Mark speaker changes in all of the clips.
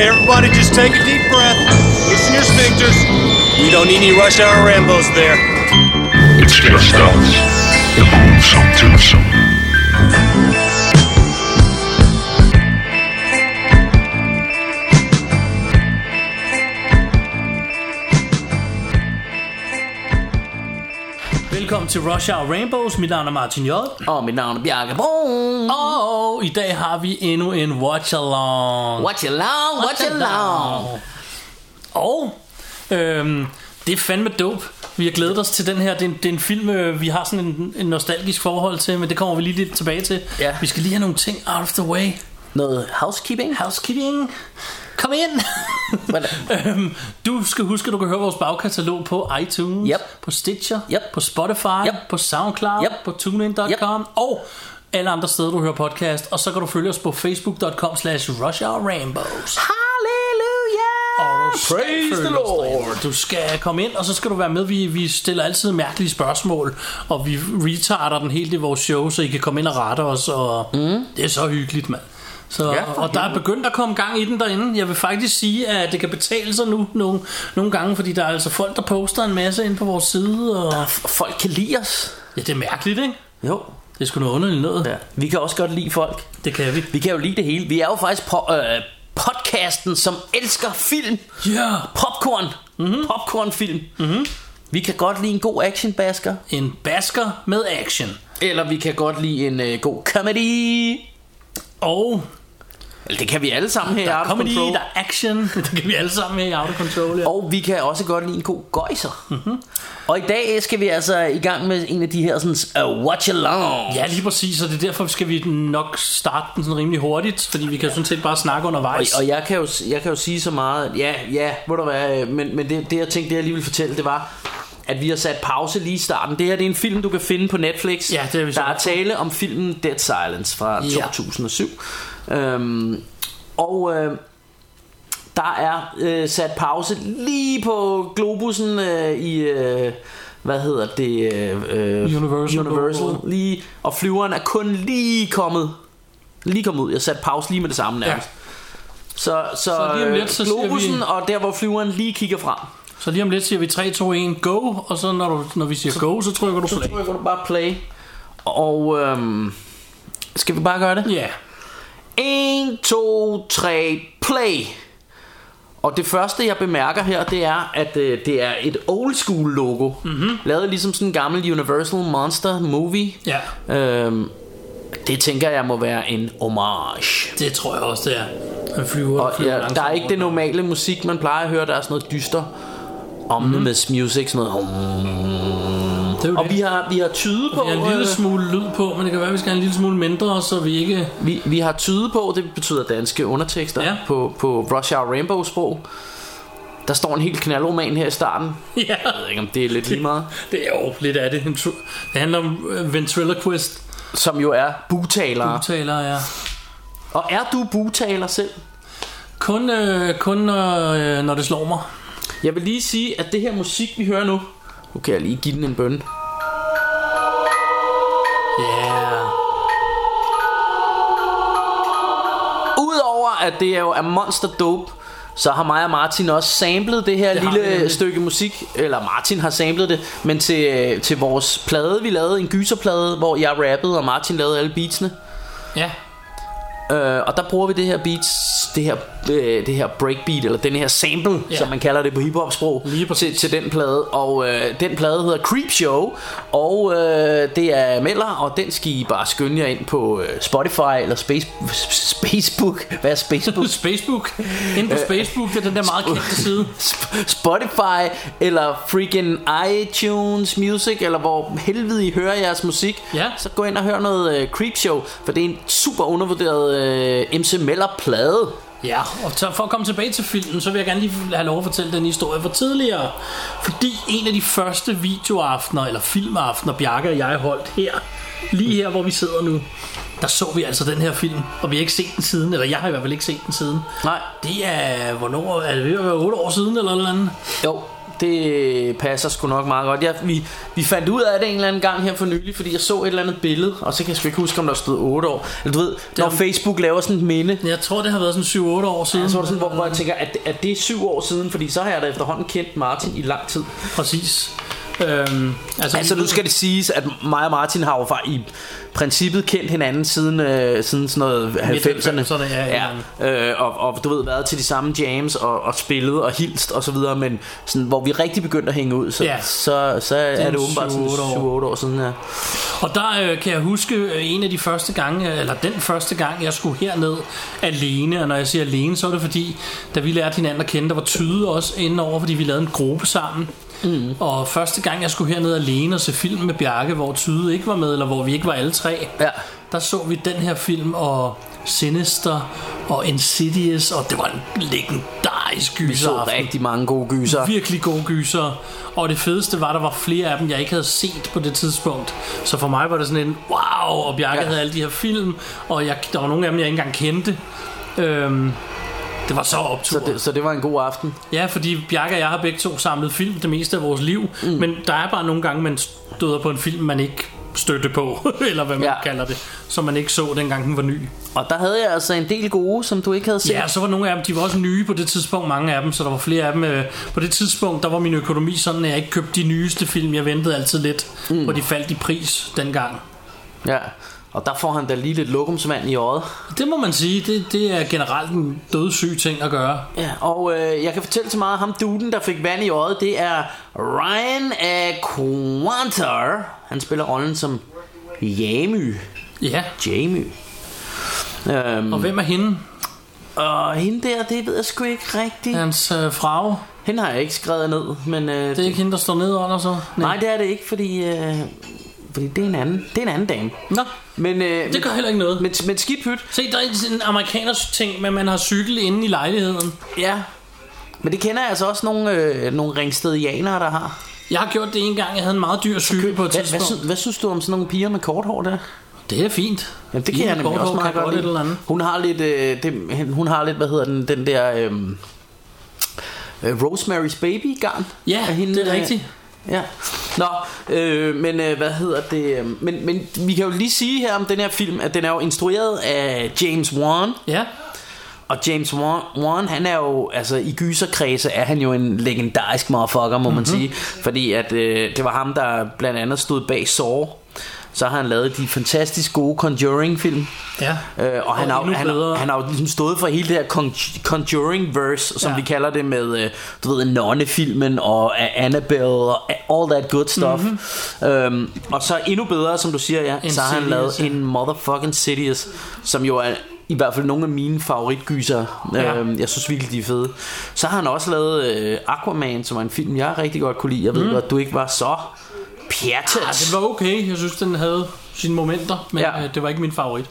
Speaker 1: Everybody just take a deep breath. Loosen your sphincters. We don't need any rush hour Rambos there.
Speaker 2: It's just us. The lonesome twosome.
Speaker 3: Velkommen til Rush Hour Rainbows. Mit navn er Martin J.
Speaker 4: Og mit navn er Bjarke Brun.
Speaker 3: Og i dag har vi endnu en Watch Along.
Speaker 4: Watch along, watch along.
Speaker 3: Og øhm, det er fandme dope. Vi har glædet os til den her. Det er en, det er en film, øh, vi har sådan en, en nostalgisk forhold til, men det kommer vi lige lidt tilbage til.
Speaker 4: Ja.
Speaker 3: Vi skal lige have nogle ting out of the way.
Speaker 4: Noget housekeeping?
Speaker 3: Housekeeping. Kom ind. øhm, du skal huske, at du kan høre vores bagkatalog på iTunes,
Speaker 4: Yep.
Speaker 3: på Stitcher,
Speaker 4: Yep.
Speaker 3: på Spotify,
Speaker 4: Yep.
Speaker 3: på SoundCloud,
Speaker 4: Yep.
Speaker 3: på TuneIn.com og alle andre steder, du hører podcast. Og så kan du følge os på Facebook.com slash Russia Rainbows.
Speaker 4: Hallelujah.
Speaker 3: Og du skal
Speaker 4: Praise
Speaker 3: følge
Speaker 4: the
Speaker 3: os derinde.
Speaker 4: Lord.
Speaker 3: Du skal komme ind, og så skal du være med. Vi, vi stiller altid mærkelige spørgsmål, og vi retarder den helt i vores show, så I kan komme ind og rette os. Og mm. Det er så hyggeligt, mand. Så,
Speaker 4: Ja,
Speaker 3: ja,
Speaker 4: for
Speaker 3: og der er begyndt at komme gang i den derinde. Jeg vil faktisk sige, at det kan betale sig nu nogle, nogle gange, fordi der er altså folk, der poster en masse ind på vores side. Og...
Speaker 4: Folk kan lide os.
Speaker 3: Ja, det er mærkeligt, ikke?
Speaker 4: Jo.
Speaker 3: Det er sgu noget underligt noget. Ja.
Speaker 4: Ja. Vi kan også godt lide folk.
Speaker 3: Det kan vi.
Speaker 4: Vi kan jo lide det hele. Vi er jo faktisk på, øh, podcasten, som elsker film.
Speaker 3: Ja, Mhm.
Speaker 4: Popcorn. Mm-hmm. Popcornfilm. Mm-hmm. Vi kan godt lide en god actionbasker.
Speaker 3: en basker med action.
Speaker 4: Eller vi kan godt lide en øh, god comedy.
Speaker 3: Og
Speaker 4: Eller det kan vi alle sammen her i
Speaker 3: der er
Speaker 4: Arts
Speaker 3: comedy,
Speaker 4: Control.
Speaker 3: der er action. Det kan vi alle sammen her i Out of Control. Ja.
Speaker 4: Og vi kan også godt lide en god gøjser. Mm-hmm. Og i dag skal vi altså i gang med en af de her sådan, uh, watch along.
Speaker 3: Ja, lige præcis, og det er derfor, skal vi nok starte den sådan rimelig hurtigt, fordi vi kan jo sådan set bare snakke
Speaker 4: Og,
Speaker 3: undervejs.
Speaker 4: og jeg, kan jo, jeg kan jo sige så meget, ja, ja, må du være, men, men det, det jeg tænkte, det jeg lige ville fortælle, det var, at vi har sat pause lige i starten. Det her det er en film, du kan finde på Netflix.
Speaker 3: Ja, det er vi så.
Speaker 4: Der er tale om filmen Dead Silence fra
Speaker 3: Ja.
Speaker 4: 2007. Øhm, og øh, der er øh, sat pause lige på globussen øh, i... Øh, hvad hedder det? Øh, øh,
Speaker 3: Universal.
Speaker 4: Universal. Lige, og flyveren er kun lige kommet. Lige kommet ud. Jeg satte pause lige med det samme nærmest.
Speaker 3: Ja.
Speaker 4: Så, så,
Speaker 3: Så lige om lidt, så siger
Speaker 4: globussen
Speaker 3: vi-
Speaker 4: og der hvor flyveren lige kigger frem
Speaker 3: Så lige om lidt siger vi 3, 2, 1, go, og så når, du, når vi siger go, så trykker du
Speaker 4: Så
Speaker 3: play.
Speaker 4: trykker du bare play Og øhm, Skal vi bare gøre det?
Speaker 3: Ja,
Speaker 4: 1, 2, 3, play Og det første jeg bemærker her Det er at øh, det er et old school logo
Speaker 3: Mhm.
Speaker 4: mm-hmm. Lavet ligesom sådan en gammel Universal Monster movie
Speaker 3: ja,
Speaker 4: øhm, Det tænker jeg må være en homage
Speaker 3: det tror jeg også, det er. Han flyver,
Speaker 4: Og
Speaker 3: flyver
Speaker 4: ja,
Speaker 3: langsomt
Speaker 4: der er ikke
Speaker 3: rundt.
Speaker 4: det normale musik, man plejer at høre. Der er sådan noget dyster omnibus
Speaker 3: Mhm.
Speaker 4: mm. music, sådan noget.
Speaker 3: Det er jo
Speaker 4: Og
Speaker 3: det.
Speaker 4: vi har, vi har tyde på...
Speaker 3: Vi har en lille
Speaker 4: øh,
Speaker 3: smule lyd på, men det kan være, vi skal have en lille smule mindre, så vi ikke...
Speaker 4: vi, vi har tyde på, det betyder danske undertekster
Speaker 3: Ja.
Speaker 4: ja. på, på Rush Hour Rainbow sprog. Der står en helt knaldroman her i starten.
Speaker 3: Ja,
Speaker 4: Jeg ved ikke, om det er lidt lige meget.
Speaker 3: det er jo lidt af det. En tru- Det handler om øh, ventriloquist,
Speaker 4: Som jo er butalere.
Speaker 3: taler jeg.
Speaker 4: Og er du butaler selv?
Speaker 3: Kun, øh, kun øh, når det slår mig.
Speaker 4: Jeg vil lige sige, at det her musik, vi hører nu... Nu kan jeg lige give den en bønne.
Speaker 3: Ja,
Speaker 4: Udover at det er jo er monster dope, så har mig og Martin også samlet det her
Speaker 3: Det
Speaker 4: det
Speaker 3: har vi
Speaker 4: lille
Speaker 3: nemlig.
Speaker 4: stykke musik, eller Martin har samlet det, men til, til vores plade, vi lavede, en gyserplade, hvor jeg rappede, og Martin lavede alle beatsene.
Speaker 3: ja.
Speaker 4: Øh, og der bruger vi det her beats, det her, øh, det her breakbeat, eller den her sample,
Speaker 3: Ja.
Speaker 4: ja. som man kalder det på hiphop-sprog,
Speaker 3: Lige præcis.
Speaker 4: til, til den plade. Og øh, den plade hedder Creepshow, og øh, det er Meller, og den skal I bare skynde jer ind på øh, Spotify eller Space, Facebook. Hvad er Facebook?
Speaker 3: Facebook. Inde
Speaker 4: Øh,
Speaker 3: på Facebook, det er den der meget kendte side.
Speaker 4: Sp- Spotify eller freaking iTunes Music eller hvor helvede I hører jeres musik
Speaker 3: Ja.
Speaker 4: så gå ind og hør noget øh, Creepshow for det er en super undervurderet øh, MC Meller plade
Speaker 3: Ja, og så for at komme tilbage til filmen, så vil jeg gerne lige have lov at fortælle den historie fra tidligere. Fordi en af de første videoaftener, eller filmaftener, Bjarke og jeg holdt her, lige her, hvor vi sidder nu, der så vi altså den her film, og vi har ikke set den siden, eller jeg har i hvert fald ikke set den siden.
Speaker 4: Nej.
Speaker 3: Det er, hvornår, er det ved at være 8 år siden, eller noget andet?
Speaker 4: jo det passer sgu nok meget godt. Jeg, vi, vi fandt ud af det en eller anden gang her for nylig, fordi jeg så et eller andet billede, og så kan jeg sgu ikke huske, om der stod 8 år. Eller du ved, når
Speaker 3: var-
Speaker 4: Facebook laver sådan et minde,
Speaker 3: Jeg tror, det har været sådan 7-8 år siden.
Speaker 4: så var det sådan, hvor, hvor jeg tænker, at, at det er syv år siden, fordi så har jeg da efterhånden kendt Martin i lang tid.
Speaker 3: Præcis. Øhm, altså,
Speaker 4: Altså
Speaker 3: vi-
Speaker 4: nu skal det siges, at mig og Martin har jo fra i princippet kendt hinanden siden, øh, siden sådan noget 90'erne.
Speaker 3: 90'erne, ja, ja.
Speaker 4: ja øh, og, og du ved, været til de samme jams og, og spillet og hilst og så videre, men sådan, hvor vi rigtig begyndte at hænge ud, så,
Speaker 3: Ja.
Speaker 4: så, så er det åbenbart sådan
Speaker 3: 7-8 år.
Speaker 4: 7-8 år siden. Ja.
Speaker 3: Og der øh, kan jeg huske øh, en af de første gange, øh, eller den første gang, jeg skulle herned alene. Og når jeg siger alene, så er det fordi, da vi lærte hinanden at kende, der var tyde også indenover, fordi vi lavede en gruppe sammen. Mm. Og første gang, jeg skulle herned alene og se film med Bjarke, hvor tyde ikke var med, eller hvor vi ikke var alle tre,
Speaker 4: Ja.
Speaker 3: der så vi den her film og Sinister og Insidious, og det var en legendarisk gyseraften.
Speaker 4: Vi så rigtig mange gode gyser.
Speaker 3: Virkelig gode gyser. Og det fedeste var, at der var flere af dem, jeg ikke havde set på det tidspunkt. Så for mig var det sådan en wow, og Bjarke ja.
Speaker 4: Ja.
Speaker 3: havde alle de her film, og jeg, der var nogle af dem, jeg ikke engang kendte. Øhm, det var så optur.
Speaker 4: Så det, så det var en god aften.
Speaker 3: Ja, fordi Bjarke og jeg har begge to samlet film det meste af vores liv, mm. men der er bare nogle gange, man støder på en film, man ikke støtte på, eller hvad man ja.
Speaker 4: Ja.
Speaker 3: kalder det, som man ikke så dengang den var ny.
Speaker 4: Og der havde jeg altså en del gode, som du ikke havde set.
Speaker 3: Ja, og så var nogle af dem, de var også nye på det tidspunkt, mange af dem, så der var flere af dem. øh, På det tidspunkt, der var min økonomi sådan, at jeg ikke købte de nyeste film. Jeg ventede altid lidt, mm. hvor de faldt i pris dengang.
Speaker 4: Ja. Og der får han da lige lidt lokumsvand i øjet.
Speaker 3: Det må man sige, det, det er generelt en dødssyg ting at gøre.
Speaker 4: Ja, og øh, jeg kan fortælle så meget, at ham duden, der fik vand i øjet, det er Ryan Aquanter. Han spiller rollen som Jamy.
Speaker 3: Ja,
Speaker 4: Jamy. Øhm,
Speaker 3: og hvem er hende?
Speaker 4: Mm. og hende der, det ved jeg sgu ikke rigtigt. Ja.
Speaker 3: Hans øh, frage?
Speaker 4: Hende har jeg ikke skrevet ned, men... Øh,
Speaker 3: Det er ikke hende, der står nede under så?
Speaker 4: Nej, det er det ikke, fordi... Øh, fordi det er en anden, det er en anden dame.
Speaker 3: Nå,
Speaker 4: Men, øh,
Speaker 3: det gør heller ikke noget.
Speaker 4: men, men skidt pyt.
Speaker 3: Se, der er sådan en amerikaners ting, men man har cykel inde i lejligheden.
Speaker 4: Ja. Men det kender jeg altså også nogle, øh, nogle ringstedianere, der har.
Speaker 3: Jeg har gjort det en gang, jeg havde en meget dyr cykel på et
Speaker 4: Hvad, hvad,
Speaker 3: tidspunkt.
Speaker 4: sy- hvad synes du om sådan nogle piger med kort hår der?
Speaker 3: Det er fint.
Speaker 4: Jamen, det kan jeg nemlig også meget godt
Speaker 3: lide. Eller
Speaker 4: lide.
Speaker 3: andet.
Speaker 4: Hun har lidt, øh, det, hun har lidt, hvad hedder den, den der øh, øh, Rosemary's Baby garn.
Speaker 3: Ja,
Speaker 4: Af
Speaker 3: det er
Speaker 4: øh,
Speaker 3: rigtigt.
Speaker 4: Ja. Nå, øh, men øh, hvad hedder det? øh, Men, men vi kan jo lige sige her om den her film, at den er jo instrueret af James Wan.
Speaker 3: Ja,
Speaker 4: Og James Wan, Wan han er jo, altså i gyserkredse er han jo en legendarisk motherfucker, må mm-hmm.
Speaker 3: Mhm.
Speaker 4: man sige. Fordi at øh, det var ham, der blandt andet stod bag Saw. Så har han lavet de fantastisk gode Conjuring-film.
Speaker 3: ja.
Speaker 4: Øh, og han har,
Speaker 3: endnu
Speaker 4: han, har,
Speaker 3: bedre.
Speaker 4: han har jo ligesom stået for hele det her Con- Conjuring-verse,
Speaker 3: Ja.
Speaker 4: som ja. vi kalder det med, øh, du ved, Nonne-filmen og øh, Annabelle og all that good stuff.
Speaker 3: Mhm.
Speaker 4: Mm-hmm. Øhm, og så endnu bedre, som du siger, ja, så har han
Speaker 3: Insidious,
Speaker 4: lavet
Speaker 3: ja.
Speaker 4: en motherfucking Sidious, som jo er i hvert fald nogle af mine favoritgyser.
Speaker 3: Ja.
Speaker 4: Øhm, jeg synes virkelig, de er fede. Så har han også lavet øh, Aquaman, som er en film, jeg rigtig godt kunne lide. Jeg ved mm. godt, du ikke var så pjattet.
Speaker 3: Ja, Altså, det Mhm. Ah, var okay. Jeg synes, den havde sine momenter, men ja.
Speaker 4: Ja.
Speaker 3: øh, det var ikke min favorit.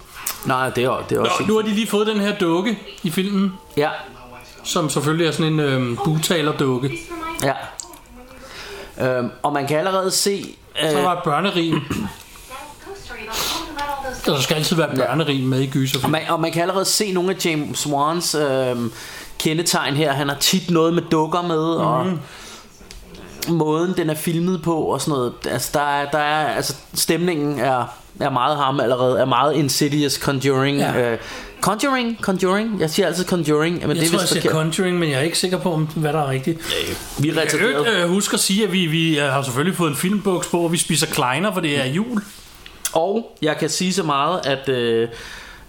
Speaker 4: Nej, det er, det er også...
Speaker 3: Nå, nu har de lige fået den her dukke i filmen,
Speaker 4: Ja,
Speaker 3: som selvfølgelig er sådan en øh, butalerdukke.
Speaker 4: Ja. Øhm, og man kan allerede se... Øh,
Speaker 3: Der var et børnerim, og der skal altid være et børnerim med i gyser.
Speaker 4: og, man, og man kan allerede se nogle af James Wans øh, kendetegn her. Han har tit noget med dukker med, og
Speaker 3: Mhm.
Speaker 4: måden den er filmet på og sådan noget. Altså, der er, der er, altså stemningen er, er meget ham allerede, er meget Insidious Conjuring.
Speaker 3: Ja.
Speaker 4: Ja. Øh, Conjuring, Conjuring. Jeg siger altid Conjuring, men det
Speaker 3: Jeg
Speaker 4: er
Speaker 3: tror, jeg
Speaker 4: vist
Speaker 3: siger
Speaker 4: forkert.
Speaker 3: Conjuring, men jeg er ikke sikker på, om- hvad der er rigtigt.
Speaker 4: Vi er
Speaker 3: Jeg øvrigt,
Speaker 4: retarderet.
Speaker 3: øh, husk at sige, at vi, vi øh, har selvfølgelig fået en filmbuks på, og vi spiser kleiner, for det er jul.
Speaker 4: Og jeg kan sige så meget, at øh,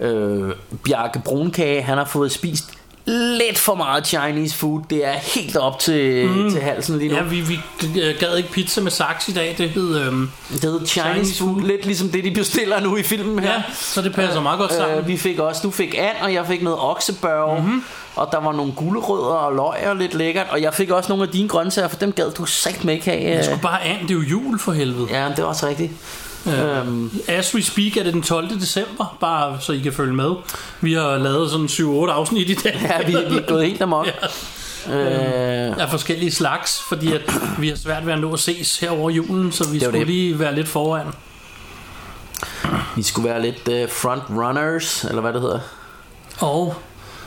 Speaker 4: øh, Bjarke Brunkage, han har fået spist lidt for meget Chinese food. Det er helt op til, mm. til halsen lige nu.
Speaker 3: Ja,
Speaker 4: Ja,
Speaker 3: vi, vi øh, gad ikke pizza med saks i dag, det hed... Øh,
Speaker 4: det hedder Chinese,
Speaker 3: Chinese
Speaker 4: Chinese food, lidt ligesom det, de bestiller nu i filmen her.
Speaker 3: ja, så det passer meget godt sammen. Mhm.
Speaker 4: Øh, vi fik også, du fik and, og jeg fik noget oksebørge, mm-hmm. og der var nogle gulerødder og løg og lidt lækkert, og jeg fik også nogle af dine grøntsager, for dem gad du sagt med ikke have.
Speaker 3: Jeg
Speaker 4: Øh.
Speaker 3: skulle bare an, det er jo jul for helvede.
Speaker 4: Ja, det var også rigtigt.
Speaker 3: Ja.
Speaker 4: Øhm.
Speaker 3: As we speak er det den 12. december, bare så I kan følge med. Vi har lavet sådan 7-8 afsnit i dag.
Speaker 4: Ja, vi, vi er gået helt amok.
Speaker 3: Ja.
Speaker 4: Ja. Øh,
Speaker 3: Af forskellige slags, fordi at vi har svært ved at nå at ses her over julen, så vi
Speaker 4: var
Speaker 3: skulle det.
Speaker 4: det.
Speaker 3: lige være lidt foran.
Speaker 4: øh, vi skulle være lidt uh, front runners, eller hvad det hedder.
Speaker 3: Og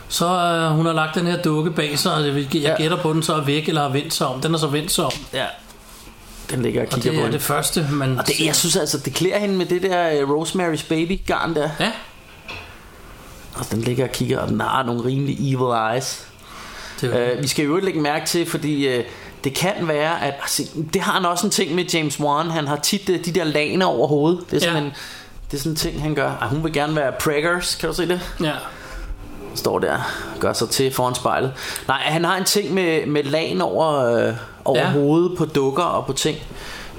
Speaker 3: Så øh, hun har lagt den her dukke bag sig, og jeg jeg gætter på, at den så er væk eller har vendt sig om. Den er så vendt sig om,
Speaker 4: Ja. Den ligger og
Speaker 3: og
Speaker 4: kigger
Speaker 3: det
Speaker 4: på
Speaker 3: er
Speaker 4: hende.
Speaker 3: det første, man
Speaker 4: Og det, jeg synes altså, det klæder hende med det der øh, Rosemary's Baby garn der.
Speaker 3: Ja,
Speaker 4: Og den ligger og kigger, og den har nogle rimelig evil eyes.
Speaker 3: det er
Speaker 4: Øh, vi skal jo ikke lægge mærke til, fordi øh, det kan være, at altså, det har han også en ting med James Wan. Han har tit øh, de der laner over hovedet. Det er sådan,
Speaker 3: Ja.
Speaker 4: ja. en, det er sådan en ting, han gør. Ej, hun vil gerne være preggers, kan du se det?
Speaker 3: ja.
Speaker 4: Står der gør sig til foran spejlet. Nej, han har en ting med, med lagen over, øh, over
Speaker 3: Ja.
Speaker 4: ja. hovedet på dukker og på ting.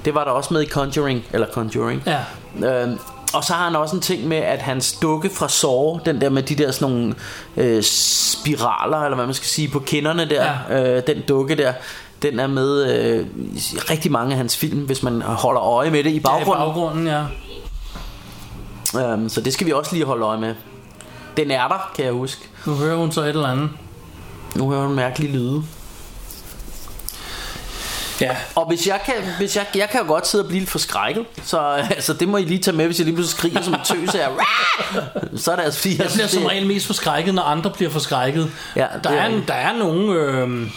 Speaker 4: Det var der også med i Conjuring, eller Conjuring.
Speaker 3: Ja.
Speaker 4: Øhm, og så har han også en ting med, at hans dukke fra Saw, den der med de der sådan nogle øh, spiraler, eller hvad man skal sige, på kinderne der, ja. øh, den dukke der, den er med øh, i rigtig mange af hans film, hvis man holder øje med det i
Speaker 3: Ja, i
Speaker 4: baggrunden.
Speaker 3: baggrunden, ja.
Speaker 4: Ja, øhm, så det skal vi også lige holde øje med. Den er der, kan jeg huske.
Speaker 3: Nu hører hun så et eller andet.
Speaker 4: Nu hører hun mærkelige lyde.
Speaker 3: Ja,
Speaker 4: Og hvis jeg kan, hvis jeg, jeg kan jo godt sidde og blive lidt forskrækket, så altså, det må I lige tage med, hvis jeg lige pludselig skriger som en tøs her. Så er det altså fordi, jeg,
Speaker 3: Jeg bliver
Speaker 4: synes,
Speaker 3: som
Speaker 4: det-
Speaker 3: regel mest forskrækket, når andre bliver forskrækket.
Speaker 4: Ja,
Speaker 3: der,
Speaker 4: det er
Speaker 3: er, en-
Speaker 4: rigtigt.
Speaker 3: der er nogle, øh,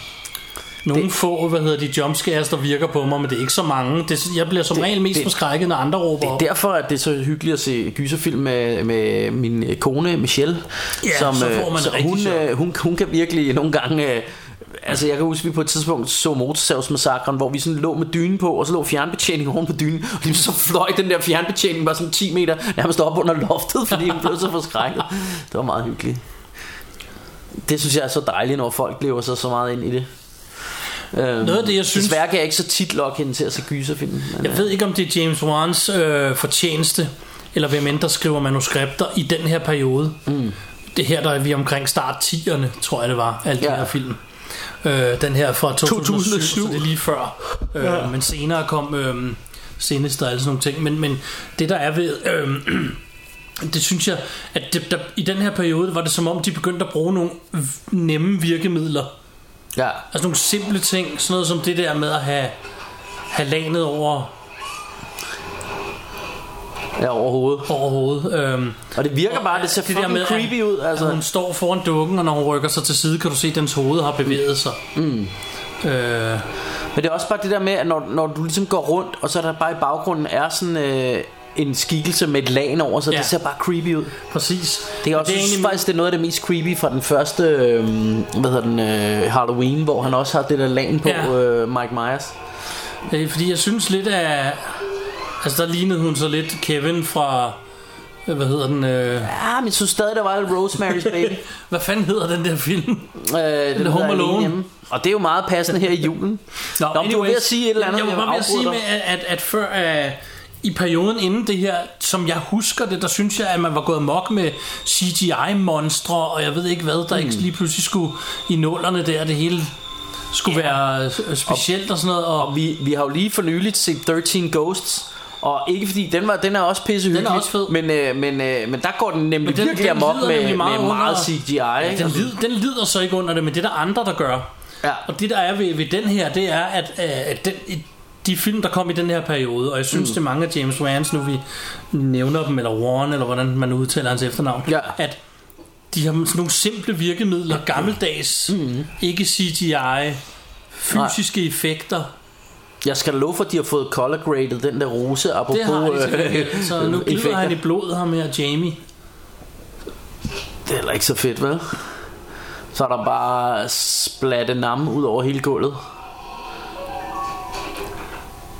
Speaker 3: nogle det, få, hvad hedder de, jumpscares, der virker på mig, men det er ikke så mange. Det, jeg bliver som
Speaker 4: Det-
Speaker 3: regel mest
Speaker 4: det-
Speaker 3: forskrækket, når andre råber
Speaker 4: Det er
Speaker 3: op.
Speaker 4: derfor, at det er så hyggeligt at se gyserfilm med, med min øh, kone Michelle.
Speaker 3: Ja, så får man
Speaker 4: øh,
Speaker 3: det rigtig
Speaker 4: hun,
Speaker 3: sjovt.
Speaker 4: øh, hun, hun kan virkelig nogle gange... øh, Altså jeg kan huske, at vi på et tidspunkt så Motorsavsmassakren, hvor vi sådan lå med dynen på, og så lå fjernbetjeningen oven på dynen, og lige så fløj den der fjernbetjening bare sådan 10 meter nærmest op under loftet, fordi hun blev så forskrækket. Det var meget hyggeligt. Det synes jeg er så dejligt, når folk lever sig så meget ind i det.
Speaker 3: Noget af det, jeg synes,
Speaker 4: Desværre kan jeg ikke så tit lokke hende til at se gyserfilm. Men, øh,
Speaker 3: jeg ved ikke, om det er James Wans øh, fortjeneste, eller hvem end der skriver manuskripter i den her periode. Mm. Det her, der er vi omkring start 10'erne, tror jeg det var, alt ja.
Speaker 4: Ja.
Speaker 3: den her film. Øh, den her fra 2007, 2007.
Speaker 4: 2007.
Speaker 3: så det er lige før. Øh, ja. Men senere kom øh, Sinister og alle sådan nogle ting. Men, men det der er ved... Øh, det synes jeg, at det, der, i den her periode var det som om, de begyndte at bruge nogle v- nemme virkemidler.
Speaker 4: Ja.
Speaker 3: Altså nogle simple ting, sådan noget som det der med at have, have lanet over,
Speaker 4: ja, overhovedet.
Speaker 3: over hovedet. Øhm,
Speaker 4: Og det virker bare, det ser
Speaker 3: det der
Speaker 4: fucking
Speaker 3: med, at-
Speaker 4: creepy ud. Altså.
Speaker 3: Hun står foran dukken, og når hun rykker sig til side, kan du se, at dens hoved har bevæget sig. Mm. Øh,
Speaker 4: Men det er også bare det der med, at når, når du ligesom går rundt, og så er der bare i baggrunden er sådan øh, en skikkelse med et lag over, så
Speaker 3: Ja.
Speaker 4: ja. det ser bare creepy ud.
Speaker 3: præcis.
Speaker 4: Det er
Speaker 3: Og
Speaker 4: også det
Speaker 3: egentlig-
Speaker 4: er egentlig... faktisk det er noget af det mest creepy fra den første øh, hvad hedder den, øh, Halloween, hvor han også har det der lagen på
Speaker 3: Ja.
Speaker 4: ja. øh, Mike Myers.
Speaker 3: Øh, fordi jeg synes lidt af... Altså, der lignede hun så lidt Kevin fra... øh, Hvad hedder den? Øh,
Speaker 4: Ja, men jeg synes stadig, der var lidt Rosemary's Baby.
Speaker 3: hvad fanden hedder den der film?
Speaker 4: øh,
Speaker 3: The Home
Speaker 4: den hedder Alene
Speaker 3: Alone.
Speaker 4: Hjemme. Og det er jo meget passende her i julen. Nå, men du var ved at sige et eller andet,
Speaker 3: Jeg var
Speaker 4: jeg
Speaker 3: bare ved at sige,
Speaker 4: afbryder
Speaker 3: med, at, at, at før... Uh, i perioden inden det her, som jeg husker det, der synes jeg, at man var gået mok med CGI-monstre, og jeg ved ikke hvad, der
Speaker 4: Hmm.
Speaker 3: ikke lige pludselig skulle i nullerne der, det hele skulle ja. være øh, specielt og sådan noget. Og,
Speaker 4: Og vi, vi har jo lige for nyligt set 13 Ghosts og ikke fordi den var den er også pissehyggelig,
Speaker 3: Den er også fed.
Speaker 4: men øh, men øh, men der går den nemlig
Speaker 3: Men den-
Speaker 4: virkelig
Speaker 3: den
Speaker 4: amok
Speaker 3: lider
Speaker 4: med,
Speaker 3: nemlig
Speaker 4: med
Speaker 3: meget
Speaker 4: meget, meget
Speaker 3: under-
Speaker 4: CGI.
Speaker 3: ja, den,
Speaker 4: Altså,
Speaker 3: lid, den lider så ikke under det, men det er der andre, der gør.
Speaker 4: Ja.
Speaker 3: Og det der er ved, ved den her, det er, at, øh, at den, i- de film, der kom i den her periode, og jeg synes, mm. det er mange af James Wans, nu vi nævner dem, eller Warren, eller hvordan man udtaler hans efternavn,
Speaker 4: Ja.
Speaker 3: at de har sådan nogle simple virkemidler, gammeldags, mm. ikke CGI, fysiske Nej. effekter.
Speaker 4: Jeg skal da love for at de har fået color graded den der rose apropos
Speaker 3: Det har de til
Speaker 4: øh,
Speaker 3: gengæld. Så nu glider
Speaker 4: effekter.
Speaker 3: han i blodet, ham her Jamie.
Speaker 4: Det er heller ikke så fedt, vel? Så er der bare splatte nam ud over hele gulvet.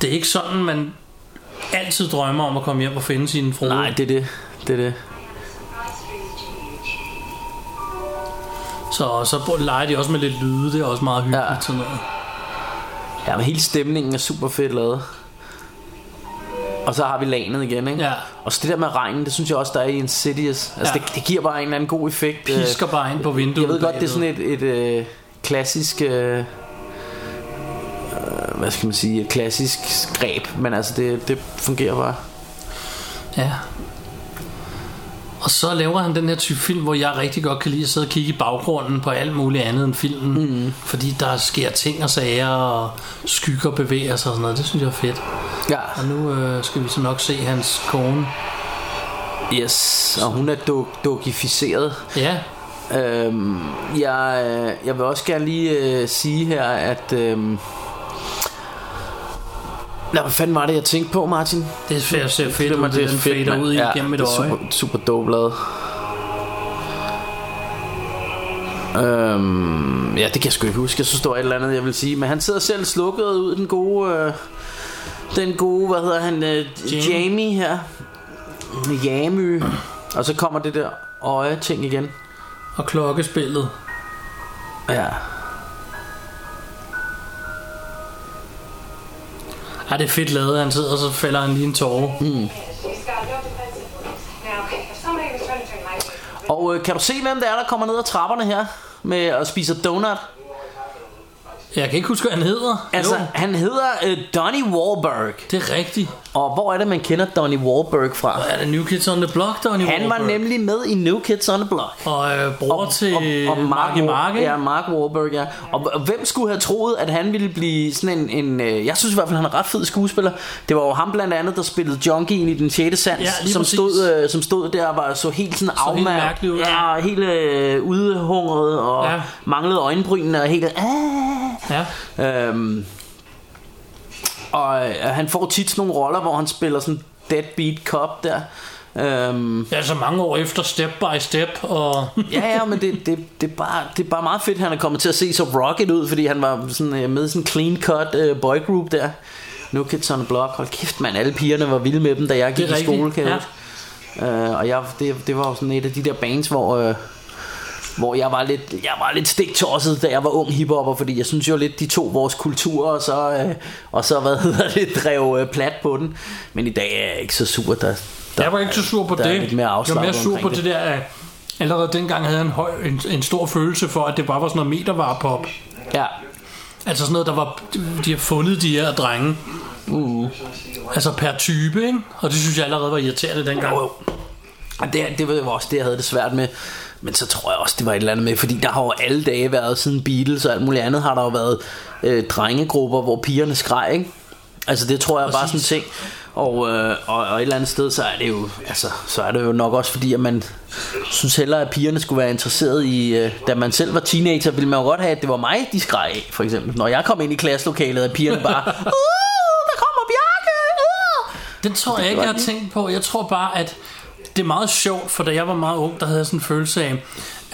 Speaker 3: Det er ikke sådan, man altid drømmer om at komme hjem og finde sin frue.
Speaker 4: Nej, det er det. Det er det.
Speaker 3: Så, så leger de også med lidt lyde, det er også meget hyggeligt. Ja.
Speaker 4: Ja.
Speaker 3: Sådan noget.
Speaker 4: Ja, men hele stemningen er super fedt lavet. Og så har vi lanet igen, ikke?
Speaker 3: Ja.
Speaker 4: Og så det der med regnen, det synes jeg også, der er i Insidious. Altså,
Speaker 3: Ja.
Speaker 4: ja. det, det giver bare en eller anden god effekt. øh,
Speaker 3: Pisker bare ind på vinduet.
Speaker 4: Jeg ved godt, det er
Speaker 3: bagved.
Speaker 4: sådan et, et øh, klassisk... Øh, øh, hvad skal man sige? Et klassisk greb. Men altså, det, det fungerer bare.
Speaker 3: Ja. Og så laver han den her type film, hvor jeg rigtig godt kan lide at sidde og kigge i baggrunden på alt muligt andet end filmen. Mm. Fordi der sker ting og sager, og skygger bevæger sig og sådan noget. Det synes jeg er fedt.
Speaker 4: Ja.
Speaker 3: Og nu øh, skal vi så nok se hans kone.
Speaker 4: Yes. Og hun er duk, dukificeret.
Speaker 3: Ja,
Speaker 4: Øhm, jeg, øh, jeg vil også gerne lige øh, sige her, at... Øhm, Nå, hvad fanden var det, jeg tænkte på, Martin?
Speaker 3: Det er fedt, ser fedt ud, det, den fader
Speaker 4: mand.
Speaker 3: ud
Speaker 4: ja,
Speaker 3: igennem et
Speaker 4: det er
Speaker 3: øje.
Speaker 4: Super, super dope lavet. Øhm, ja, det kan jeg sgu ikke huske. Jeg synes, der var et eller andet, jeg vil sige. Men han sidder selv slukket ud, den gode... Øh, den gode, hvad hedder han? Øh,
Speaker 3: Jamie.
Speaker 4: Jamie. Jamie her. Jamie. Og så kommer det der øje-ting igen.
Speaker 3: Og klokkespillet.
Speaker 4: Ja.
Speaker 3: Ja, det er fedt lavet. Han sidder, og så falder han lige en tårer. Mm.
Speaker 4: Og øh, kan du se, hvem det er, der kommer ned ad trapperne her? Med og spiser donut.
Speaker 3: Jeg kan ikke huske, hvad han hedder.
Speaker 4: Altså,
Speaker 3: Jo,
Speaker 4: han hedder øh, Donnie Wahlberg.
Speaker 3: det er rigtigt.
Speaker 4: Og hvor er det, man kender Donnie Wahlberg fra?
Speaker 3: Er det New Kids on the Block, der er
Speaker 4: Han var nemlig med i New Kids on the Block.
Speaker 3: Og øh, bror til Marky
Speaker 4: Wahl-
Speaker 3: Mark, ikke?
Speaker 4: Ja, øh, Mark Wahlberg, ja. Og, og hvem skulle have troet, at han ville blive sådan en, en... øh, Jeg synes i hvert fald, han er ret fed skuespiller. Det var jo ham blandt andet, der spillede Junkien i Den 6. Sans,
Speaker 3: Ja, lige
Speaker 4: som,
Speaker 3: præcis.
Speaker 4: stod, øh, som stod der og var, så helt sådan
Speaker 3: helt
Speaker 4: afmærket.
Speaker 3: mærkelig ud, ja.
Speaker 4: Ja, og helt øh, udhungret og
Speaker 3: Ja.
Speaker 4: ja. manglede øjenbrynene og helt... Ah.
Speaker 3: Ja.
Speaker 4: Øhm, og øh, han får tit sådan nogle roller, hvor han spiller sådan deadbeat cop der. Øhm,
Speaker 3: ja, så mange år efter, step by step. Og
Speaker 4: ja, ja, men det, det, det, er bare, det er bare meget fedt, han er kommet til at se så rocket ud, fordi han var sådan, øh, med i sådan en clean cut øh, boy group der. Nu Kids on the Block, hold kæft mand, alle pigerne var vilde med dem, da jeg gik
Speaker 3: Det er
Speaker 4: i skole,
Speaker 3: rigtigt,
Speaker 4: kan jeg
Speaker 3: ja.
Speaker 4: huske. Øh, og jeg, det, det var jo sådan et af de der bands, hvor... Øh, hvor jeg var lidt, jeg var lidt stiktosset, da jeg var ung hiphopper, fordi jeg synes jo lidt, de tog vores kultur, og så, øh, og så hvad hedder det, drev øh, plat på den. Men i dag er jeg ikke så sur, der, der
Speaker 3: jeg var ikke så sur på
Speaker 4: der
Speaker 3: det.
Speaker 4: Er lidt mere
Speaker 3: jeg var mere
Speaker 4: afslappet
Speaker 3: sur
Speaker 4: omkring
Speaker 3: på det, der, at allerede dengang havde jeg en, høj, en, en stor følelse for, at det bare var sådan noget metervarepop.
Speaker 4: Ja,
Speaker 3: Altså sådan noget, der var, de har fundet de her drenge.
Speaker 4: Mm.
Speaker 3: Uh. Altså per type, ikke? Og det synes jeg allerede var irriterende dengang.
Speaker 4: Jo, jo. Og det, det var jo også det, jeg havde det svært med. Men så tror jeg også, det var et eller andet med, fordi der har jo alle dage været siden Beatles og alt muligt andet, har der jo været øh, drengegrupper, hvor pigerne skreg, ikke? Altså det tror jeg bare sådan en ting. Og, øh, og, og, et eller andet sted, så er det jo, altså, så er det jo nok også fordi, at man synes hellere, at pigerne skulle være interesseret i, øh, da man selv var teenager, ville man jo godt have, at det var mig, de skreg af, for eksempel. Når jeg kom ind i klasselokalet, at pigerne bare, uh, der kommer Bjarke, uh!
Speaker 3: Den tror jeg ikke, jeg har tænkt på. Jeg tror bare, at det er meget sjovt, for da jeg var meget ung, der havde jeg sådan en følelse af,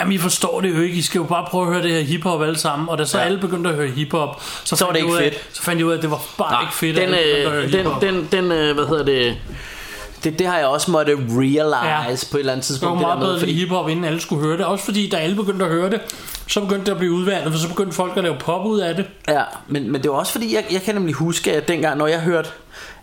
Speaker 3: jamen I forstår det jo ikke, I skal jo bare prøve at høre det her hiphop alle sammen. Og da så ja. alle begyndte at høre hiphop, så,
Speaker 4: var
Speaker 3: fandt
Speaker 4: det
Speaker 3: jeg
Speaker 4: ikke
Speaker 3: ud af,
Speaker 4: fedt.
Speaker 3: Så fandt jeg ud af, at det var bare
Speaker 4: Nej,
Speaker 3: ikke fedt, at
Speaker 4: den,
Speaker 3: alle begyndte at høre
Speaker 4: øh, den,
Speaker 3: hiphop.
Speaker 4: den, den, øh, hvad hedder det? det Det har jeg også måtte realize
Speaker 3: Ja.
Speaker 4: ja. på et eller andet
Speaker 3: Det var
Speaker 4: tidspunkt.
Speaker 3: meget
Speaker 4: det der
Speaker 3: bedre
Speaker 4: med,
Speaker 3: fordi...
Speaker 4: fordi,
Speaker 3: hiphop, inden alle skulle høre det. Også fordi, da alle begyndte at høre det, så begyndte det at blive udvandet, for så begyndte folk at lave pop ud af det.
Speaker 4: ja, men, men det var også fordi, jeg, jeg kan nemlig huske, at dengang, når jeg hørte,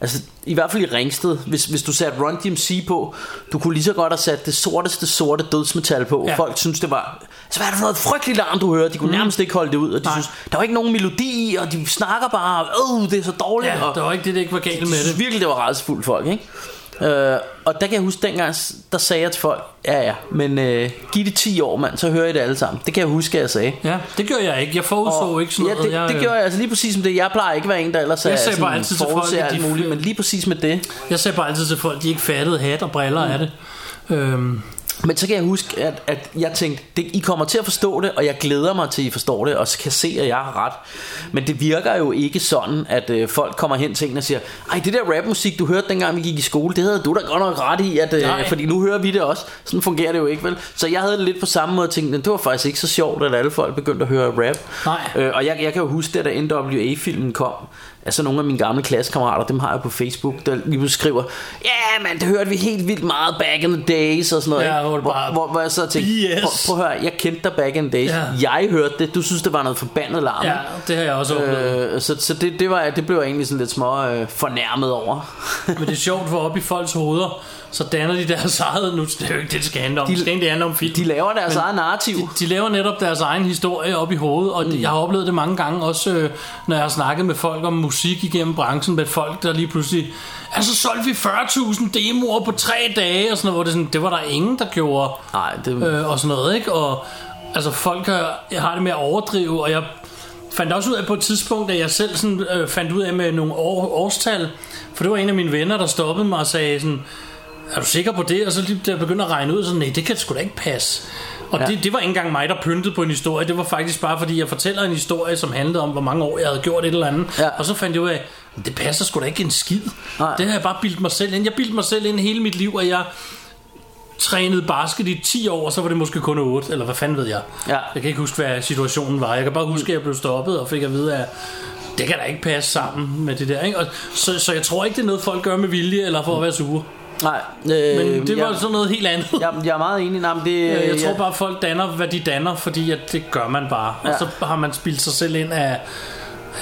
Speaker 4: altså i hvert fald i Ringsted, hvis, hvis du satte Run DMC på, du kunne lige så godt have sat det sorteste sorte dødsmetal på.
Speaker 3: Ja.
Speaker 4: Ja. Folk synes det var, så hvad er det for noget frygteligt larm, du hører? De kunne mm. nærmest ikke holde det ud, og de
Speaker 3: Nej.
Speaker 4: synes, der var ikke nogen melodi i, og de snakker bare, øh, det er så dårligt.
Speaker 3: Ja,
Speaker 4: og,
Speaker 3: der var ikke det, der ikke var galt med
Speaker 4: Jeg synes
Speaker 3: det.
Speaker 4: virkelig, det var rædselsfuldt folk, ikke? Øh, og der kan jeg huske dengang, der sagde jeg til folk, ja ja, men øh, giv det 10 år, mand, så hører I det alle sammen. Det kan jeg huske, at jeg sagde.
Speaker 3: Ja, det gjorde jeg ikke. Jeg forudså
Speaker 4: Og-
Speaker 3: ikke sådan
Speaker 4: ja,
Speaker 3: noget. øh,
Speaker 4: det, det gjorde jeg altså lige præcis som det. Jeg plejer ikke at være en, der ellers
Speaker 3: Jeg
Speaker 4: er
Speaker 3: sagde bare
Speaker 4: sådan
Speaker 3: altid til folk,
Speaker 4: forudser
Speaker 3: at de-
Speaker 4: alt muligt, men lige præcis med det.
Speaker 3: øh, Jeg sagde bare altid til folk, de ikke fattede hat og briller mm. af det. Øhm,
Speaker 4: Men så kan jeg huske, at, at jeg tænkte, det, I kommer til at forstå det, og jeg glæder mig til, at I forstår det, og så kan se, at jeg har ret. Men det virker jo ikke sådan, at øh, folk kommer hen til en og siger, ej, det der rapmusik, du hørte dengang, vi gik i skole, det havde du da godt nok ret i, at, øh,
Speaker 3: Nej.
Speaker 4: fordi nu hører vi det også. Sådan fungerer det jo ikke, vel? Så jeg havde det lidt på samme måde og tænkte, det var faktisk ikke så sjovt, at alle folk begyndte at høre rap.
Speaker 3: Nej.
Speaker 4: Øh, og jeg, jeg kan jo huske, at da NWA-filmen kom, altså nogle af mine gamle klassekammerater, dem har jeg på Facebook, der lige pludselig skriver, ja, yeah, man, det hørte vi helt vildt meget back in the days og sådan noget.
Speaker 3: Ja,
Speaker 4: ikke?
Speaker 3: hvor det bare-
Speaker 4: hvor, hvor jeg så tænkte,
Speaker 3: BS.
Speaker 4: prøv, prøv at høre, jeg kendte dig back in the days,
Speaker 3: Ja.
Speaker 4: jeg hørte det, du synes, det var noget forbandet larm.
Speaker 3: ja, det har jeg også oplevet.
Speaker 4: Øh, så så det, det, var, det blev jeg egentlig sådan lidt små øh, fornærmet over.
Speaker 3: Men det er sjovt for op i folks hoveder, så danner de deres eget, nu det er jo ikke det, det skal handle om, de,
Speaker 4: De-
Speaker 3: det skal egentlig handle om film.
Speaker 4: De laver deres
Speaker 3: Men
Speaker 4: eget narrativ.
Speaker 3: de, de laver netop deres egen historie op i hovedet, og mm. jeg har oplevet det mange gange, også øh, når jeg har snakket med folk om musik igennem branchen, med folk, der lige pludselig, altså solgte vi 40.000 demoer på tre dage, og sådan noget, hvor det, er sådan, det var der ingen, der gjorde,
Speaker 4: Nej, det-
Speaker 3: øh, og sådan noget, ikke? Og altså, folk har, jeg har det med at overdrive, og jeg fandt også ud af på et tidspunkt, at jeg selv sådan, øh, fandt ud af med nogle år, årstal, for det var en af mine venner, der stoppede mig og sagde sådan, er du sikker på det? Og så lige, da jeg begyndte at regne ud, så nej, det kan sgu da ikke passe. Og ja. det, det var ikke engang mig, der pyntede på en historie. Det var faktisk bare, fordi jeg fortæller en historie, som handlede om, hvor mange år jeg havde gjort et eller andet.
Speaker 4: Ja.
Speaker 3: Og så fandt jeg ud af, det passer sgu da ikke en skid.
Speaker 4: Nej.
Speaker 3: Det har jeg bare bildt mig selv ind. Jeg bildte mig selv ind hele mit liv, at jeg trænede basket i 10 år, og så var det måske kun 8, eller hvad fanden ved jeg.
Speaker 4: Ja.
Speaker 3: Jeg kan ikke huske, hvad situationen var. Jeg kan bare huske, at jeg blev stoppet og fik at vide, at det kan da ikke passe sammen med det der. Ikke? Og så, så jeg tror ikke, det er noget, folk gør med vilje eller for at være sure.
Speaker 4: Nej, øh,
Speaker 3: Men det var
Speaker 4: jeg,
Speaker 3: sådan noget helt andet.
Speaker 4: jeg, jeg er meget enig. Nej, men det,
Speaker 3: Øh, jeg
Speaker 4: øh,
Speaker 3: tror bare, folk danner, hvad de danner, fordi at det gør man bare. Ja.
Speaker 4: Ja.
Speaker 3: Og så har man spildt sig selv ind af,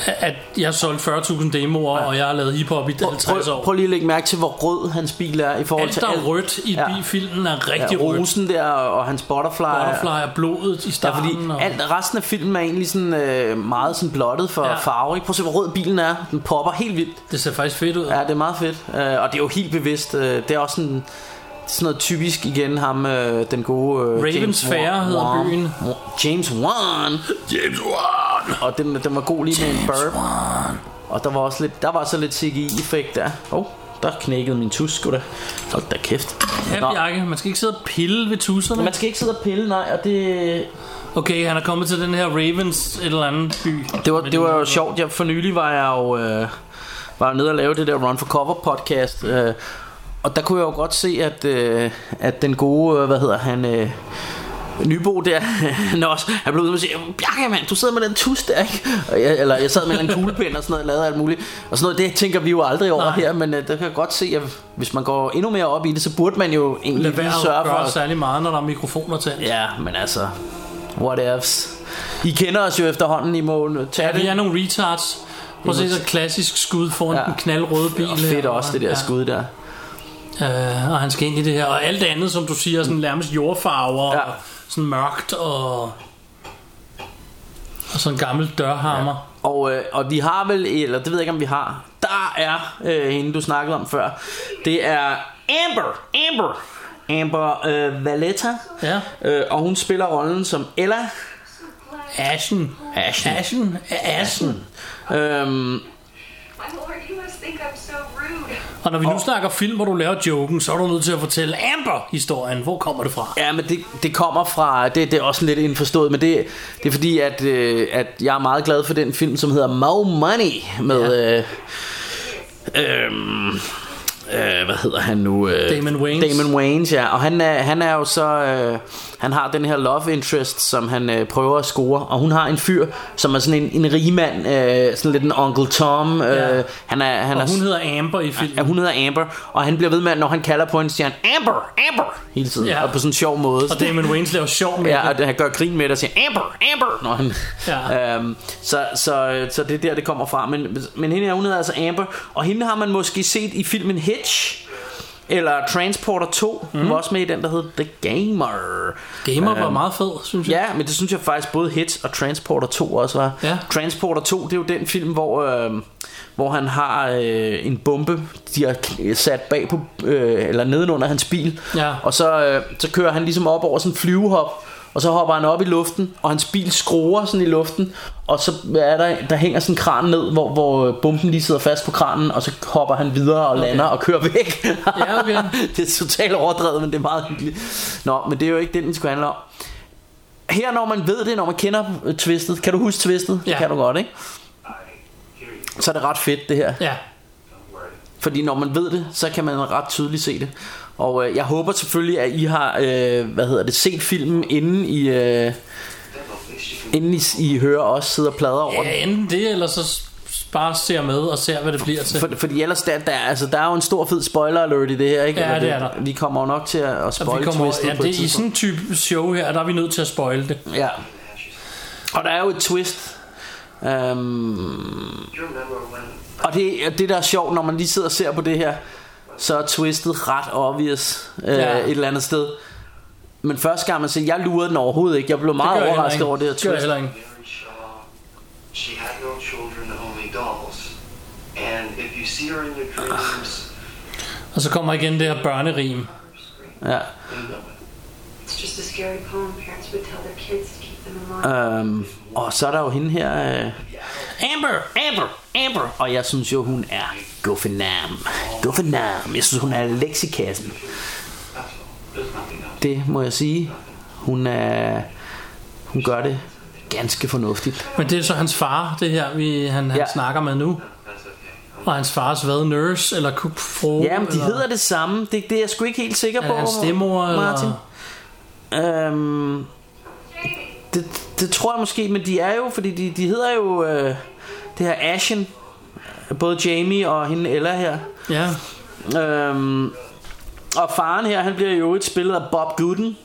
Speaker 3: at jeg har solgt 40.000 demoer, ja. og jeg har lavet hiphop i 50
Speaker 4: prøv,
Speaker 3: år.
Speaker 4: prøv lige at lægge mærke til, hvor rød hans bil er i forhold
Speaker 3: alt,
Speaker 4: til
Speaker 3: der er
Speaker 4: alt.
Speaker 3: rødt i
Speaker 4: Ja.
Speaker 3: ja. filmen, er
Speaker 4: ja,
Speaker 3: rigtig ja, rødt.
Speaker 4: rosen der og hans butterfly.
Speaker 3: Butterfly er blodet i
Speaker 4: Ja,
Speaker 3: starten.
Speaker 4: fordi
Speaker 3: og...
Speaker 4: alt, resten af filmen er egentlig sådan, øh, meget sådan blottet for
Speaker 3: Ja.
Speaker 4: ja. farve. Ikke? Prøv at se, hvor rød bilen er. Den popper helt vildt.
Speaker 3: Det ser faktisk fedt ud.
Speaker 4: Ja, det er meget fedt. Øh, og det er jo helt bevidst. Øh, det er også sådan, sådan noget typisk igen ham, øh, den gode... Øh,
Speaker 3: Ravens Fair
Speaker 4: Wan-
Speaker 3: hedder
Speaker 4: Wan-
Speaker 3: byen.
Speaker 4: Wan- James Wan. James Wan. Og den, den var god lige med en burp. Og der var også lidt, der var så lidt CGI-effekt der. Åh, oh, der knækkede min tus, sgu da. Hold da kæft. Nå,
Speaker 3: Ja, Bjarke, man skal ikke sidde og pille ved tusserne.
Speaker 4: man skal ikke sidde og pille, nej, og det,
Speaker 3: Okay, han er kommet til den her Ravens et eller andet by.
Speaker 4: Det var,
Speaker 3: Men
Speaker 4: det var jo sjovt. Jeg, for nylig var jeg jo øh, var jeg nede og lave det der Run for Cover podcast. Øh, og der kunne jeg jo godt se, at, øh, at den gode, øh, hvad hedder han, øh, Nybo der, han, er også, han blev ude med at sige, Bjarke mand, du sidder med den tus der, ikke? Og jeg, eller jeg sad med en kuglepind og sådan noget, og lavede alt muligt. Og sådan noget, det tænker vi jo aldrig over
Speaker 3: Nej.
Speaker 4: Nej. her, men øh, der kan jeg godt se, at hvis man går endnu mere op i det, så burde man jo egentlig
Speaker 3: Lad
Speaker 4: lige
Speaker 3: være
Speaker 4: sørge
Speaker 3: at
Speaker 4: for
Speaker 3: gøre
Speaker 4: at
Speaker 3: særlig meget, når der er mikrofoner tændt.
Speaker 4: Ja, men altså, what ifs. I kender os jo efterhånden i mål. Tag
Speaker 3: Ja,
Speaker 4: det.
Speaker 3: vi er nogle retards. Prøv at se så klassisk skud foran ja.
Speaker 4: Ja.
Speaker 3: den knaldrøde bil.
Speaker 4: Og fedt
Speaker 3: her,
Speaker 4: også det der
Speaker 3: ja.
Speaker 4: skud der.
Speaker 3: Øh, og han skal ind i det her. Og alt det andet, som du siger, er sådan nærmest jordfarver.
Speaker 4: Ja.
Speaker 3: Ja. Og sådan mørkt og... Og sådan en gammel dørhammer. Ja.
Speaker 4: Og, øh, og vi har vel, eller det ved jeg ikke om vi har, der er øh, hende du snakkede om før. Det er Amber, Amber, Amber øh, Valletta.
Speaker 3: Ja.
Speaker 4: Øh, og hun spiller rollen som Ella.
Speaker 3: Ashen.
Speaker 4: Ashen.
Speaker 3: Ashen. Ashen.
Speaker 4: Øhm,
Speaker 5: My lord, you must think I'm so rude.
Speaker 3: Og når vi nu snakker film, hvor du laver joken, så er du nødt til at fortælle Amber-historien. Hvor kommer det fra?
Speaker 4: Ja, men det, det kommer fra, det, det er også lidt indforstået, men det, det er fordi, at, øh, at jeg er meget glad for den film, som hedder Mo Money, med, ja. øh, øhm, øh, hvad hedder han nu? Øh,
Speaker 3: Damon Wayans.
Speaker 4: Damon Wayans, ja, og han er, han er jo så, øh, han har den her love interest, som han øh, prøver at score, og hun har en fyr, som er sådan en, en rigmand, øh, sådan lidt en Uncle Tom, øh,
Speaker 3: Ja.
Speaker 4: han er, han er,
Speaker 3: Og hun hedder Amber i filmen.
Speaker 4: Ja, hun hedder Amber, og han bliver ved med, at når han kalder på hende, siger han Amber, Amber, hele tiden,
Speaker 3: Ja.
Speaker 4: ja. og på sådan en sjov måde.
Speaker 3: Og Damon Wayans laver sjov med
Speaker 4: Ja,
Speaker 3: ja,
Speaker 4: og han gør grin med det og siger, Amber, Amber, når han...
Speaker 3: Ja.
Speaker 4: Ja. Øhm, så, så, så det er der, det kommer fra. Men, men hende her, hun hedder altså Amber, og hende har man måske set i filmen Hitch, eller Transporter 2, mm. hun var også med i den, der hed The Gamer.
Speaker 3: Gamer var meget fed, synes jeg.
Speaker 4: Ja, men det synes jeg faktisk både Hits og Transporter 2 også var.
Speaker 3: Ja.
Speaker 4: Transporter 2, det er jo den film, hvor, øh, hvor han har øh, en bombe, de har k- sat bag på, øh, eller nedenunder hans bil.
Speaker 3: Ja.
Speaker 4: Og så, øh, så kører han ligesom op over sådan en flyvehop, og så hopper han op i luften, og hans bil skruer sådan i luften, og så er der, der hænger sådan en kran ned, hvor, hvor bomben lige sidder fast på kranen, og så hopper han videre og lander og kører væk.
Speaker 3: Ja, okay.
Speaker 4: det er totalt overdrevet, men det er meget hyggeligt. Nå, men det er jo ikke det, den skulle handle om. Her, når man ved det, når man kender øh, twistet, kan du huske twistet?
Speaker 3: Ja.
Speaker 4: Det kan du godt, ikke? Så er det ret fedt, det her.
Speaker 3: Ja.
Speaker 4: Fordi når man ved det, så kan man ret tydeligt se det. Og øh, jeg håber selvfølgelig, at I har øh, hvad hedder det, set filmen, inden I, øh, inden I, I hører os sidde og plader over den.
Speaker 3: ja, enten det, eller så s- bare ser med og ser, hvad det bliver til.
Speaker 4: For, fordi ellers, der, der, altså, der er jo en stor fed spoiler alert i det her, ikke?
Speaker 3: Ja,
Speaker 4: Eller
Speaker 3: det er der.
Speaker 4: Vi kommer jo nok til at, at
Speaker 3: Og
Speaker 4: spoil
Speaker 3: vi kommer,
Speaker 4: twistet
Speaker 3: ja,
Speaker 4: på et
Speaker 3: det, I
Speaker 4: tidspunkt.
Speaker 3: sådan en type show her, der er vi nødt til at spoile det.
Speaker 4: Ja. Og der er jo et twist. Øhm, og det, og det der er sjovt, når man lige sidder og ser på det her, så er twistet ret obvious øh,
Speaker 3: Ja.
Speaker 4: ja. et eller andet sted. Men første gang man ser, jeg lurede den overhovedet ikke. Jeg blev meget
Speaker 3: gør jeg
Speaker 4: overrasket
Speaker 3: heller
Speaker 4: over det her
Speaker 3: ikke. gør jeg
Speaker 4: twist.
Speaker 3: heller ikke.
Speaker 6: Mary Shaw. She had no children, only dolls. And if you see her in your dreams,
Speaker 3: Og så kommer igen det her børnerim.
Speaker 4: Ja.
Speaker 6: you know it.
Speaker 5: It's just a scary poem parents would tell their kids to keep them in mind.
Speaker 4: Øhm, og så er der jo hende her, øh,
Speaker 3: Amber!
Speaker 4: Amber, Amber. Og jeg synes jo, hun er guffenam. Guffenam. Jeg synes, hun er leksikassen.
Speaker 6: That's all. There's nothing else.
Speaker 4: Det må jeg sige. Hun, er, hun gør det ganske fornuftigt.
Speaker 3: Men det er så hans far, det her, vi, han, han
Speaker 4: Ja.
Speaker 3: ja. snakker med nu.
Speaker 6: That's okay.
Speaker 3: Og hans fars hvad? Nurse eller kukfru?
Speaker 4: Ja, men de
Speaker 3: eller,
Speaker 4: hedder det samme. Det, det er jeg sgu ikke helt sikker
Speaker 3: Er
Speaker 4: på,
Speaker 3: det hans stemmor, eller-
Speaker 4: Martin. Øhm, det, det tror jeg måske, men de er jo, fordi de, de hedder jo øh, det her Ashen. Både Jamie og hende Ella her.
Speaker 3: Ja,
Speaker 4: Øhm, og faren her, han bliver jo et spillet af Bob Gooden.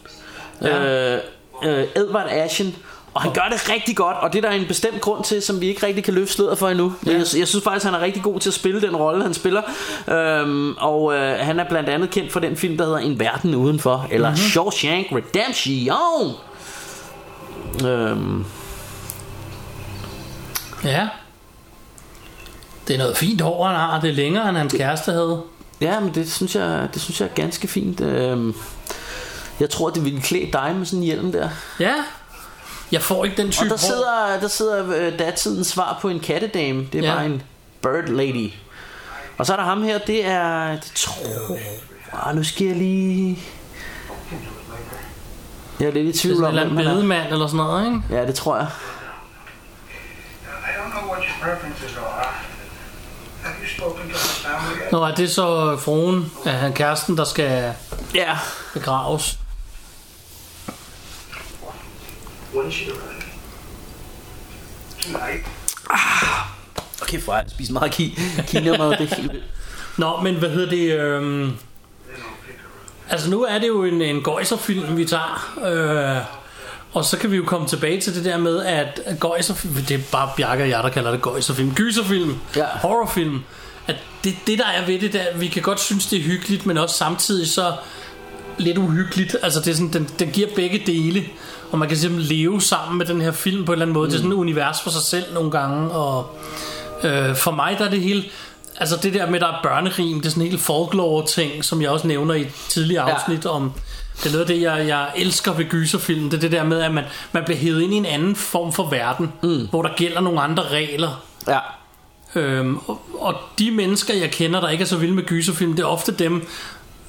Speaker 3: Ja.
Speaker 4: Øh, øh, Edward Ashen. Og han gør det rigtig godt, og det er der en bestemt grund til, som vi ikke rigtig kan løfte sløret for endnu. Ja. Jeg, jeg synes faktisk, han er rigtig god til at spille den rolle, han spiller. Øhm, og øh, han er blandt andet kendt for den film, der hedder En Verden Udenfor, eller mm-hmm. Shawshank Redemption. Øhm,
Speaker 3: ja. Det er noget fint hår, han har. Det er længere, end hans kæreste havde.
Speaker 4: ja, men det synes jeg, det synes jeg er ganske fint. Øhm, jeg tror, det ville klæde dig med sådan en hjelm der.
Speaker 3: Ja. Jeg får ikke den type
Speaker 4: Og der
Speaker 3: hår.
Speaker 4: sidder, der sidder øh, datidens svar på en kattedame. Det er
Speaker 3: Ja.
Speaker 4: ja. bare en bird lady. Og så er der ham her, det er... Det tror... Ah, nu skal jeg lige... Jeg er lidt i
Speaker 3: Det er
Speaker 4: tvivl
Speaker 3: sådan en
Speaker 4: om,
Speaker 3: eller anden
Speaker 4: hvem han er.
Speaker 3: bedemand eller sådan noget, ikke?
Speaker 4: Ja, det tror jeg.
Speaker 7: I don't know what your preferences are. Have you spoken to her family yet?
Speaker 3: Nå, er det så fruen af han kæresten, der skal
Speaker 4: Ja.
Speaker 3: begraves?
Speaker 6: When did she arrive?
Speaker 7: Tonight.
Speaker 4: Okay, for jeg spiser meget ki kinamad, det er helt vildt.
Speaker 3: Nå, men hvad hedder det? Øhm... Altså nu er det jo en, en gøjserfilm, vi tager. Øh... Og så kan vi jo komme tilbage til det der med, at gøjserfilm, det er bare Bjarke og jeg, der kalder det gøjserfilm, gyserfilm,
Speaker 4: Ja.
Speaker 3: horrorfilm, at det, det der er ved det, der, vi kan godt synes, det er hyggeligt, men også samtidig så lidt uhyggeligt. Altså det er sådan, den, den giver begge dele, og man kan simpelthen leve sammen med den her film på en eller anden måde. Mm. Det er sådan et univers for sig selv nogle gange, og øh, for mig der er det hele... Altså det der med, der er børnerim, det er sådan en helt folklore-ting, som jeg også nævner i et tidligere
Speaker 4: Ja.
Speaker 3: afsnit om... Det er noget af det, jeg, jeg elsker ved gyserfilm, det er det der med, at man, man bliver hævet ind i en anden form for verden, mm. hvor der gælder nogle andre regler,
Speaker 4: Ja.
Speaker 3: Øhm, og, og de mennesker, jeg kender, der ikke er så vilde med gyserfilm, det er ofte dem,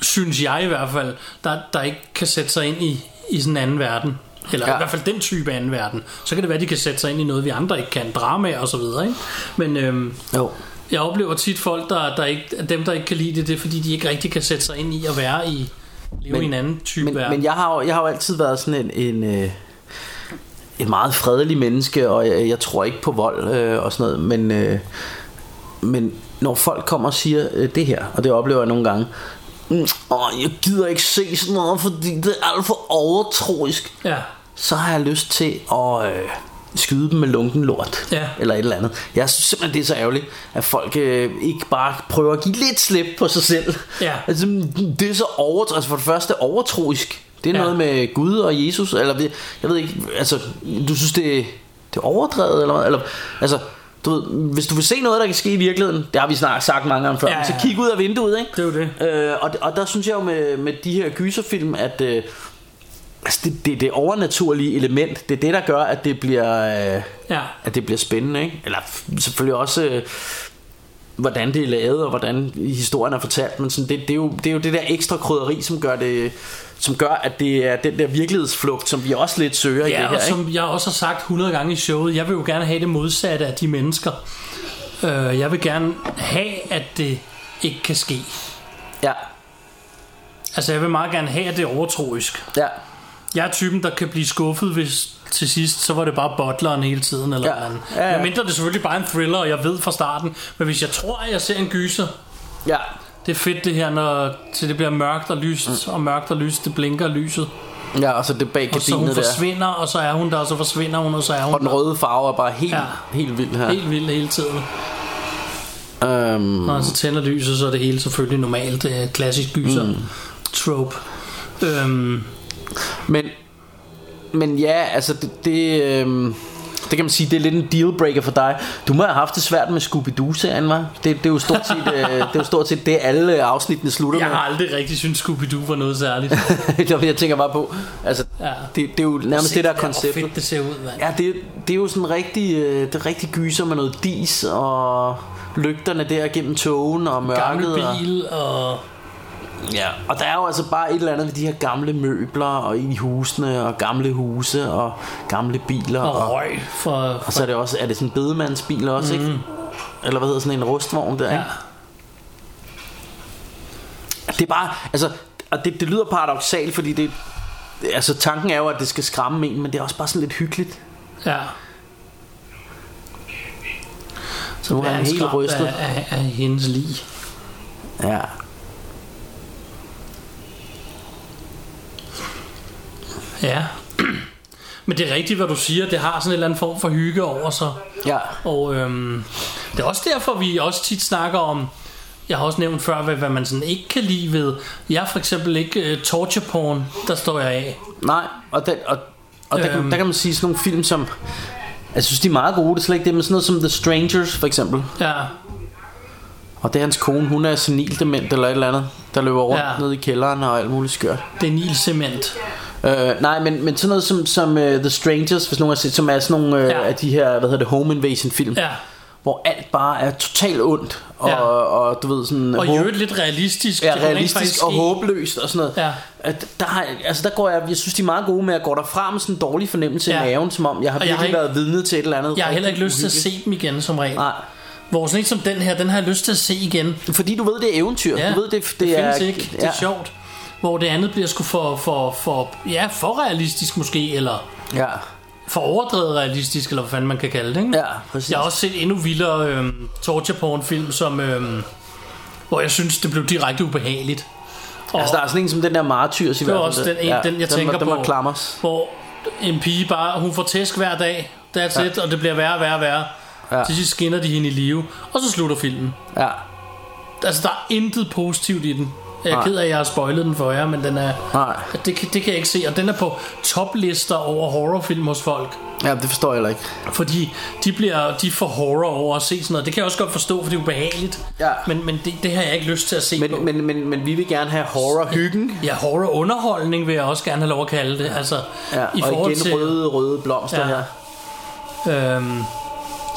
Speaker 3: synes jeg i hvert fald, der, der ikke kan sætte sig ind i, i sådan en anden verden. Eller ja.
Speaker 4: Ja.
Speaker 3: i hvert fald den type anden verden. Så kan det være, de kan sætte sig ind i noget, vi andre ikke kan. Drama og så videre, ikke? Men øhm,
Speaker 4: Jo.
Speaker 3: jeg oplever tit folk, der, der ikke, at dem, der ikke kan lide det, det er fordi, de ikke rigtig kan sætte sig ind i at være i leve men, i en anden type
Speaker 4: men,
Speaker 3: verden.
Speaker 4: Men jeg har, jo, jeg har jo altid været sådan en, en, øh, en meget fredelig menneske, og jeg, jeg tror ikke på vold øh, og sådan noget, men, øh, men når folk kommer og siger øh, det her, og det oplever jeg nogle gange, mm, åh, jeg gider ikke se sådan noget, fordi det er alt for overtroisk,
Speaker 3: Ja,
Speaker 4: så har jeg lyst til at... Øh, skyde dem med lunken lort
Speaker 3: Ja.
Speaker 4: eller et eller andet. Jeg synes simpelthen det er så ærgerligt At folk øh, ikke bare prøver at give lidt slip på sig selv
Speaker 3: Ja.
Speaker 4: altså, Det er så over, altså for det første overtroisk Det er
Speaker 3: Ja.
Speaker 4: ja. noget med Gud og Jesus eller det- Jeg ved ikke, altså du synes det, det er overdrevet eller, hvad? eller altså du ved, hvis du vil se noget, der kan ske i virkeligheden, det har vi snart sagt mange gange før,
Speaker 3: Ja,
Speaker 4: ja,
Speaker 3: ja,
Speaker 4: ja. så
Speaker 3: ja.
Speaker 4: kig ud af vinduet, ikke?
Speaker 3: Det er jo det.
Speaker 4: Øh, og, og der synes jeg jo med, med de her gyserfilm, at øh, altså det, det, det overnaturlige element, det er det, der gør, at det bliver... Øh,
Speaker 3: ja,
Speaker 4: at det bliver spændende, ikke? Eller f- selvfølgelig også øh, hvordan det er lavet og hvordan historien er fortalt, men sådan, det, det, er jo, det er jo det der ekstra krydderi, som gør det som gør, at det er den der virkelighedsflugt, som vi også lidt søger i
Speaker 3: ja
Speaker 4: det her,
Speaker 3: og
Speaker 4: ikke?
Speaker 3: som jeg også har sagt 100 gange i showet, jeg vil jo gerne have det modsatte af de mennesker. Øh, jeg vil gerne have, at det ikke kan ske.
Speaker 4: Ja,
Speaker 3: Altså, jeg vil meget gerne have, at det er overtroisk.
Speaker 4: ja,
Speaker 3: Jeg er typen, der kan blive skuffet, hvis til sidst, så var det bare butleren hele tiden. Eller
Speaker 4: Ja.
Speaker 3: ja. Andet.
Speaker 4: Ja, ja.
Speaker 3: Men mindre det er selvfølgelig bare en thriller, og jeg ved fra starten. Men hvis jeg tror, at jeg ser en gyser,
Speaker 4: ja,
Speaker 3: det er fedt det her, når til det bliver mørkt og lyst, og mørkt og lyst, det blinker lyset.
Speaker 4: ja, og så Mm. det bag
Speaker 3: Og så hun
Speaker 4: gardinet der.
Speaker 3: forsvinder, og så er hun der, og så forsvinder hun, og så er hun
Speaker 4: Og den
Speaker 3: der.
Speaker 4: røde farve er bare helt,
Speaker 3: Ja.
Speaker 4: ja. helt vild her.
Speaker 3: Helt vildt hele tiden.
Speaker 4: Øhm,
Speaker 3: Når han så tænder lyset, så er det hele selvfølgelig normalt. Det er klassisk gyser. Mm. Trope. Øhm,
Speaker 4: men, men ja, altså det, det, øhm, det kan man sige, det er lidt en dealbreaker for dig. Du må have haft det svært med Scooby-Doo-serien, hva'? Det, det, er jo stort set, øh, det er jo stort set det, alle afsnittene slutter
Speaker 3: jeg
Speaker 4: med.
Speaker 3: har aldrig rigtig syntes, Scooby-Doo var noget særligt.
Speaker 4: Nå, men jeg tænker bare på, altså,
Speaker 3: Ja.
Speaker 4: ja. det, det er jo nærmest det, der er konceptet.
Speaker 3: Hvor fedt det ser ud, mand.
Speaker 4: Ja, det, det er jo sådan rigtig, øh, det er rigtig gyser med noget dis og lygterne der gennem togen og mørket.
Speaker 3: Gammel bil og...
Speaker 4: Og, Ja, og der er jo altså bare et eller andet ved de her gamle møbler og i husene og gamle huse og gamle biler.
Speaker 3: Og røg for...
Speaker 4: og så er det også, er det sådan en bedemandsbil også, mm. ikke? Eller hvad hedder sådan en rustvogn der, ja.
Speaker 3: Ja.
Speaker 4: ikke? Det er bare, altså, og det, det lyder paradoxalt, fordi det, altså tanken er jo, at det skal skræmme en, men det er også bare sådan lidt hyggeligt.
Speaker 3: ja. Så
Speaker 4: Nu er
Speaker 3: bliver
Speaker 4: han helt
Speaker 3: skræmt
Speaker 4: rystet.
Speaker 3: Af, af, af hendes lig.
Speaker 4: Ja.
Speaker 3: Ja. Men det er rigtigt, hvad du siger. Det har sådan en eller anden form for hygge over sig.
Speaker 4: Ja.
Speaker 3: Og øhm, det er også derfor, vi også tit snakker om, jeg har også nævnt før, hvad, hvad man sådan ikke kan lide ved. Jeg er for eksempel ikke uh, torture porn, der står jeg af.
Speaker 4: Nej, og, den, og, og der, kan,
Speaker 3: Øhm.
Speaker 4: der kan man sige sådan nogle film, som... altså, Jeg synes, de er meget gode, det er slet ikke det, men sådan noget som The Strangers, for eksempel.
Speaker 3: Ja,
Speaker 4: Og det er hans kone, hun er senildement eller et eller andet, der løber rundt
Speaker 3: Ja.
Speaker 4: ja. nede i kælderen og alt muligt skørt.
Speaker 3: det er Nilcement.
Speaker 4: Øh, nej, men, men sådan noget som, som uh, The Strangers, hvis nogen har set, som er sådan nogle uh,
Speaker 3: Ja.
Speaker 4: ja. af de her, hvad hedder det, home invasion film.
Speaker 3: Ja.
Speaker 4: Hvor alt bare er totalt ondt, og,
Speaker 3: Ja.
Speaker 4: ja. og, og du ved sådan...
Speaker 3: Og i
Speaker 4: håb-
Speaker 3: øvrigt lidt realistisk.
Speaker 4: Ja,
Speaker 3: Det kan rent
Speaker 4: realistisk
Speaker 3: faktisk
Speaker 4: og
Speaker 3: ske.
Speaker 4: håbløst og sådan noget.
Speaker 3: Ja.
Speaker 4: At der, har, altså der går jeg, jeg synes, de er meget gode med at gå derfra med sådan en dårlig fornemmelse
Speaker 3: Ja.
Speaker 4: i maven, som om jeg har
Speaker 3: Og jeg har
Speaker 4: virkelig
Speaker 3: ikke-
Speaker 4: været vidne til et eller andet.
Speaker 3: Jeg har heller ikke
Speaker 4: rigtig
Speaker 3: lyst til at se dem igen som regel.
Speaker 4: Nej.
Speaker 3: Hvor sådan ikke som den her, den har jeg lyst til at se igen.
Speaker 4: Fordi du ved, det er eventyr.
Speaker 3: Ja,
Speaker 4: du ved, det, det,
Speaker 3: det
Speaker 4: er,
Speaker 3: findes ikke. Det er sjovt. Hvor det andet bliver sgu for, for, for, ja, for realistisk måske, eller
Speaker 4: Ja.
Speaker 3: for overdrevet realistisk, eller hvad fanden man kan kalde det, ikke?
Speaker 4: Ja, præcis.
Speaker 3: Jeg har også set endnu vildere øhm, torture porn film, som, øhm, hvor jeg synes, det blev direkte ubehageligt. Og
Speaker 4: Altså, der er sådan en som den der Martyrs i
Speaker 3: det
Speaker 4: hvert
Speaker 3: var
Speaker 4: fald.
Speaker 3: også den, en, ja, den jeg
Speaker 4: den,
Speaker 3: tænker
Speaker 4: var, den
Speaker 3: på,
Speaker 4: var klammers.
Speaker 3: hvor en pige bare, hun får tæsk hver dag, that's ja.
Speaker 4: Ja.
Speaker 3: it, og det bliver værre og værre og værre. Ja.
Speaker 4: Ja.
Speaker 3: Til sidst skinner de hende i live, og så slutter filmen.
Speaker 4: Ja.
Speaker 3: Altså, der er intet positivt i den. Jeg er
Speaker 4: Nej.
Speaker 3: ked af, at jeg har spoilet den for jer, men den er...
Speaker 4: Nej.
Speaker 3: Det, kan- det kan jeg ikke se, og den er på toplister over horrorfilm hos folk.
Speaker 4: Ja, det forstår jeg heller ikke.
Speaker 3: Fordi de bliver de får horror over at se sådan noget. Det kan jeg også godt forstå, for det er ubehageligt.
Speaker 4: Ja.
Speaker 3: Men, men det, det har jeg ikke lyst til at se på.
Speaker 4: Men, men, men, men vi vil gerne have horror-hyggen.
Speaker 3: Ja, horror underholdning vil jeg også gerne have lov at kalde det. Altså,
Speaker 4: Ja,
Speaker 3: i
Speaker 4: og
Speaker 3: forhold
Speaker 4: igen
Speaker 3: til,
Speaker 4: røde, røde blomster
Speaker 3: Ja.
Speaker 4: ja. her.
Speaker 3: Øhm,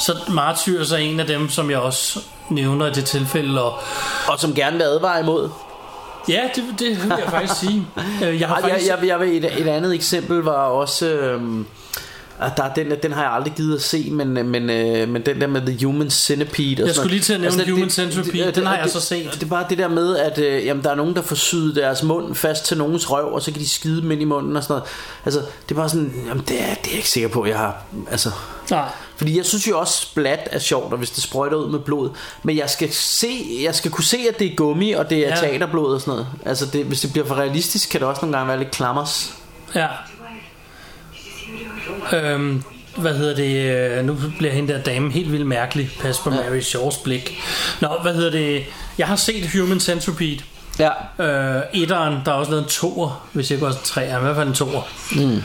Speaker 3: så Martyrs er en af dem, som jeg også nævner i det tilfælde. Og,
Speaker 4: Og som gerne vil advare imod.
Speaker 3: ja, det, det vil jeg faktisk sige. Øh, Jeg har
Speaker 4: Ej,
Speaker 3: faktisk...
Speaker 4: jeg, jeg, jeg ved, et, et andet eksempel var også... Øhm, at der er den, den har jeg aldrig givet at se, men, men, øh, men den der med The Human Centipede. og
Speaker 3: Jeg
Speaker 4: sådan
Speaker 3: skulle lige til at nævne
Speaker 4: noget.
Speaker 3: Human Centipede,
Speaker 4: øh,
Speaker 3: den har
Speaker 4: og
Speaker 3: jeg så set.
Speaker 4: og Det er bare det der med, at øh, jamen, der er nogen, der får syet deres mund fast til nogens røv, og så kan de skide dem ind i munden og sådan noget. Altså, det er bare sådan, jamen, det er, det er jeg ikke sikker på, jeg har... Altså,
Speaker 3: Nej.
Speaker 4: fordi jeg synes jo også, splat er sjovt, og hvis det sprøjter ud med blod. Men jeg skal, se, jeg skal kunne se, at det er gummi, og det er
Speaker 3: Ja.
Speaker 4: ja. teaterblod og sådan noget. Altså, det, hvis det bliver for realistisk, kan det også nogle gange være lidt klammers.
Speaker 3: Ja. Øhm, hvad hedder det? øh, Nu bliver hende der dame helt vildt mærkelig. Pas på Mary Shaws blik. Nå, hvad hedder det? Jeg har set Human Centipede.
Speaker 4: Ja.
Speaker 3: Øh, etteren, der er også lavet en toer, hvis jeg ikke også en treer, i hvert fald en toer. Mm.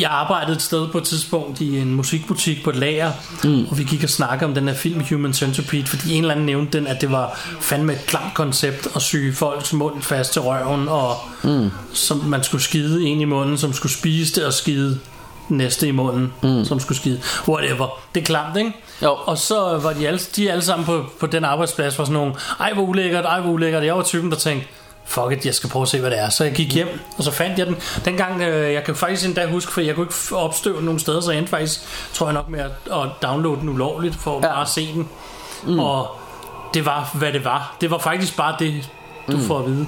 Speaker 3: Jeg arbejdede et sted på et tidspunkt i en musikbutik på et lager, mm. og vi gik og snakkede om den her film Human Centipede, fordi en eller anden nævnte den, at det var fandme et klamt koncept at syge folks mund fast til røven, og mm. som man skulle skide en i munden, som skulle spise det og skide den næste i munden, mm. som skulle skide. Whatever. Det er klamt, ikke?
Speaker 4: Jo.
Speaker 3: Og så var de alle, de alle sammen på, på den arbejdsplads var sådan nogle, ej hvor ulækkert, ej hvor ulækkert. Jeg var typen, der tænkte, fuck it, jeg skal prøve at se, hvad det er. Så jeg gik hjem, og så fandt jeg den. Dengang, øh, jeg kan faktisk endda huske, for jeg kunne ikke f- opstøve den nogen steder, så jeg endte faktisk, tror jeg nok med at, at downloade den ulovligt, for ja.
Speaker 4: Ja.
Speaker 3: bare at se den. Mm. Og det var, hvad det var. Det var faktisk bare det, du mm. får at vide.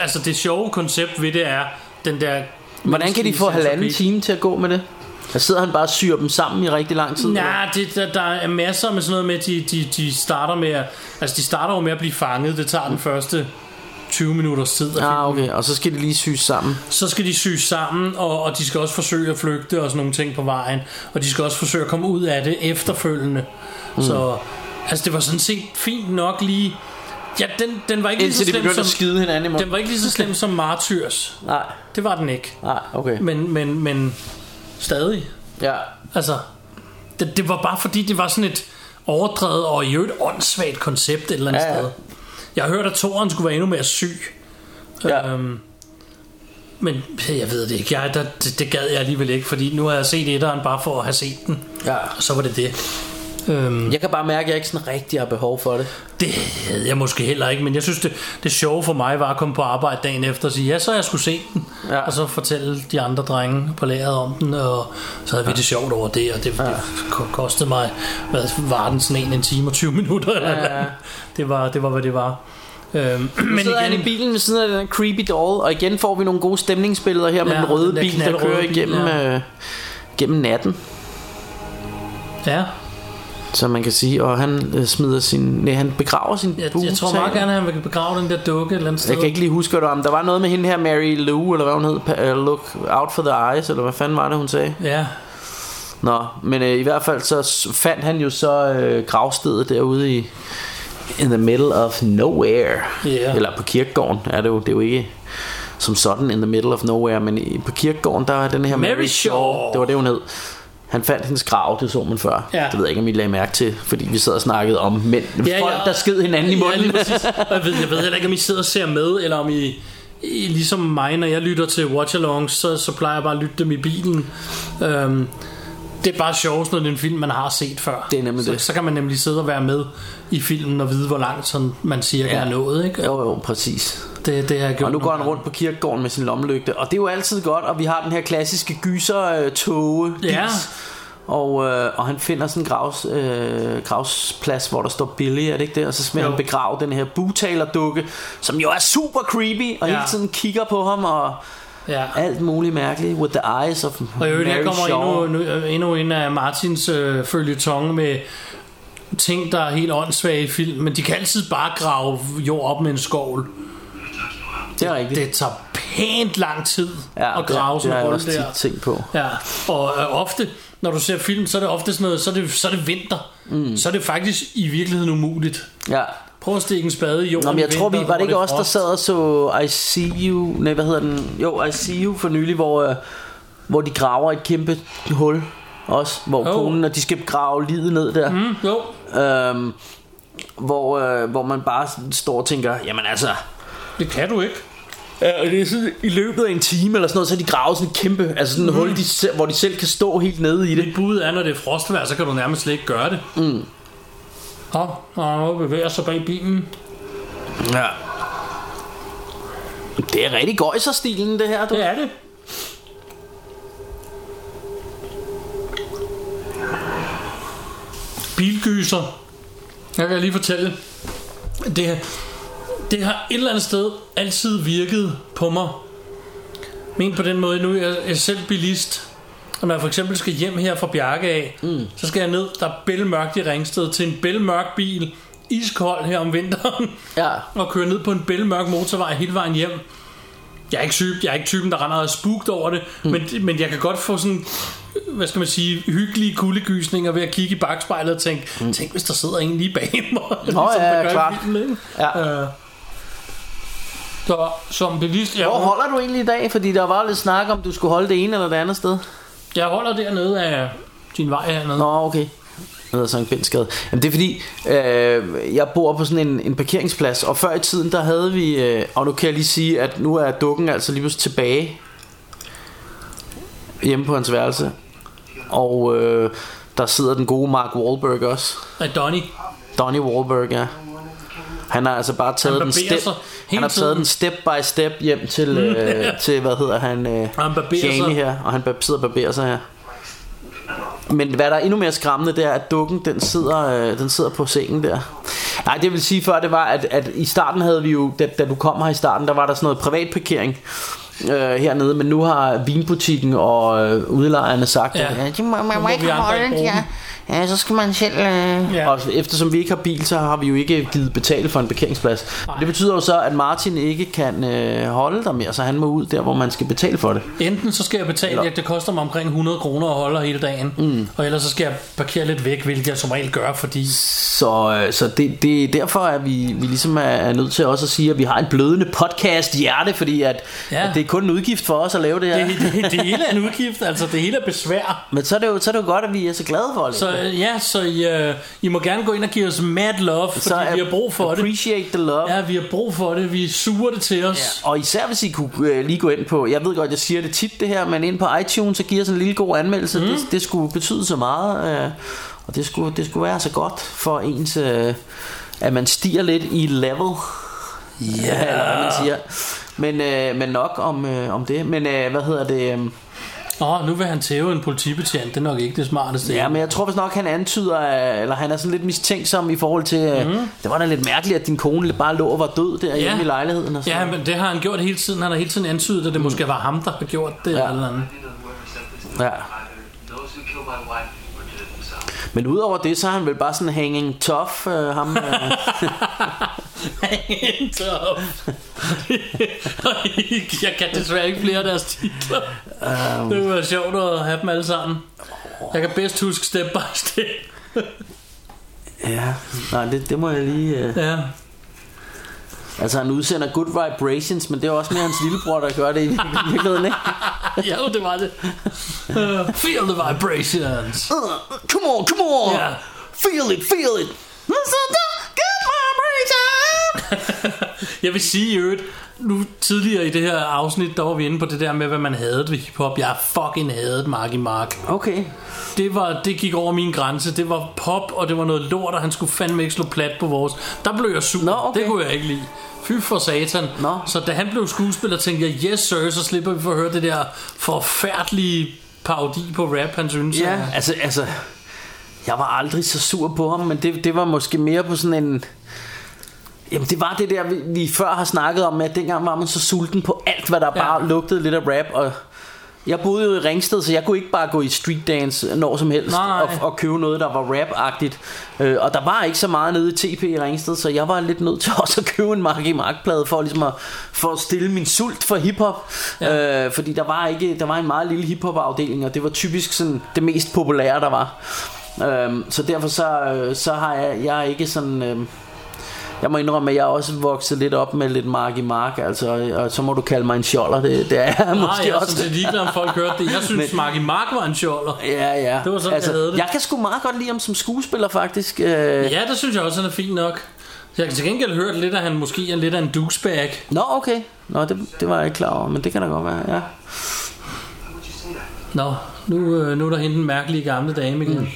Speaker 3: Altså det sjove koncept ved det er, den der...
Speaker 4: Hvordan kan de få halvanden
Speaker 3: centipede.
Speaker 4: time til at gå med det? Der sidder han bare og syr dem sammen i rigtig lang tid.
Speaker 3: Nej, det, der, der er masser med sådan noget med, de, de, de starter med at, altså de starter jo med at blive fanget. Det tager den første 20 minutters tid. at
Speaker 4: Ah, okay. Og så skal de lige syes sammen.
Speaker 3: så skal de syes sammen, og, og de skal også forsøge at flygte og sådan nogle ting på vejen. Og de skal også forsøge at komme ud af det efterfølgende. Mm. Så altså, det var sådan set fint nok lige... Ja, den, den var ikke lige så
Speaker 4: Indtil de
Speaker 3: slem
Speaker 4: begynder
Speaker 3: som...
Speaker 4: at skide hinanden i
Speaker 3: Den
Speaker 4: munden.
Speaker 3: var ikke lige så slem som Martyrs.
Speaker 4: Nej,
Speaker 3: Det var den ikke.
Speaker 4: nej, okay.
Speaker 3: Men, men, men stadig.
Speaker 4: Ja.
Speaker 3: Altså, det, det var bare fordi, det var sådan et overdrevet og i øvrigt åndssvagt koncept et eller andet
Speaker 4: Ja, ja.
Speaker 3: sted. Jeg har hørt, at toren skulle være endnu mere syg.
Speaker 4: Ja.
Speaker 3: Øhm, men jeg ved det ikke. Jeg, der, det, det gad jeg alligevel ikke, fordi nu har jeg set etteren bare for at have set den.
Speaker 4: Ja.
Speaker 3: Og så var det det. Øhm,
Speaker 4: Jeg kan bare mærke, at jeg ikke sådan rigtig har behov for det.
Speaker 3: det havde jeg måske heller ikke, men jeg synes, det, det sjove for mig var at komme på arbejde dagen efter og sige, ja, så har jeg skulle se den,
Speaker 4: Ja.
Speaker 3: ja. og så fortælle de andre drenge på lageret om den, og så havde vi det sjovt over det, og det, ja. det ko- kostede mig, hvad var den sådan en, en time og 20 minutter, eller
Speaker 4: Ja, ja.
Speaker 3: ja. det, var, det var, hvad det var. Øhm,
Speaker 4: Men
Speaker 3: men
Speaker 4: sidder igen... han
Speaker 3: igen,
Speaker 4: i bilen ved siden af den her creepy doll, og igen får vi nogle gode stemningsbilleder her ja, med
Speaker 3: Ja,
Speaker 4: den røde
Speaker 3: den der
Speaker 4: bil, der
Speaker 3: knaldrøde
Speaker 4: kører
Speaker 3: bil,
Speaker 4: igennem,
Speaker 3: ja.
Speaker 4: øh, gennem natten,
Speaker 3: ja,
Speaker 4: som man kan sige. Og han øh, smider sin, nej, han begraver sin
Speaker 3: jeg,
Speaker 4: bue,
Speaker 3: jeg tror
Speaker 4: sagde
Speaker 3: meget
Speaker 4: han.
Speaker 3: gerne, at han vil begrave den der dukke et eller andet sted.
Speaker 4: Jeg kan ikke lige huske, hvad det var, men der var noget med hende her, Mary Lou, eller hvad hun hed, pa- øh, Look Out for the Eyes, eller hvad fanden var det, hun sagde?
Speaker 3: Ja,
Speaker 4: Nå, men øh, i hvert fald så s- fandt han jo så øh, gravstedet derude i in the middle of nowhere.
Speaker 3: Ja.
Speaker 4: Eller på kirkegården er det jo, det er jo ikke som sådan in the middle of nowhere, men i, på kirkegården, der er den her
Speaker 3: Mary Shaw.
Speaker 4: Det var det, hun hed. Han fandt hendes grav, det så man før.
Speaker 3: Ja.
Speaker 4: Det ved jeg ikke, om I lagde mærke til, fordi vi sad og snakkede om mænd,
Speaker 3: ja.
Speaker 4: ja, folk, der skød hinanden i
Speaker 3: Ja, lige
Speaker 4: munden.
Speaker 3: præcis. Og jeg, ved, jeg ved heller ikke, om I sidder og ser med, eller om I, I ligesom mig, når jeg lytter til Watchalongs, så, så plejer jeg bare at lytte dem i bilen. Øhm, det er bare sjovt, når det er en film, man har set før.
Speaker 4: Det er nemlig
Speaker 3: så,
Speaker 4: det.
Speaker 3: Så kan man nemlig sidde og være med i filmen og vide, hvor langt sådan, man cirka
Speaker 4: Ja.
Speaker 3: ja. er nået. Ikke?
Speaker 4: jo, jo, præcis.
Speaker 3: Det, det har jeg gjort.
Speaker 4: Og nu går
Speaker 3: nogle
Speaker 4: han rundt på kirkegården med sin lommelygte Og det er jo altid godt Og vi har den her klassiske gyser tåge
Speaker 3: Ja.
Speaker 4: og, øh, og han finder sådan en gravs, øh, gravsplads Hvor der står Billy Er det ikke det Og så smider
Speaker 3: Jo.
Speaker 4: han begrave den her butalerdukke Som jo er super creepy Og ja.
Speaker 3: Ja.
Speaker 4: hele tiden kigger på ham Og
Speaker 3: gange. Ja.
Speaker 4: alt muligt mærkeligt With the eyes of
Speaker 3: Og i øvrigt, her
Speaker 4: Mary
Speaker 3: kommer
Speaker 4: Shaw
Speaker 3: endnu, nu- endnu en af Martins øh, følgetong med ting, der er helt åndssvage i film, men de kan altid bare grave jord op med en skovl.
Speaker 4: Det er rigtigt
Speaker 3: Det tager pænt lang tid ja, at
Speaker 4: det-
Speaker 3: grave
Speaker 4: det
Speaker 3: sådan
Speaker 4: har
Speaker 3: en
Speaker 4: jeg
Speaker 3: hul
Speaker 4: også
Speaker 3: der.
Speaker 4: tit tænkt på
Speaker 3: Ja, og øh, ofte, når du ser film, så er det ofte sådan noget, så er det, så er det vinter. Mm. Så er det faktisk i virkeligheden umuligt.
Speaker 4: Ja
Speaker 3: Prøv at stikke en spade i jorden
Speaker 4: Nå, men jeg
Speaker 3: i
Speaker 4: tror, vi,
Speaker 3: vinter,
Speaker 4: var det ikke
Speaker 3: hvor
Speaker 4: os, der
Speaker 3: frost.
Speaker 4: sad og så I See You, nej, hvad hedder den? Jo, I See You for nylig, hvor, øh, hvor de graver et kæmpe hul også, hvor
Speaker 3: Jo.
Speaker 4: oh. konen, og de skal grave livet ned der, mm.
Speaker 3: Mm, jo,
Speaker 4: øhm, hvor, øh, hvor man bare står og tænker, jamen altså,
Speaker 3: det kan du ikke.
Speaker 4: øh, det er sådan, i løbet af en time eller sådan noget, så har de gravet sådan et kæmpe, altså sådan et mm. hul, de, selv- hvor de selv kan stå helt nede i det.
Speaker 3: Mit bud er, når det er frostvejr, så kan du nærmest slet ikke gøre det. Mm. Hop, og bevæger sig bag bilen.
Speaker 4: Ja. Mm. Det er rigtig gøjser-stilen, det her, du.
Speaker 3: Det er det. Bilgyser. Jeg kan lige fortælle. Det, det har et eller andet sted altid virket på mig. Men på den måde, nu er jeg- jeg er selv bilist. Og når jeg for eksempel skal hjem her fra Bjarke af, mm. så skal jeg ned, der er bælmørkt i Ringsted, til en bælmørk bil, iskold her om vinteren,
Speaker 4: Ja.
Speaker 3: og køre ned på en bælmørk motorvej hele vejen hjem. Jeg er ikke, typen, jeg er ikke typen, der render og er spugt over det, mm. men, men jeg kan godt få sådan, hvad skal man sige, hyggelige kuldegysninger ved at kigge i bagspejlet og tænke, mm. tænk hvis der sidder en lige bag mig. Ligesom, Nå
Speaker 4: ja, ja, klart.
Speaker 3: Filmen,
Speaker 4: Ja.
Speaker 3: ja. Øh. Så som bilist, jeg,
Speaker 4: Hvor
Speaker 3: hold...
Speaker 4: holder du egentlig i dag? Fordi der var lidt snak om, du skulle holde det ene eller det andet sted.
Speaker 3: jeg holder dernede af din vej hernede. Nå.
Speaker 4: Nå, okay. Jeg hedder Sankt Bensgade. Jamen det er fordi, øh, jeg bor på sådan en, en parkeringsplads, og før i tiden, der havde vi, øh, og nu kan jeg lige sige, at nu er dukken altså lige pludselig tilbage hjemme på hans værelse. Og øh, der sidder den gode Mark Wahlberg også.
Speaker 3: Af Donny.
Speaker 4: Donnie Wahlberg, ja. Han har altså bare taget den
Speaker 3: barberer
Speaker 4: step,
Speaker 3: sig
Speaker 4: han
Speaker 3: hele
Speaker 4: har taget
Speaker 3: tiden. Mm.
Speaker 4: den step by step hjem til, øh, til hvad hedder han, øh,
Speaker 3: Og han barberer
Speaker 4: Jamie
Speaker 3: sig.
Speaker 4: her, og han bar- sidder og barberer sig her. Men hvad der er endnu mere skræmmende, det er, at dukken, den sidder, øh, den sidder på sengen der. Nej, det vil sige før, det var, at, at i starten havde vi jo, da, da du kom her i starten, der var der sådan noget privat parkering øh, hernede, men nu har vinbutikken og øh, udlejerne sagt,
Speaker 3: Ja.
Speaker 4: ja. at
Speaker 8: De må, man må
Speaker 3: må vi
Speaker 8: ikke
Speaker 3: andre
Speaker 8: holde
Speaker 3: ikke
Speaker 8: den,
Speaker 3: bruge
Speaker 8: ja. ja. så skal man selv... Øh...
Speaker 3: Ja.
Speaker 4: og eftersom vi ikke har bil, så har vi jo ikke givet betale for en parkeringsplads. Nej. Det betyder jo så, at Martin ikke kan øh, holde dig mere, så han må ud der, hvor man skal betale for det.
Speaker 3: Enten så skal jeg betale, ja. det koster mig omkring 100 kroner at holde her hele dagen, mm. og ellers så skal jeg parkere lidt væk, hvilket jeg som regel gør, fordi
Speaker 4: Så, øh, så det, det er derfor, at vi, vi ligesom er, er nødt til også at sige, at vi har en blødende podcast hjerte, fordi at, ja.
Speaker 3: Ja.
Speaker 4: at det er kun en udgift for os at lave det her.
Speaker 3: det, det, det hele er en udgift, altså det hele er besvær.
Speaker 4: Men så er, det jo, så er det jo godt, at vi er så glade for det.
Speaker 3: Så øh, ja, så I, øh, I må gerne gå ind og give os mad love, fordi
Speaker 4: så
Speaker 3: vi har brug for det.
Speaker 4: Appreciate the love.
Speaker 3: Ja, vi har brug for det, vi suger det til os.
Speaker 4: Og især hvis I kunne øh, lige gå ind på Jeg ved godt jeg siger det tit det her Men ind på iTunes så giver os en lille god anmeldelse mm. det, det skulle betyde så meget øh, Og det skulle, det skulle være så godt for ens, øh, at man stiger lidt i level. Ja, yeah. eller hvad man siger. Men, øh, men nok om, øh, om det. Men øh, hvad hedder det? Øh,
Speaker 3: Nå, nu vil han tæve en politibetjent. Det er nok ikke det smarteste.
Speaker 4: ja, men jeg tror vist nok, han antyder, øh, eller han er sådan lidt mistænksom i forhold til, øh, mm. det var da lidt mærkeligt, at din kone bare lå og var død der hjemme i lejligheden. Og sådan.
Speaker 3: ja, men det har han gjort hele tiden. Han har hele tiden antydet, at det måske var ham, der har gjort det.
Speaker 4: Ja.
Speaker 3: Mm. Ja. Eller andet.
Speaker 6: You know, whoever said this to
Speaker 4: Ja.
Speaker 6: either those who killed my wife or did it themselves.
Speaker 4: Men udover det, så er han vel bare sådan hanging tough, øh, ham. Øh,
Speaker 3: Top. jeg kan desværre ikke flere af deres titler. Um. Det var sjovt at have dem alle sammen. Jeg kan bedst huske step by step.
Speaker 4: ja, nej, det, det må jeg lige... Øh.
Speaker 3: Ja.
Speaker 4: Altså, han udsender good vibrations, men det er også mere hans lillebror, der gør det i vir- virkeligheden, ikke?
Speaker 3: ja, jo, det var det. Uh, feel the vibrations.
Speaker 4: Uh, come on, come on!
Speaker 3: Ja.
Speaker 4: Feel it, feel it! Listen to good vibrations!
Speaker 3: jeg vil sige i øvrigt, nu tidligere i det her afsnit, der var vi inde på det der med, hvad man havde ved hiphop. Jeg fucking hadet Marky Mark.
Speaker 4: Okay,
Speaker 3: Det, var, det gik over min grænse. Det var pop, og det var noget lort, og han skulle fandme ikke slå plat på vores. Der blev jeg sur.
Speaker 4: Nå, okay.
Speaker 3: Det kunne jeg ikke lide. Fy for satan.
Speaker 4: Nå.
Speaker 3: Så da han blev skuespiller, tænkte jeg, yes sir, så slipper vi for at høre det der forfærdelige parodi på rap, han synes.
Speaker 4: ja,
Speaker 3: er-
Speaker 4: altså, altså... Jeg var aldrig så sur på ham, men det, det var måske mere på sådan en... Jamen det var det der vi, vi før har snakket om med, At dengang var man så sulten på alt Hvad der
Speaker 3: Ja.
Speaker 4: bare lugtede lidt af rap og Jeg boede jo i Ringsted Så jeg kunne ikke bare gå i streetdance Når som helst
Speaker 3: Nej.
Speaker 4: og, og købe noget der var rap-agtigt øh, Og der var ikke så meget nede i TP i Ringsted Så jeg var lidt nødt til også at købe en Mark i Mark-plade For ligesom at, for at stille min sult for hiphop ja. øh, Fordi der var, ikke, der var en meget lille hiphop-afdeling Og det var typisk sådan det mest populære der var Øhm, så derfor så, øh, så har jeg, jeg er ikke sådan øhm, jeg må indrømme, at jeg er også vokset lidt op med lidt mark i mark, altså, og så må du kalde mig en sjoller, det, det er jeg
Speaker 3: Nej,
Speaker 4: måske
Speaker 3: Ah, jeg er sådan
Speaker 4: også.
Speaker 3: set ligeglad, om folk hørte det. Jeg synes,
Speaker 4: Men-
Speaker 3: Marky Mark var en sjoller.
Speaker 4: Ja, ja. Altså,
Speaker 3: Det var sådan, jeg havde det.
Speaker 4: Jeg kan sgu meget godt lide ham som skuespiller, faktisk. Øh,
Speaker 3: Ja, det synes jeg også, han er fint nok. Jeg kan til gengæld hørt lidt, at han måske er lidt af en douchebag.
Speaker 4: Nå, okay. Nå, det, det var jeg ikke klar over, men det kan da godt være, ja.
Speaker 6: Why would you say that?
Speaker 3: Nå, nu, øh, nu er der hende den mærkelige gamle dame igen.
Speaker 4: Mm.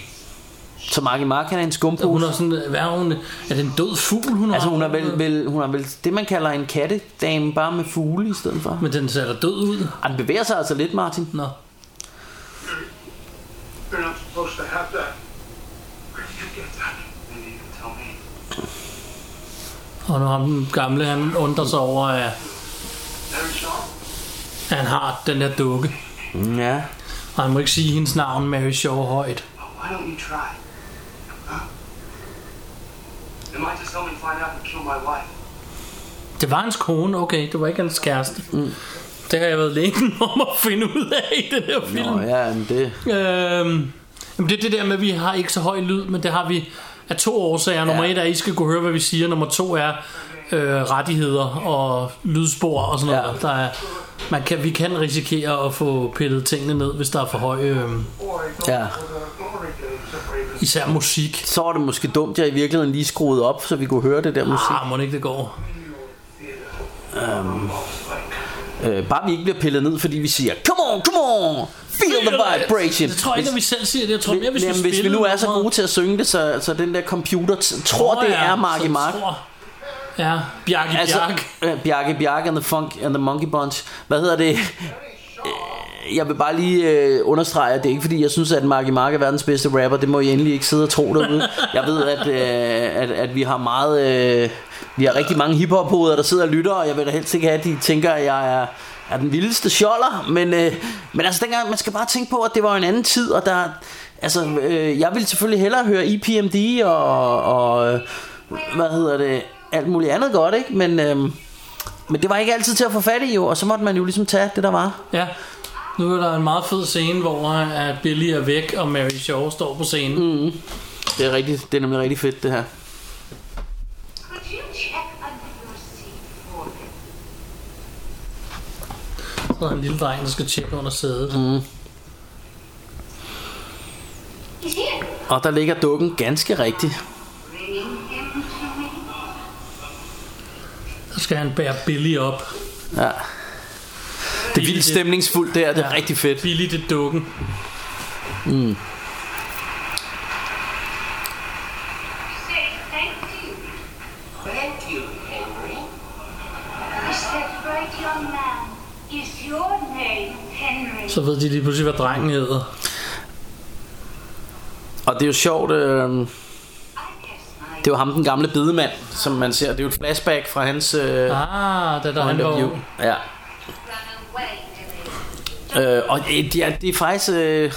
Speaker 4: Så Mark i mark, han er en skumpose.
Speaker 3: Hun er sådan, hvad er hun? Er det en død fugl, hun har?
Speaker 4: Altså, hun er vel, vel, hun er vel det, man kalder en kattedame, bare med fugle i stedet for.
Speaker 3: Men den ser da død ud.
Speaker 4: Han bevæger sig altså lidt, Martin.
Speaker 3: Nå.
Speaker 7: You're not supposed to have that.
Speaker 6: Where did you get that? Maybe you can tell me.
Speaker 3: Og nu ham den gamle, han undrer sig over, at
Speaker 6: Larry Shaw?
Speaker 3: at han har den her dukke.
Speaker 4: Ja.
Speaker 3: Og han må ikke sige hendes navn, Mary Shaw, højt.
Speaker 6: Oh, why don't you try? Huh? Am I just going to find out who killed my wife?
Speaker 3: Det var hans kone, okay. Det var ikke hans kæreste. Mm. Det har jeg været længe om at finde ud af i den her film.
Speaker 4: Nå, ja, men det...
Speaker 3: Øhm, jamen det er det der med, at vi har ikke så høj lyd, men det har vi af to årsager. Nummer
Speaker 4: Ja.
Speaker 3: et er, at I skal kunne høre, hvad vi siger. Nummer to er øh, rettigheder og lydspor og sådan noget.
Speaker 4: Ja.
Speaker 3: Der er, man kan, vi kan risikere at få pillet tingene ned, hvis der er for høj, øh,
Speaker 7: Or I go
Speaker 4: Yeah.
Speaker 7: for the glory days of Raven.
Speaker 3: især musik.
Speaker 4: Så var det måske dumt, jeg i virkeligheden lige skruede op, så vi kunne høre det der musik.
Speaker 3: Ah, må det ikke det går.
Speaker 4: Øh, bare vi ikke bliver pillet ned, fordi vi siger, come on, come on, feel the vibration.
Speaker 3: Det tror jeg ikke, at vi selv siger det. Jeg tror mere, hvis,
Speaker 4: hvis, jamen,
Speaker 3: vi,
Speaker 4: hvis vi nu er så
Speaker 3: spillede
Speaker 4: gode til at synge det, så, så den der computer t- tror,
Speaker 3: nummeret,
Speaker 4: det er Mark i
Speaker 3: så
Speaker 4: Mark.
Speaker 3: tror- Ja, Bjarke altså,
Speaker 4: Altså,
Speaker 3: Bjarke.
Speaker 4: øh, Bjarke Bjarke and the, funk, and the Monkey Bunch. Hvad hedder det? Øh, Jeg vil bare lige øh, understrege, at det er ikke fordi, jeg synes, at Marky Mark er verdens bedste rapper. Det må I endelig ikke sidde og tro derude. Jeg ved, at, øh, at, at vi har meget... Øh, vi har rigtig mange hiphop der sidder og lytter, og jeg vil da helst ikke have, at de tænker, at jeg er, er den vildeste sjoller. Men, øh, men altså, dengang, man skal bare tænke på, at det var en anden tid, og der... Altså, øh, jeg ville selvfølgelig hellere høre E EPMD og... og øh, hvad hedder det? Alt muligt andet godt, ikke? Men... Øh, men det var ikke altid til at få fat i jo, og så måtte man jo ligesom tage det, der var.
Speaker 3: Ja. Nu er der en meget fed scene, hvor at Billy er væk, og Mary Shaw står på scenen. Mm.
Speaker 4: Det er, rigtig, det er nemlig rigtig fedt, det her.
Speaker 5: Could you check under your seat for me?
Speaker 3: Så er der en lille dreng, der skal tjekke under sædet. Mm.
Speaker 5: He's here.
Speaker 4: Og der ligger dukken ganske rigtigt.
Speaker 5: Bringing him to me.
Speaker 3: Så skal han bære Billy op.
Speaker 4: Ja. Det er vildt stemningsfuldt der, det er
Speaker 3: Ja.
Speaker 4: rigtig fedt.
Speaker 3: Billy, det er dukken.
Speaker 6: you, Henry?
Speaker 5: Is that right, young man? Is your name Henry?
Speaker 3: Så ved de lige pludselig, hvad drengen hedder.
Speaker 4: Og det er jo sjovt, øh,
Speaker 5: I guess my
Speaker 4: det er jo ham, den gamle bidemand, som man ser. Det er jo et flashback fra hans øh,
Speaker 3: Ah, da der han
Speaker 4: point
Speaker 3: var
Speaker 4: of view.
Speaker 3: ung.
Speaker 4: Ja.
Speaker 5: run away, Henry.
Speaker 4: Øh, og øh, det er, det er faktisk... Øh,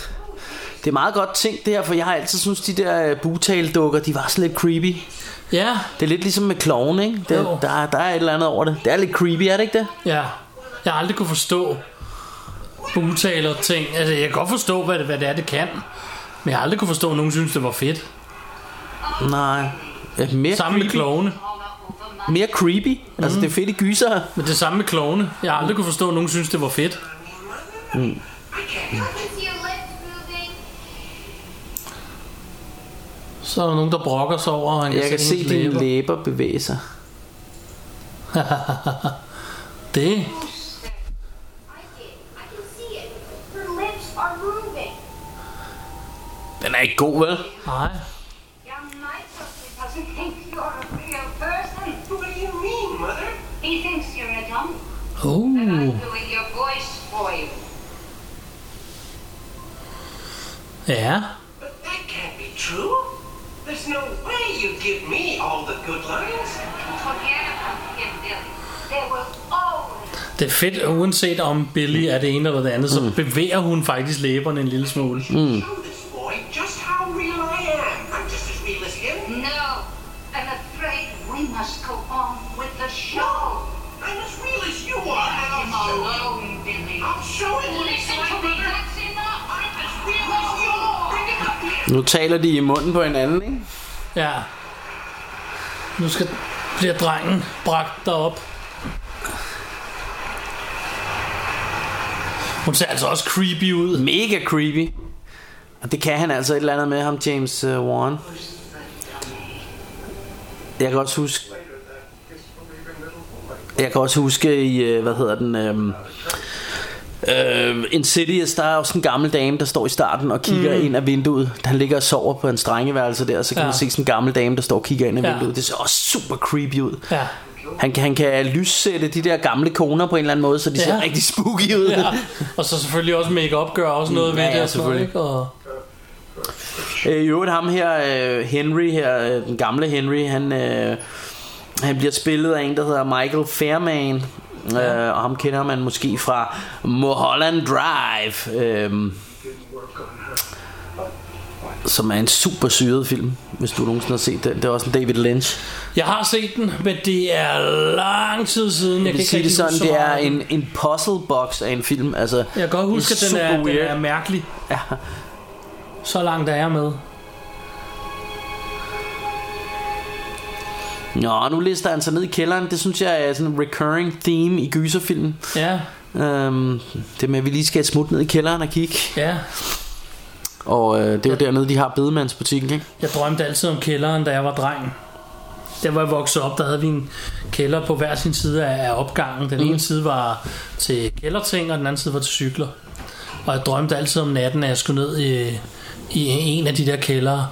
Speaker 4: det er meget godt tænkt det her, for jeg har altid synes de der øh, bugtaldukker, de var sådan lidt creepy.
Speaker 3: Ja,
Speaker 4: Det er lidt ligesom med kloven, ikke? Det,
Speaker 3: Jo.
Speaker 4: der, der er et eller andet over det. Det er lidt creepy, er det ikke det?
Speaker 3: ja. Jeg har aldrig kunne forstå bugtaler og ting. Altså, jeg kan godt forstå, hvad det, hvad det er, det kan. Men jeg har aldrig kunne forstå, at nogen synes, det var fedt.
Speaker 4: Nej. Ja, mere,
Speaker 3: Samme med
Speaker 4: creepy.
Speaker 3: klovene.
Speaker 4: mere creepy. Mm. Altså, det er fedt i gyser.
Speaker 3: Men det samme med klovene. Jeg har aldrig kunne forstå, at nogen synes, det var fedt.
Speaker 5: Is your lips moving?
Speaker 3: Så er der nogen, der brokker sig over, og han
Speaker 4: Jeg kan se
Speaker 3: hendes
Speaker 4: dine
Speaker 3: læber.
Speaker 4: læber bevæge sig.
Speaker 3: Det.
Speaker 5: I did. I can see it. Her lips are moving.
Speaker 4: Den er ikke god, vel?
Speaker 3: Nej.
Speaker 5: Young Michael doesn't think you're a real person.
Speaker 6: What do you mean, Mother?
Speaker 5: He thinks you're a dummy. And I'm
Speaker 3: Uh.
Speaker 5: doing your voice for you.
Speaker 3: Ja.
Speaker 6: But that can't be true. There's no way you give me all the good lines.
Speaker 5: Forget about him, Billy. There will always
Speaker 3: Det er fedt, uanset om Billy er det ene eller det andet, så
Speaker 4: Mm.
Speaker 3: bevæger hun faktisk læberne en lille smule.
Speaker 6: Show this boy just how real I am. I'm just as real as him.
Speaker 5: No, I'm afraid we must go on with the show.
Speaker 6: I'm as real as you are.
Speaker 5: Let
Speaker 6: And
Speaker 5: him
Speaker 6: I'll show him.
Speaker 5: alone, Billy.
Speaker 6: I'll show him.
Speaker 5: Listen
Speaker 6: Listen,
Speaker 5: to me,
Speaker 6: Mother.
Speaker 5: that's enough.
Speaker 6: I'm as real as you are. Bring it up here.
Speaker 4: Nu taler de i munden på hinanden, ikke?
Speaker 3: Ja. Nu skal, bliver drengen bragt derop. Hun ser altså også creepy ud.
Speaker 4: Mega creepy. Og det kan han altså et eller andet med ham, James uh, Warren. Jeg kan også huske... Jeg kan også huske i, øh, hvad hedder den, øhm, øh, Insidious, der er også en gammel dame, der står i starten og kigger mm. ind af vinduet. Han ligger og sover på en drengeværelse der, så kan
Speaker 3: Ja.
Speaker 4: ja. man se sådan en gammel dame, der står og kigger ind af
Speaker 3: Ja.
Speaker 4: ja. vinduet. Det ser også super creepy ud.
Speaker 3: Ja.
Speaker 4: Han, kan- han kan lyssætte de der gamle koner på en eller anden måde, så de ja.
Speaker 3: Ja.
Speaker 4: ser rigtig spooky ud.
Speaker 3: ja. Og så selvfølgelig også make-up gør også noget
Speaker 4: Mm,
Speaker 3: ved
Speaker 4: ja,
Speaker 3: det.
Speaker 4: ja,
Speaker 3: og sådan
Speaker 4: selvfølgelig.
Speaker 3: noget, ikke? Og,
Speaker 4: Øh, I øvrigt ham her, øh, Henry her, øh, den gamle Henry, han, øh, han bliver spillet af en, der hedder Michael Fairman. Ja. Øh, og ham kender man måske fra Mulholland Drive, øh, som er en super syret film, hvis du nogensinde har set den. Det er også en David Lynch.
Speaker 3: jeg har set den, men det er lang tid siden. Jeg
Speaker 4: Jeg
Speaker 3: kan
Speaker 4: vil
Speaker 3: ikke
Speaker 4: sige det
Speaker 3: rigtig
Speaker 4: sådan,
Speaker 3: huske så
Speaker 4: det er
Speaker 3: meget af den.
Speaker 4: en, en puzzle box af en film. Altså,
Speaker 3: Jeg kan godt huske, at den
Speaker 4: super
Speaker 3: er, den
Speaker 4: weird.
Speaker 3: er mærkelig.
Speaker 4: Ja.
Speaker 3: Så langt er jeg med.
Speaker 4: Nå, nu lister han sig ned i kælderen. Det synes jeg er sådan en recurring theme i gyserfilmen.
Speaker 3: Ja,
Speaker 4: Øhm, det med, at vi lige skal et smut ned i kælderen og kigge.
Speaker 3: ja.
Speaker 4: Og øh, det er jo dernede, de har bedemandsbutikken, ikke?
Speaker 3: Jeg drømte altid om kælderen, da jeg var dreng. Der var jeg vokset op, der havde vi en kælder på hver sin side af af opgangen.
Speaker 4: Mhm.
Speaker 3: Den mm. ene side var til kælderting, og den anden side var til cykler. Og jeg drømte altid om natten, at jeg skulle ned i, i en af de der kældere.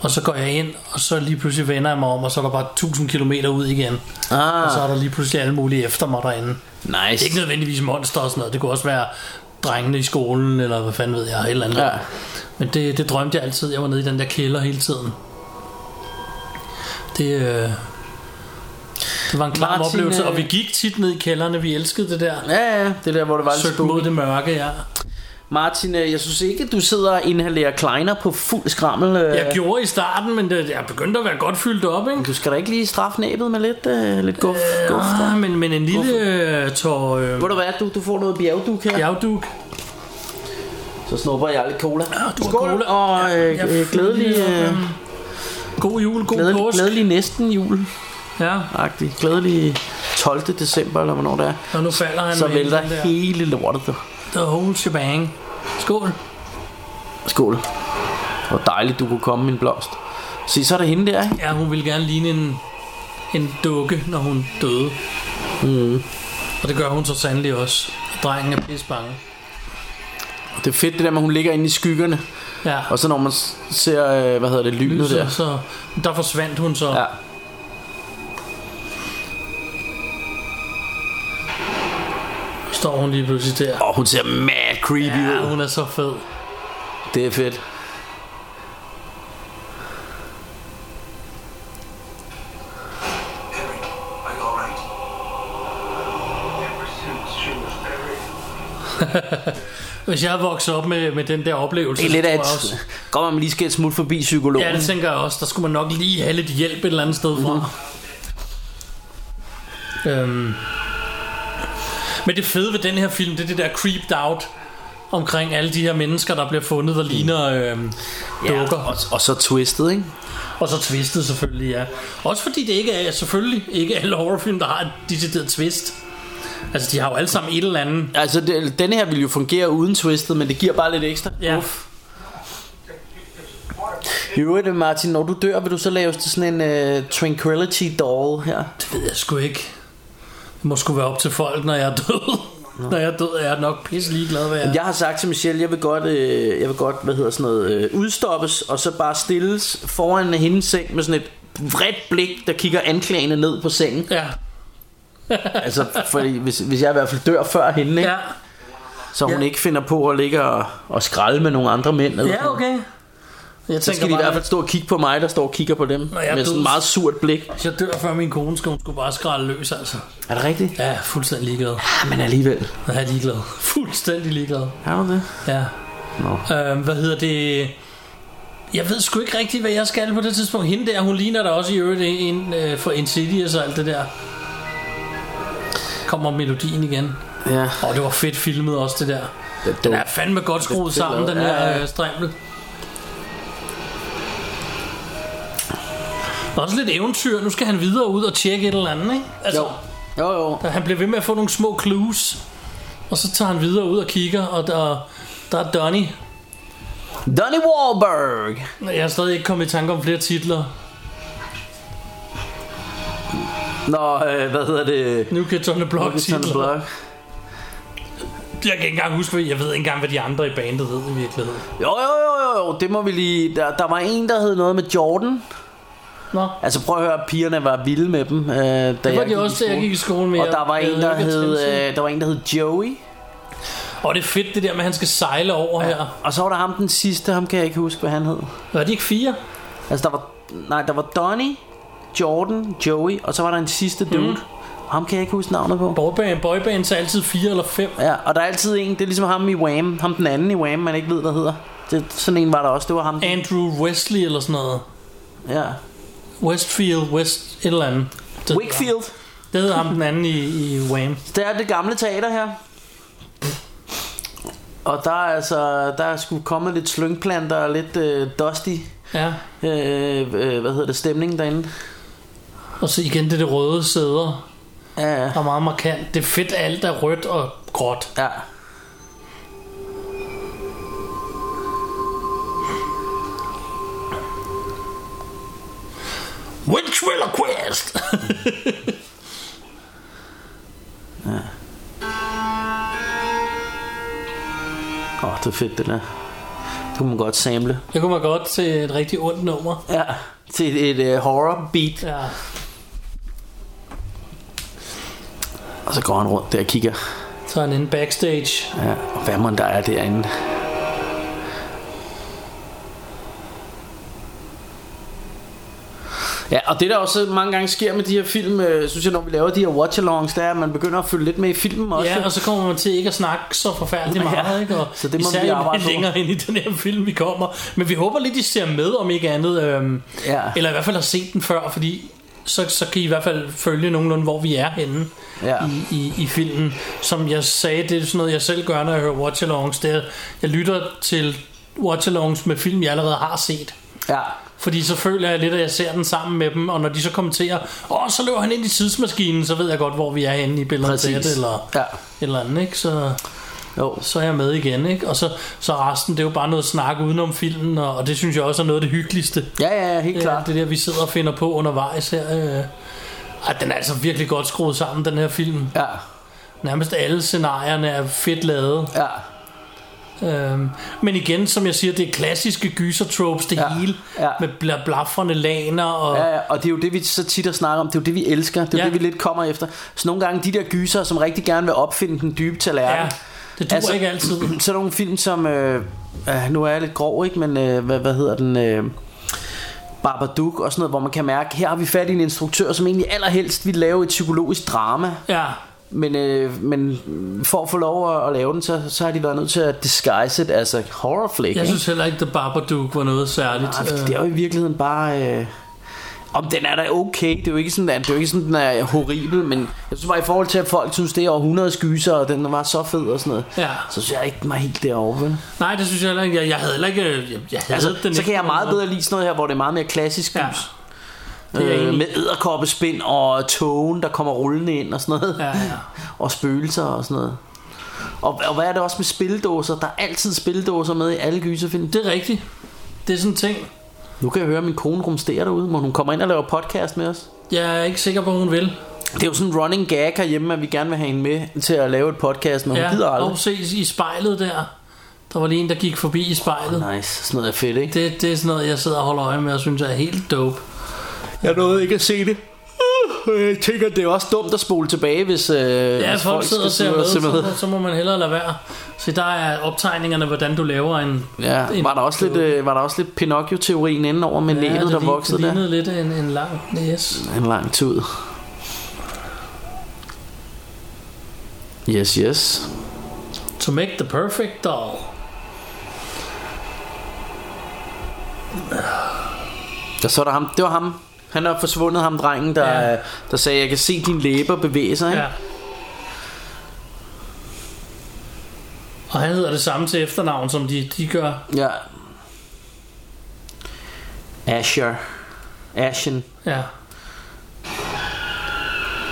Speaker 3: Og så går jeg ind, og så lige pludselig vender jeg mig om, og så er der bare 1000 km ud igen.
Speaker 4: Ah,
Speaker 3: Og så er der lige pludselig alle mulige efter mig derinde.
Speaker 4: nice.
Speaker 3: Ikke nødvendigvis monster og sådan noget. Det kunne også være drengene i skolen, eller hvad fanden ved jeg, et eller andet.
Speaker 4: Ja.
Speaker 3: Men det, det drømte jeg altid. Jeg var nede i den der kælder hele tiden. Det, øh, det var en klar
Speaker 4: Martin,
Speaker 3: oplevelse,
Speaker 4: øh,
Speaker 3: og vi gik tit ned i kælderne. Vi elskede det der.
Speaker 4: Ja, ja, det er der, hvor det var lidt
Speaker 3: Søgte mod
Speaker 4: spooky.
Speaker 3: det mørke, ja.
Speaker 4: Martin, øh, jeg synes ikke, du sidder og inhalerer kleiner på fuld skrammel. Øh.
Speaker 3: Jeg gjorde i starten, men det, jeg begyndte at være godt fyldt op, ikke?
Speaker 4: Du skal da ikke lige straffe næbet med lidt, øh, lidt guf, øh, guf der.
Speaker 3: Ah, men, men en lille øh, tår øh,
Speaker 4: Ved du hvad, du, du får noget bjergduk her.
Speaker 3: bjergduk.
Speaker 4: Så snupper jeg lidt cola. Ja,
Speaker 3: du har
Speaker 4: Skål,
Speaker 3: cola.
Speaker 4: og øh,
Speaker 3: Jeg
Speaker 4: øh, glædelig,
Speaker 3: fylder lige op,
Speaker 4: øh,
Speaker 3: øhm, God jul, god
Speaker 4: glædelig,
Speaker 3: påske.
Speaker 4: glædelig næsten jul
Speaker 3: Ja,
Speaker 4: -agtig. Glædelig 12. december, eller hvornår det er.
Speaker 3: og nu falder han
Speaker 4: Så
Speaker 3: med
Speaker 4: vælter
Speaker 3: den der.
Speaker 4: hele lortet. du.
Speaker 3: The whole shebang. Skål.
Speaker 4: Skål. Hvor dejligt, du kunne komme, min blomst. Se, så er det hende der, ikke?
Speaker 3: Ja, hun ville gerne ligne en, en dukke, når hun døde. Mm. Og det gør hun så sandelig også. Og drengen er pisse bange.
Speaker 4: Det er fedt det der med, at hun ligger inde i skyggerne.
Speaker 3: Ja,
Speaker 4: Og så når man s- ser, øh, hvad hedder det, lynet
Speaker 3: så,
Speaker 4: der.
Speaker 3: så, der forsvandt hun så.
Speaker 4: Ja.
Speaker 3: står hun lige pludselig der.
Speaker 4: Og hun ser mad creepy ja.
Speaker 3: Ja,
Speaker 4: ud.
Speaker 3: hun er så fed.
Speaker 4: Det er fedt.
Speaker 6: Henry, are you all right? Ever since she was buried,
Speaker 3: Hvis jeg voksede op med, med den der oplevelse,
Speaker 4: Det er
Speaker 3: så
Speaker 4: lidt af
Speaker 3: tror jeg
Speaker 4: et...
Speaker 3: også-
Speaker 4: Godt, at man lige skal et smut forbi psykologen.
Speaker 3: Ja, det tænker jeg også. Der skulle man nok lige have lidt hjælp et eller andet sted fra. Mm-hmm.
Speaker 4: Mhm.
Speaker 3: Øhm. Men det fede ved den her film, det er det der creeped out omkring alle de her mennesker, der bliver fundet, der ligner øhm,
Speaker 4: Mm. Ja,
Speaker 3: dukker.
Speaker 4: og, og så twistet, ikke?
Speaker 3: Og så twistet selvfølgelig, ja. Også fordi det ikke er, selvfølgelig ikke alle horrorfilm, der har et decideret twist. Altså, de har jo alle sammen et eller andet.
Speaker 4: Altså, det, denne her vil jo fungere uden twistet, men det giver bare lidt ekstra.
Speaker 3: Ja.
Speaker 4: I øvrigt, Martin, når du dør, vil du så lave til sådan en uh, Tranquility doll her?
Speaker 3: Det ved jeg sgu ikke. Det må sgu være op til folk, når jeg er død. Når jeg er død, er jeg nok pisse ligeglad, hvad jeg
Speaker 4: Jeg har sagt til Michelle, jeg vil godt, øh, jeg vil godt hvad hedder sådan noget, øh, udstoppes, og så bare stilles foran hendes seng med sådan et vredt blik, der kigger anklagende ned på sengen.
Speaker 3: Ja.
Speaker 4: Altså, fordi, hvis, hvis jeg i hvert fald dør før hende, ikke?
Speaker 3: Ja.
Speaker 4: så hun
Speaker 3: Ja.
Speaker 4: ikke finder på at ligge og, og skralde med nogle andre mænd. Eller sådan.
Speaker 3: ja, okay. Jeg
Speaker 4: Så skal de i hvert fald stå og kigge på mig, der står og kigger på dem.
Speaker 3: jeg er
Speaker 4: Med sådan
Speaker 3: død.
Speaker 4: et meget surt blik.
Speaker 3: hvis jeg dør før min kone, skal hun skulle bare skralde løs, altså.
Speaker 4: Er det rigtigt?
Speaker 3: Ja, jeg er fuldstændig ligeglad.
Speaker 4: Ja, men alligevel.
Speaker 3: Jeg er ligeglad. Fuldstændig ligeglad.
Speaker 4: Er du det?
Speaker 3: Ja.
Speaker 4: Nå.
Speaker 3: Øhm, hvad hedder det? Jeg ved sgu ikke rigtigt, hvad jeg skal på det tidspunkt. Hende der, hun ligner da også i øvrigt en øh, for Insidious og alt det der. Kommer melodien igen.
Speaker 4: Ja.
Speaker 3: Og det var fedt filmet også, det der. Den er fandme godt skruet
Speaker 4: Det er fedt
Speaker 3: sammen, den
Speaker 4: lavet. Ja,
Speaker 3: her
Speaker 4: ja.
Speaker 3: øh, strimmel. Der er også lidt eventyr. Nu skal han videre ud og tjekke et eller andet, ikke? Altså,
Speaker 4: Jo. Jo, jo.
Speaker 3: han bliver ved med at få nogle små clues. Og så tager han videre ud og kigger, og der, der er Donnie.
Speaker 4: Donnie Wahlberg.
Speaker 3: Jeg er stadig ikke kommet i tanke om flere titler.
Speaker 4: Nå, øh, hvad hedder det?
Speaker 3: Nu kan Tony Block
Speaker 4: Jonathan
Speaker 3: titler.
Speaker 4: Block.
Speaker 3: Jeg kan ikke engang huske, hvad- jeg ved ikke engang, hvad de andre i bandet hed i virkeligheden.
Speaker 4: Jo, jo, jo, jo, jo, det må vi lige... Der, der var en, der hed noget med Jordan.
Speaker 3: Nå,
Speaker 4: Altså prøv at høre, pigerne var vilde med dem. Øh, da det
Speaker 3: det var de også, da jeg gik i skole med.
Speaker 4: Og der var,
Speaker 3: Jeg
Speaker 4: en, der
Speaker 3: ikke
Speaker 4: hed,
Speaker 3: attention.
Speaker 4: øh, der var en, der hed Joey.
Speaker 3: Og det er fedt, det der med, at han skal sejle over her.
Speaker 4: Og så var der ham den sidste, ham kan jeg ikke huske, hvad han hed.
Speaker 3: Var de ikke fire?
Speaker 4: Altså der var... Nej, der var Donnie, Jordan, Joey, og så var der en sidste dude.
Speaker 3: Mhm.
Speaker 4: Mm. Ham kan jeg ikke huske navnet på.
Speaker 3: Boyband, boyband er altid fire eller fem.
Speaker 4: Ja, og der er altid en, det er ligesom ham i Wham, ham den anden i Wham, man ikke ved, hvad hedder. Det, sådan en var der også, det var ham. den-
Speaker 3: Andrew Wesley eller sådan noget.
Speaker 4: Ja.
Speaker 3: Westfield, West et eller andet. Det,
Speaker 4: Wakefield.
Speaker 3: Det hedder ham den anden i, i Wham.
Speaker 4: Det er det gamle teater her. Og der er altså, der er sgu kommet lidt slyngplanter og lidt øh, dusty,
Speaker 3: Ja.
Speaker 4: øh, øh, hvad hedder det, stemning derinde.
Speaker 3: Og så igen det, det røde sæder,
Speaker 4: Ja, ja.
Speaker 3: der er meget markant. Det er fedt, at alt er rødt og gråt.
Speaker 4: ja.
Speaker 3: Ventriloquist!
Speaker 4: Åh, oh, det er fedt det der. Det kunne man godt samle.
Speaker 3: det kunne man godt til et rigtig ondt nummer.
Speaker 4: Ja, til et, et øh, horror beat. Ja.
Speaker 3: Ja.
Speaker 4: Og så går han rundt der og kigger.
Speaker 3: Så er han inde backstage.
Speaker 4: Ja, og hvad man der er derinde. Ja, og det der også mange gange sker med de her film, øh, synes jeg, når vi laver de her watch-alongs, det er, at man begynder at følge lidt med i filmen også.
Speaker 3: Ja, og så kommer man til ikke at snakke så forfærdeligt
Speaker 4: Ja,
Speaker 3: meget, ikke? Og
Speaker 4: så det må
Speaker 3: især
Speaker 4: vi
Speaker 3: jo
Speaker 4: arbejde på.
Speaker 3: længere ind i den her film, vi kommer. Men vi håber lidt, I ser med, om ikke andet. Øhm,
Speaker 4: Ja.
Speaker 3: Eller i hvert fald har set den før, fordi så, så kan I i hvert fald følge nogenlunde, hvor vi er henne
Speaker 4: Ja.
Speaker 3: i, i, i filmen. Som jeg sagde, det er sådan noget, jeg selv gør, når jeg hører watch-alongs. Det er, jeg lytter til watch-alongs med film, jeg allerede har set.
Speaker 4: ja.
Speaker 3: Fordi så føler jeg lidt, at jeg ser den sammen med dem, og når de så kommenterer, åh, så løber han ind i tidsmaskinen, så ved jeg godt, hvor vi er henne i billedet.
Speaker 4: Præcis.
Speaker 3: Eller,
Speaker 4: Ja.
Speaker 3: et eller andet, ikke? Så,
Speaker 4: Jo.
Speaker 3: så er jeg med igen, ikke? Og så, så resten, det er jo bare noget snak udenom filmen, og, og det synes jeg også er noget af det hyggeligste. Øh,
Speaker 4: Ja, ja, ja, helt klart.
Speaker 3: Det der, vi sidder og finder på undervejs her. Øh. Ej, den er altså virkelig godt skruet sammen, den her film.
Speaker 4: Ja,
Speaker 3: Nærmest alle scenarierne er fedt lavet.
Speaker 4: ja.
Speaker 3: Øhm, men igen, som jeg siger, det er klassiske gyser-tropes, det
Speaker 4: Ja,
Speaker 3: hele,
Speaker 4: ja.
Speaker 3: med bla- blafrende laner og...
Speaker 4: Ja, ja, og det er jo det, vi så tit har snakket om. Det er jo det, vi elsker. Det er ja.
Speaker 3: Ja.
Speaker 4: det, vi lidt kommer efter. Så nogle gange de der gyser, som rigtig gerne vil opfinde den dybe tallerken.
Speaker 3: Ja, det
Speaker 4: Altså-
Speaker 3: duer ikke altid.
Speaker 4: Så er nogle film som... Øh, øh, nu er jeg lidt grov, ikke? Men øh, hvad, hvad hedder den... Øh, Babadook og sådan noget, hvor man kan mærke, her har vi fat i en instruktør, som egentlig allerhelst vil lave et psykologisk drama.
Speaker 3: Ja,
Speaker 4: Men, øh, men for at få lov at, at lave den, så, så har de været nødt til at disguise it, altså horror flick.
Speaker 3: jeg
Speaker 4: ikke?
Speaker 3: synes heller ikke, The Babadook var noget særligt.
Speaker 4: Nej, fordi
Speaker 3: Øh,
Speaker 4: det er jo i virkeligheden bare... Øh... Om den er da okay, det er jo ikke sådan, at det er jo ikke sådan, den er horribel, men jeg synes bare i forhold til, at folk synes, det er århundredes gyser, og den var så fed og sådan noget,
Speaker 3: Øh, Ja.
Speaker 4: så synes jeg ikke den var helt derovre, vel?
Speaker 3: Nej, det synes jeg heller ikke. Jeg, jeg havde heller ikke... øh, Jeg, jeg havde
Speaker 4: Altså,
Speaker 3: den
Speaker 4: så
Speaker 3: ikke
Speaker 4: kan jeg
Speaker 3: på
Speaker 4: meget
Speaker 3: nogen
Speaker 4: bedre lide sådan noget her, hvor det er meget mere klassisk
Speaker 3: Ja.
Speaker 4: gys.
Speaker 3: er jeg
Speaker 4: Øh,
Speaker 3: enig i.
Speaker 4: med æderkoppespind og togen, der kommer rullende ind og sådan noget.
Speaker 3: Ja, ja.
Speaker 4: og spøgelser og sådan noget. Og, og hvad er det også med spildåser? Der er altid spildåser med i alle gyserfilm.
Speaker 3: måde. Det er rigtigt. Det er sådan en ting.
Speaker 4: Nu kan jeg høre, at min kone rumsterer derude, må hun kommer ind og laver podcast med os.
Speaker 3: Jeg er ikke sikker på, hun vil.
Speaker 4: Det er jo sådan en running gag herhjemme, at vi gerne vil have hende med til at lave et podcast, men hun gider
Speaker 3: Ja, og
Speaker 4: aldrig.
Speaker 3: se i spejlet der. Der var lige en, der gik forbi i spejlet.
Speaker 4: Nice, sådan noget er fedt, ikke?
Speaker 3: Det, det er sådan noget, jeg sidder og holder øje med og synes er helt dope.
Speaker 4: Jeg nåede ikke at se det. Jeg tænker, det er også dumt at spole tilbage, hvis, øh,
Speaker 3: Ja,
Speaker 4: hvis
Speaker 3: folk, folk sidder og
Speaker 4: sidde
Speaker 3: ser med,
Speaker 4: se
Speaker 3: Så, må- så må man hellere lade være. Så der er optegningerne, hvordan du laver en...
Speaker 4: Ja,
Speaker 3: en
Speaker 4: var der også lidt, øh, var der også lidt Pinocchio-teorien indenover med ja,
Speaker 3: det
Speaker 4: næbet, der
Speaker 3: lign-
Speaker 4: voksede
Speaker 3: det
Speaker 4: der?
Speaker 3: lignede lidt en, en lang næs.
Speaker 4: En lang tid. Yes, yes.
Speaker 3: To make the perfect doll.
Speaker 4: Der så der ham. Det var ham. Han er forsvundet, ham drengen, der,
Speaker 3: Ja.
Speaker 4: ja. der sagde, jeg kan se dine læber bevæge sig. Ja.
Speaker 3: Ja. Og han hedder det samme til efternavn, som de, de gør.
Speaker 4: ja. Asher. Ashen.
Speaker 3: Ja.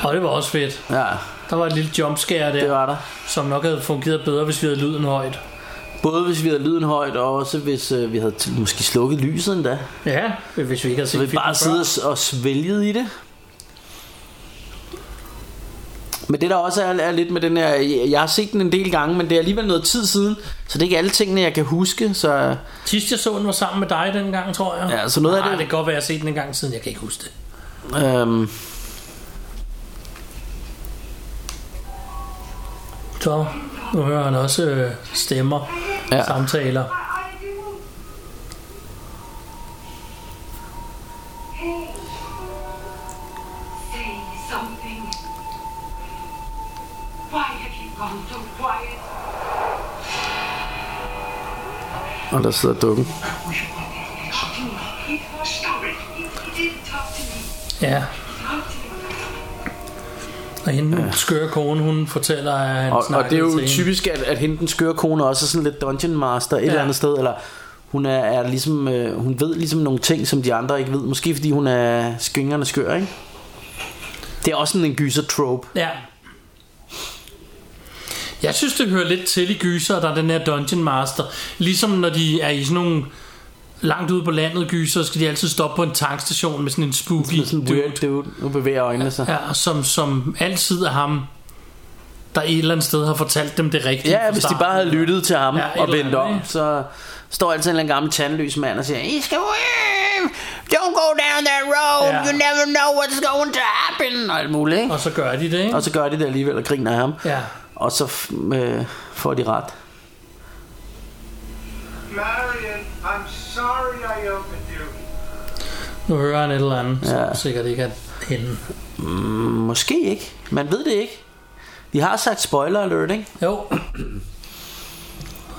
Speaker 3: Og det var også fedt.
Speaker 4: Ja,
Speaker 3: Der var et lille jumpscare der,
Speaker 4: det var der.
Speaker 3: som nok havde fungeret bedre, hvis vi havde lyden højt.
Speaker 4: Både hvis vi havde lyden højt, og også hvis øh, vi havde t- måske slukket lyset endda.
Speaker 3: Ja, hvis vi ikke havde
Speaker 4: Så
Speaker 3: set
Speaker 4: vi
Speaker 3: filmen
Speaker 4: bare
Speaker 3: før.
Speaker 4: sidder og, s- og svælgede i det. Men det der også er, er lidt med den her, jeg har set den en del gange, men det er alligevel noget tid siden, så det er ikke alle tingene, jeg kan huske, så
Speaker 3: Sidst jeg så den var sammen med dig dengang, tror jeg.
Speaker 4: Ja, så noget af
Speaker 3: Ej,
Speaker 4: det-
Speaker 3: det kan godt være, jeg har set den en gang siden, jeg kan ikke huske det.
Speaker 4: øhm,
Speaker 3: Så nu hører han også øh, stemmer,
Speaker 4: Ja.
Speaker 3: ja. samtaler.
Speaker 5: Hey, say something. Why have you gone so quiet?
Speaker 4: og der sidder dukken.
Speaker 5: Stop it. You didn't talk to me.
Speaker 3: Ja,
Speaker 5: Talk to me.
Speaker 3: og hende ja. skøre kone, hun fortæller, at han
Speaker 4: Og, og
Speaker 3: snakkede
Speaker 4: det er jo
Speaker 3: til hende.
Speaker 4: typisk, at, at hende den skøre kone også er sådan lidt dungeon master et ja. eller andet sted, eller hun er, er ligesom, øh, hun ved ligesom nogle ting, som de andre ikke ved. Måske fordi hun er skyngerne skør, ikke? Det er også sådan en gyser trope.
Speaker 3: Ja. Jeg synes, det hører lidt til i gyser, der er den her Dungeon Master. Ligesom når de er i sådan nogle langt ude på landet gyser, skal de altid stoppe på en tankstation med sådan en spooky
Speaker 4: Det er sådan en
Speaker 3: dude.
Speaker 4: weird dude. Nu bevæger øjnene sig.
Speaker 3: Ja, som, som altid er ham, der et eller andet sted har fortalt dem det rigtige.
Speaker 4: Ja,
Speaker 3: fra
Speaker 4: hvis de
Speaker 3: starten.
Speaker 4: bare havde lyttet til ham
Speaker 3: Ja,
Speaker 4: ja,
Speaker 3: et
Speaker 4: og
Speaker 3: eller
Speaker 4: vendt om,
Speaker 3: andet, ikke?
Speaker 4: så står altid en eller anden gammel tandløs mand og siger, I skal Oh, ud!
Speaker 8: Don't go down that road.
Speaker 3: Ja.
Speaker 8: You never know what's going to happen.
Speaker 4: Og alt muligt, ikke?
Speaker 3: Og så gør de det, ikke?
Speaker 4: Og så gør de det alligevel og griner af ham.
Speaker 3: Ja.
Speaker 4: Og så f- øh, får de ret.
Speaker 7: Marion, I'm sorry I opened you.
Speaker 3: Nu hører han et eller andet, ja.
Speaker 4: Ja.
Speaker 3: som sikkert ikke er hende.
Speaker 4: Måske ikke. Man ved det ikke. De har sagt spoiler alert, ikke?
Speaker 3: Jo.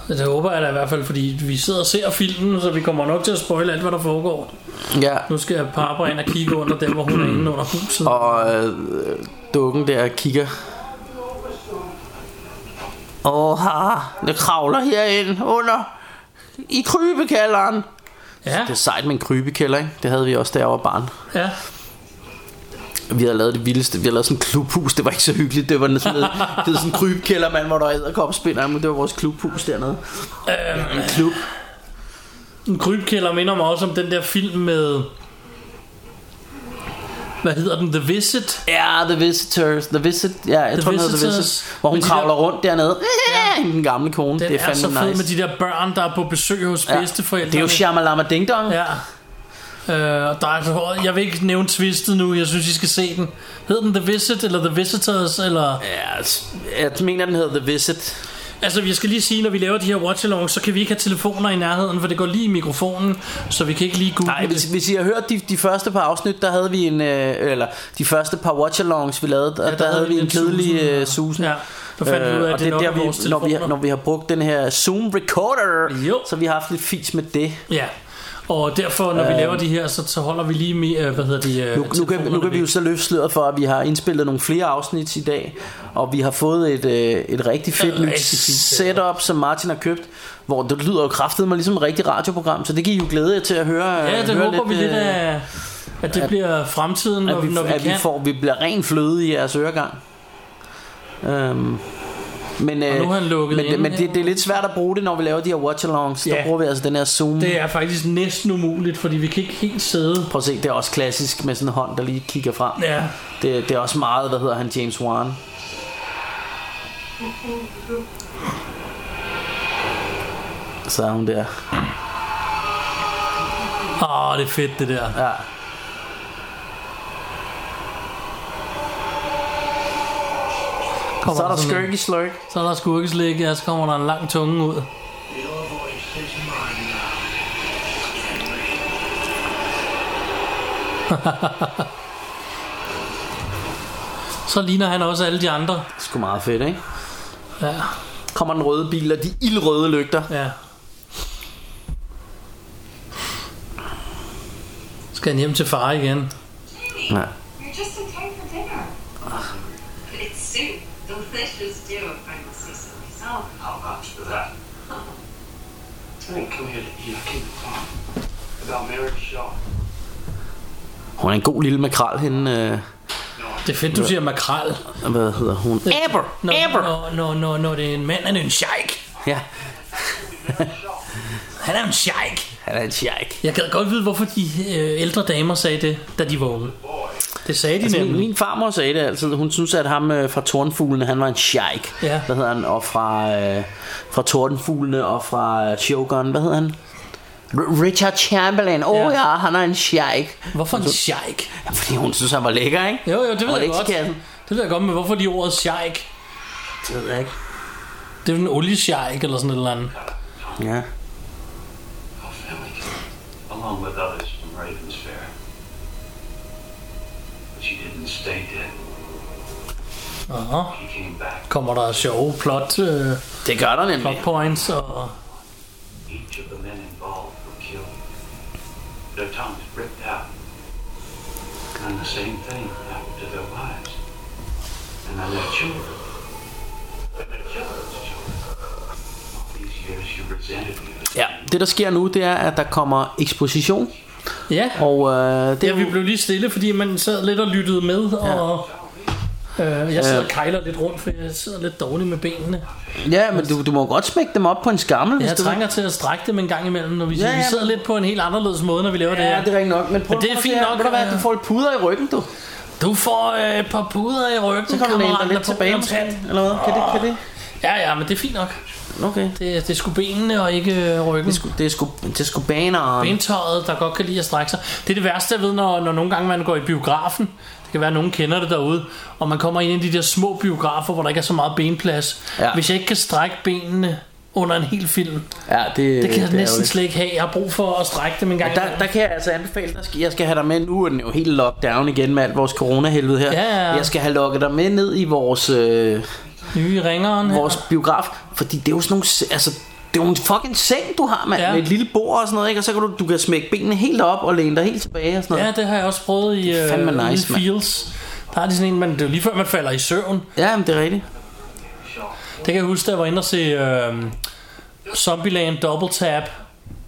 Speaker 3: Det håber jeg da i hvert fald, fordi vi sidder og ser filmen, så vi kommer nok til at spoile alt, hvad der foregår.
Speaker 4: Ja.
Speaker 3: Nu skal Barbara ind og kigge under den, hvor hun er inde under huset.
Speaker 4: Og øh, dukken der kigger. Åh, ha, det kravler herind under i krybekælderen.
Speaker 3: Ja,
Speaker 4: Det er sejt med en krybekælder, ikke? Det havde vi også, da jeg var barn.
Speaker 3: ja.
Speaker 4: Vi havde lavet det vildeste. Vi havde lavet sådan et klubhus. Det var ikke så hyggeligt. Det var sådan, sådan, det var sådan en krybkælder, mand, hvor der var æderkopspinder. Men det var vores klubhus dernede. Øhm. En klub.
Speaker 3: En krybkælder minder mig også om den der film med... Hvad hedder den? The Visit?
Speaker 4: Ja, The Visitors. The Visit, ja, jeg
Speaker 3: The
Speaker 4: tror, den hedder The
Speaker 3: Visitors.
Speaker 4: Visitors. Hvor hun
Speaker 3: Men de
Speaker 4: kravler
Speaker 3: der-
Speaker 4: rundt dernede. Ja. Den gamle kone.
Speaker 3: Den
Speaker 4: det er
Speaker 3: er, så
Speaker 4: fandme
Speaker 3: fed
Speaker 4: nice.
Speaker 3: med de der børn, der er på besøg hos ja. bedsteforældrene.
Speaker 4: Det er jo Shyamalama Ding Dong.
Speaker 3: Ja. Øh, og der er, jeg vil ikke nævne twistet nu, jeg synes, I skal se den. Hed den The Visit, eller The Visitors, eller...
Speaker 4: Ja, s- jeg mener, den hedder The Visit.
Speaker 3: Altså, jeg skal lige sige, når vi laver de her watch så kan vi ikke have telefoner i nærheden, for det går lige i mikrofonen, så vi kan ikke lige google
Speaker 4: Nej, hvis,
Speaker 3: det.
Speaker 4: hvis I har hørt de, de første par afsnit, der havde vi en... Øh, eller de første par watchalongs, vi lavede, der, ja, der, der havde vi en kedelig
Speaker 3: susen,
Speaker 4: øh,
Speaker 3: og-
Speaker 4: susen. Øh,
Speaker 3: Ja, der fandt vi ud af, at
Speaker 4: og
Speaker 3: det nok
Speaker 4: er
Speaker 3: er vores
Speaker 4: vi, når, vi, har-
Speaker 3: telefoner.
Speaker 4: når vi har brugt den her Zoom Recorder,
Speaker 3: Jo.
Speaker 4: så vi har haft lidt fis med det.
Speaker 3: Ja, og derfor, når øh, vi laver de her, så, så holder vi lige med, øh, hvad hedder de... Øh,
Speaker 4: Nu, nu, kan, nu kan vi jo så løfte sløret for, at vi har indspillet nogle flere afsnit i dag, og vi har fået et, øh, et rigtig fedt
Speaker 3: Et
Speaker 4: nyt
Speaker 3: rigtig fint
Speaker 4: setup, som Martin har købt, hvor det lyder jo kraftet mig ligesom et rigtigt radioprogram, så det kan I jo glæde jer til at høre.
Speaker 3: Ja, det
Speaker 4: høre
Speaker 3: håber vi lidt
Speaker 4: øh,
Speaker 3: af, at det at, bliver fremtiden, når,
Speaker 4: at vi,
Speaker 3: når vi
Speaker 4: at
Speaker 3: kan.
Speaker 4: vi, får, vi bliver ren fløde i jeres øregang. Øhm, men, øh,
Speaker 3: nu har han lukket
Speaker 4: men,
Speaker 3: inde
Speaker 4: men det,
Speaker 3: her.
Speaker 4: det er lidt svært at bruge det, når vi laver de her watch-alongs.
Speaker 3: Ja.
Speaker 4: Der bruger vi altså den her zoom.
Speaker 3: Det er faktisk næsten umuligt, fordi vi kan ikke helt sidde.
Speaker 4: Prøv at se, det er også klassisk med sådan en hånd, der lige kigger frem.
Speaker 3: Ja,
Speaker 4: Det, det er også meget, hvad hedder han, James Wan. Så er hun der.
Speaker 3: Åh, oh, det er fedt det der.
Speaker 4: Ja.
Speaker 3: Kommer
Speaker 4: Så er der
Speaker 3: sådan en-
Speaker 4: Skirky Slurk.
Speaker 3: Så er der skurkeslæg, ja, så kommer der en lang tunge ud.
Speaker 6: Your voice is mine now.
Speaker 3: Så ligner han også alle de andre.
Speaker 4: Sgu meget fedt, ikke?
Speaker 3: Ja,
Speaker 4: Kommer den røde bil og de ildrøde lygter.
Speaker 3: ja. Skal han hjem til far igen?
Speaker 4: Ja.
Speaker 5: You're just in time for dinner.
Speaker 9: It's soup. Delicious stew, if I must say so myself.
Speaker 6: How much for that? I didn't come here to eat. I came to talk about Merrick Shaw.
Speaker 4: Hun er en god lille makrel, hende... Øh,
Speaker 3: Det er fedt, du siger makrel.
Speaker 4: hvad hedder hun? Aber!
Speaker 3: Når,
Speaker 4: Aber!
Speaker 3: når, når, når, når det er en mand, han er en sheik.
Speaker 4: Ja,
Speaker 3: Han er en sheik.
Speaker 4: han er en sjejk.
Speaker 3: Jeg gad godt vide, hvorfor de øh, ældre damer sagde det, da de var unge. Det sagde de
Speaker 4: Altså, min,
Speaker 3: nemlig.
Speaker 4: min farmor sagde det altid. Hun synes, at ham øh, fra Tornfuglene, han var en sheik.
Speaker 3: Ja.
Speaker 4: Hvad hedder han? Og fra, øh, fra Tornfuglene og fra øh, Shogun. Hvad hedder han? R- Richard Chamberlain. Åh oh,
Speaker 3: Ja.
Speaker 4: ja. ja, han er en sheik.
Speaker 3: Hvorfor en sheik?
Speaker 4: Ja, fordi hun synes, han var lækker, ikke?
Speaker 3: Altså- Jo, jo, det ved
Speaker 4: Og
Speaker 3: jeg godt.
Speaker 4: lektiekassen.
Speaker 3: Det ved jeg godt, men hvorfor lige ordet sheik?
Speaker 4: Det ved jeg ikke.
Speaker 3: Det er jo en oliesheik eller sådan et eller andet.
Speaker 4: Ja.
Speaker 6: Our family along with others from Ravens Fair. But she didn't stay dead.
Speaker 3: Aha.
Speaker 6: He came back.
Speaker 3: Kommer der sjove plot, øh,
Speaker 4: Det gør der nemlig.
Speaker 3: plot points og...
Speaker 6: Each of the men involved were killed. Their tongues ripped out. And the same thing happened to their wives. And then their children. And their children's children. All these years you resented me.
Speaker 4: Ja, det der sker nu, det er, at der kommer eksposition.
Speaker 3: Ja,
Speaker 4: Og øh, det
Speaker 3: ja,
Speaker 4: er
Speaker 3: vi
Speaker 4: jo...
Speaker 3: blev lige stille, fordi man sad lidt og lyttede med, og... Øh, jeg sidder og kejler lidt rundt, for jeg sidder lidt dårligt med benene.
Speaker 4: Ja, men du, du må godt smække dem op på en skammel. hvis
Speaker 3: Jeg
Speaker 4: du vil.
Speaker 3: trænger til at strække dem en gang imellem, når vi,
Speaker 4: Ja, ja,
Speaker 3: ja, vi sidder
Speaker 4: men-
Speaker 3: lidt på en helt anderledes måde, når vi laver det
Speaker 4: Ja,
Speaker 3: her.
Speaker 4: det er rigtigt nok. Men, prøv,
Speaker 3: Men det er
Speaker 4: prøv at se
Speaker 3: fint
Speaker 4: her.
Speaker 3: nok,
Speaker 4: Ved du hvad,
Speaker 3: ja.
Speaker 4: du får et puder i ryggen, du.
Speaker 3: Du får øh, et par puder i ryggen,
Speaker 4: Så kommer den
Speaker 3: kammerat,
Speaker 4: ind lidt
Speaker 3: på
Speaker 4: tilbage
Speaker 3: Jamen,
Speaker 4: måske. Eller hvad? Kan det, kan det?
Speaker 3: Ja, ja, men det er fint nok.
Speaker 4: Okay.
Speaker 3: Det, det er sgu benene og ikke øh, ryggen.
Speaker 4: Det er sgu, det er sgu, det er sgu baneren.
Speaker 3: bentøjet, der godt kan lide at strække sig. Det er det værste, jeg ved, når, når nogle gange man går i biografen. Det kan være, at nogen kender det derude. Og man kommer ind i de der små biografer, hvor der ikke er så meget benplads.
Speaker 4: Ja.
Speaker 3: Ja. Hvis jeg ikke kan strække benene under en hel film, det
Speaker 4: Ja,
Speaker 3: kan jeg
Speaker 4: det, er
Speaker 3: næsten
Speaker 4: ærgerligt.
Speaker 3: slet ikke have. Jeg har brug for at strække dem en gang.
Speaker 4: Der, der kan jeg altså anbefale, der skal, jeg skal have dig med, nu er den jo helt lockdown igen med alt vores coronahelvede her.
Speaker 3: Ja, ja, ja.
Speaker 4: Jeg skal have lukket dig med ned i vores, øh,
Speaker 3: Nye ringeren her.
Speaker 4: vores biograf, fordi det er jo sådan nogle, se- altså, det er jo en fucking seng, du har, mand,
Speaker 3: Ja.
Speaker 4: ja. med et lille bord og sådan noget, ikke? og så kan du, du kan smække benene helt op og læne dig helt tilbage og sådan noget.
Speaker 3: Ja, det har jeg også prøvet i øh,
Speaker 4: fandme
Speaker 3: ude i
Speaker 4: nice, mand.
Speaker 3: Fields. Der er de sådan en, man, det er jo lige før man falder i søvn.
Speaker 4: Ja, ja men det er rigtigt.
Speaker 3: Det kan jeg huske, da jeg var inde og se øh, Zombieland Double Tap.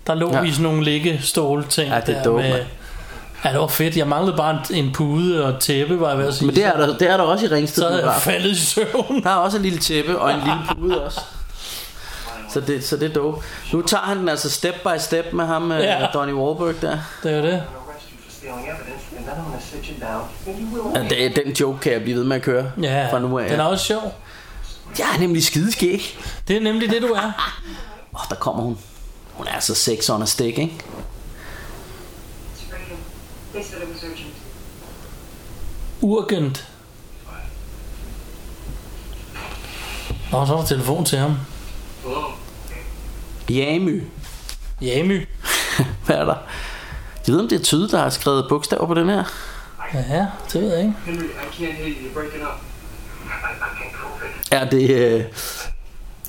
Speaker 3: Der lå
Speaker 4: Ja.
Speaker 3: ja. vi i sådan nogle liggeståle ting.
Speaker 4: Ja, det er dope, mand.
Speaker 3: Ja, det var fedt. Jeg manglede bare en, en pude og et tæppe, var jeg ved at sige.
Speaker 4: Men det er der, det er der også i Ringsted.
Speaker 3: så havde jeg
Speaker 4: biograf.
Speaker 3: faldet i søvn.
Speaker 4: Der er også et lille tæppe og en lille pude også. Så det, så det er dope. Nu tager han den altså step by step med ham,
Speaker 3: Ja.
Speaker 4: ja. Donnie Wahlberg der.
Speaker 3: Det er jo det.
Speaker 6: Arrest you for stealing evidence and and then I'm gonna sit you down, and you will.
Speaker 4: Ja, det, den joke kan jeg blive ved med at køre
Speaker 3: Ja,
Speaker 4: fra nu af.
Speaker 3: den er også sjov.
Speaker 4: Jeg er nemlig skideskæg.
Speaker 3: Det er nemlig det, du er.
Speaker 4: Åh, oh, der kommer hun. Hun er så sex on a stick, ikke?
Speaker 9: It's freedom. They said it was urgent.
Speaker 3: Urgent. Nå, så var der telefon til ham.
Speaker 4: Jamy.
Speaker 3: Jamy.
Speaker 4: Hvad er der? Jeg ved, om det er tydeligt, der er skrevet bogstaver på den her.
Speaker 3: Ja, det ved jeg ikke.
Speaker 6: Henry, I can't hear you. You're breaking up. I, I can't prove it.
Speaker 4: Er det... Øh,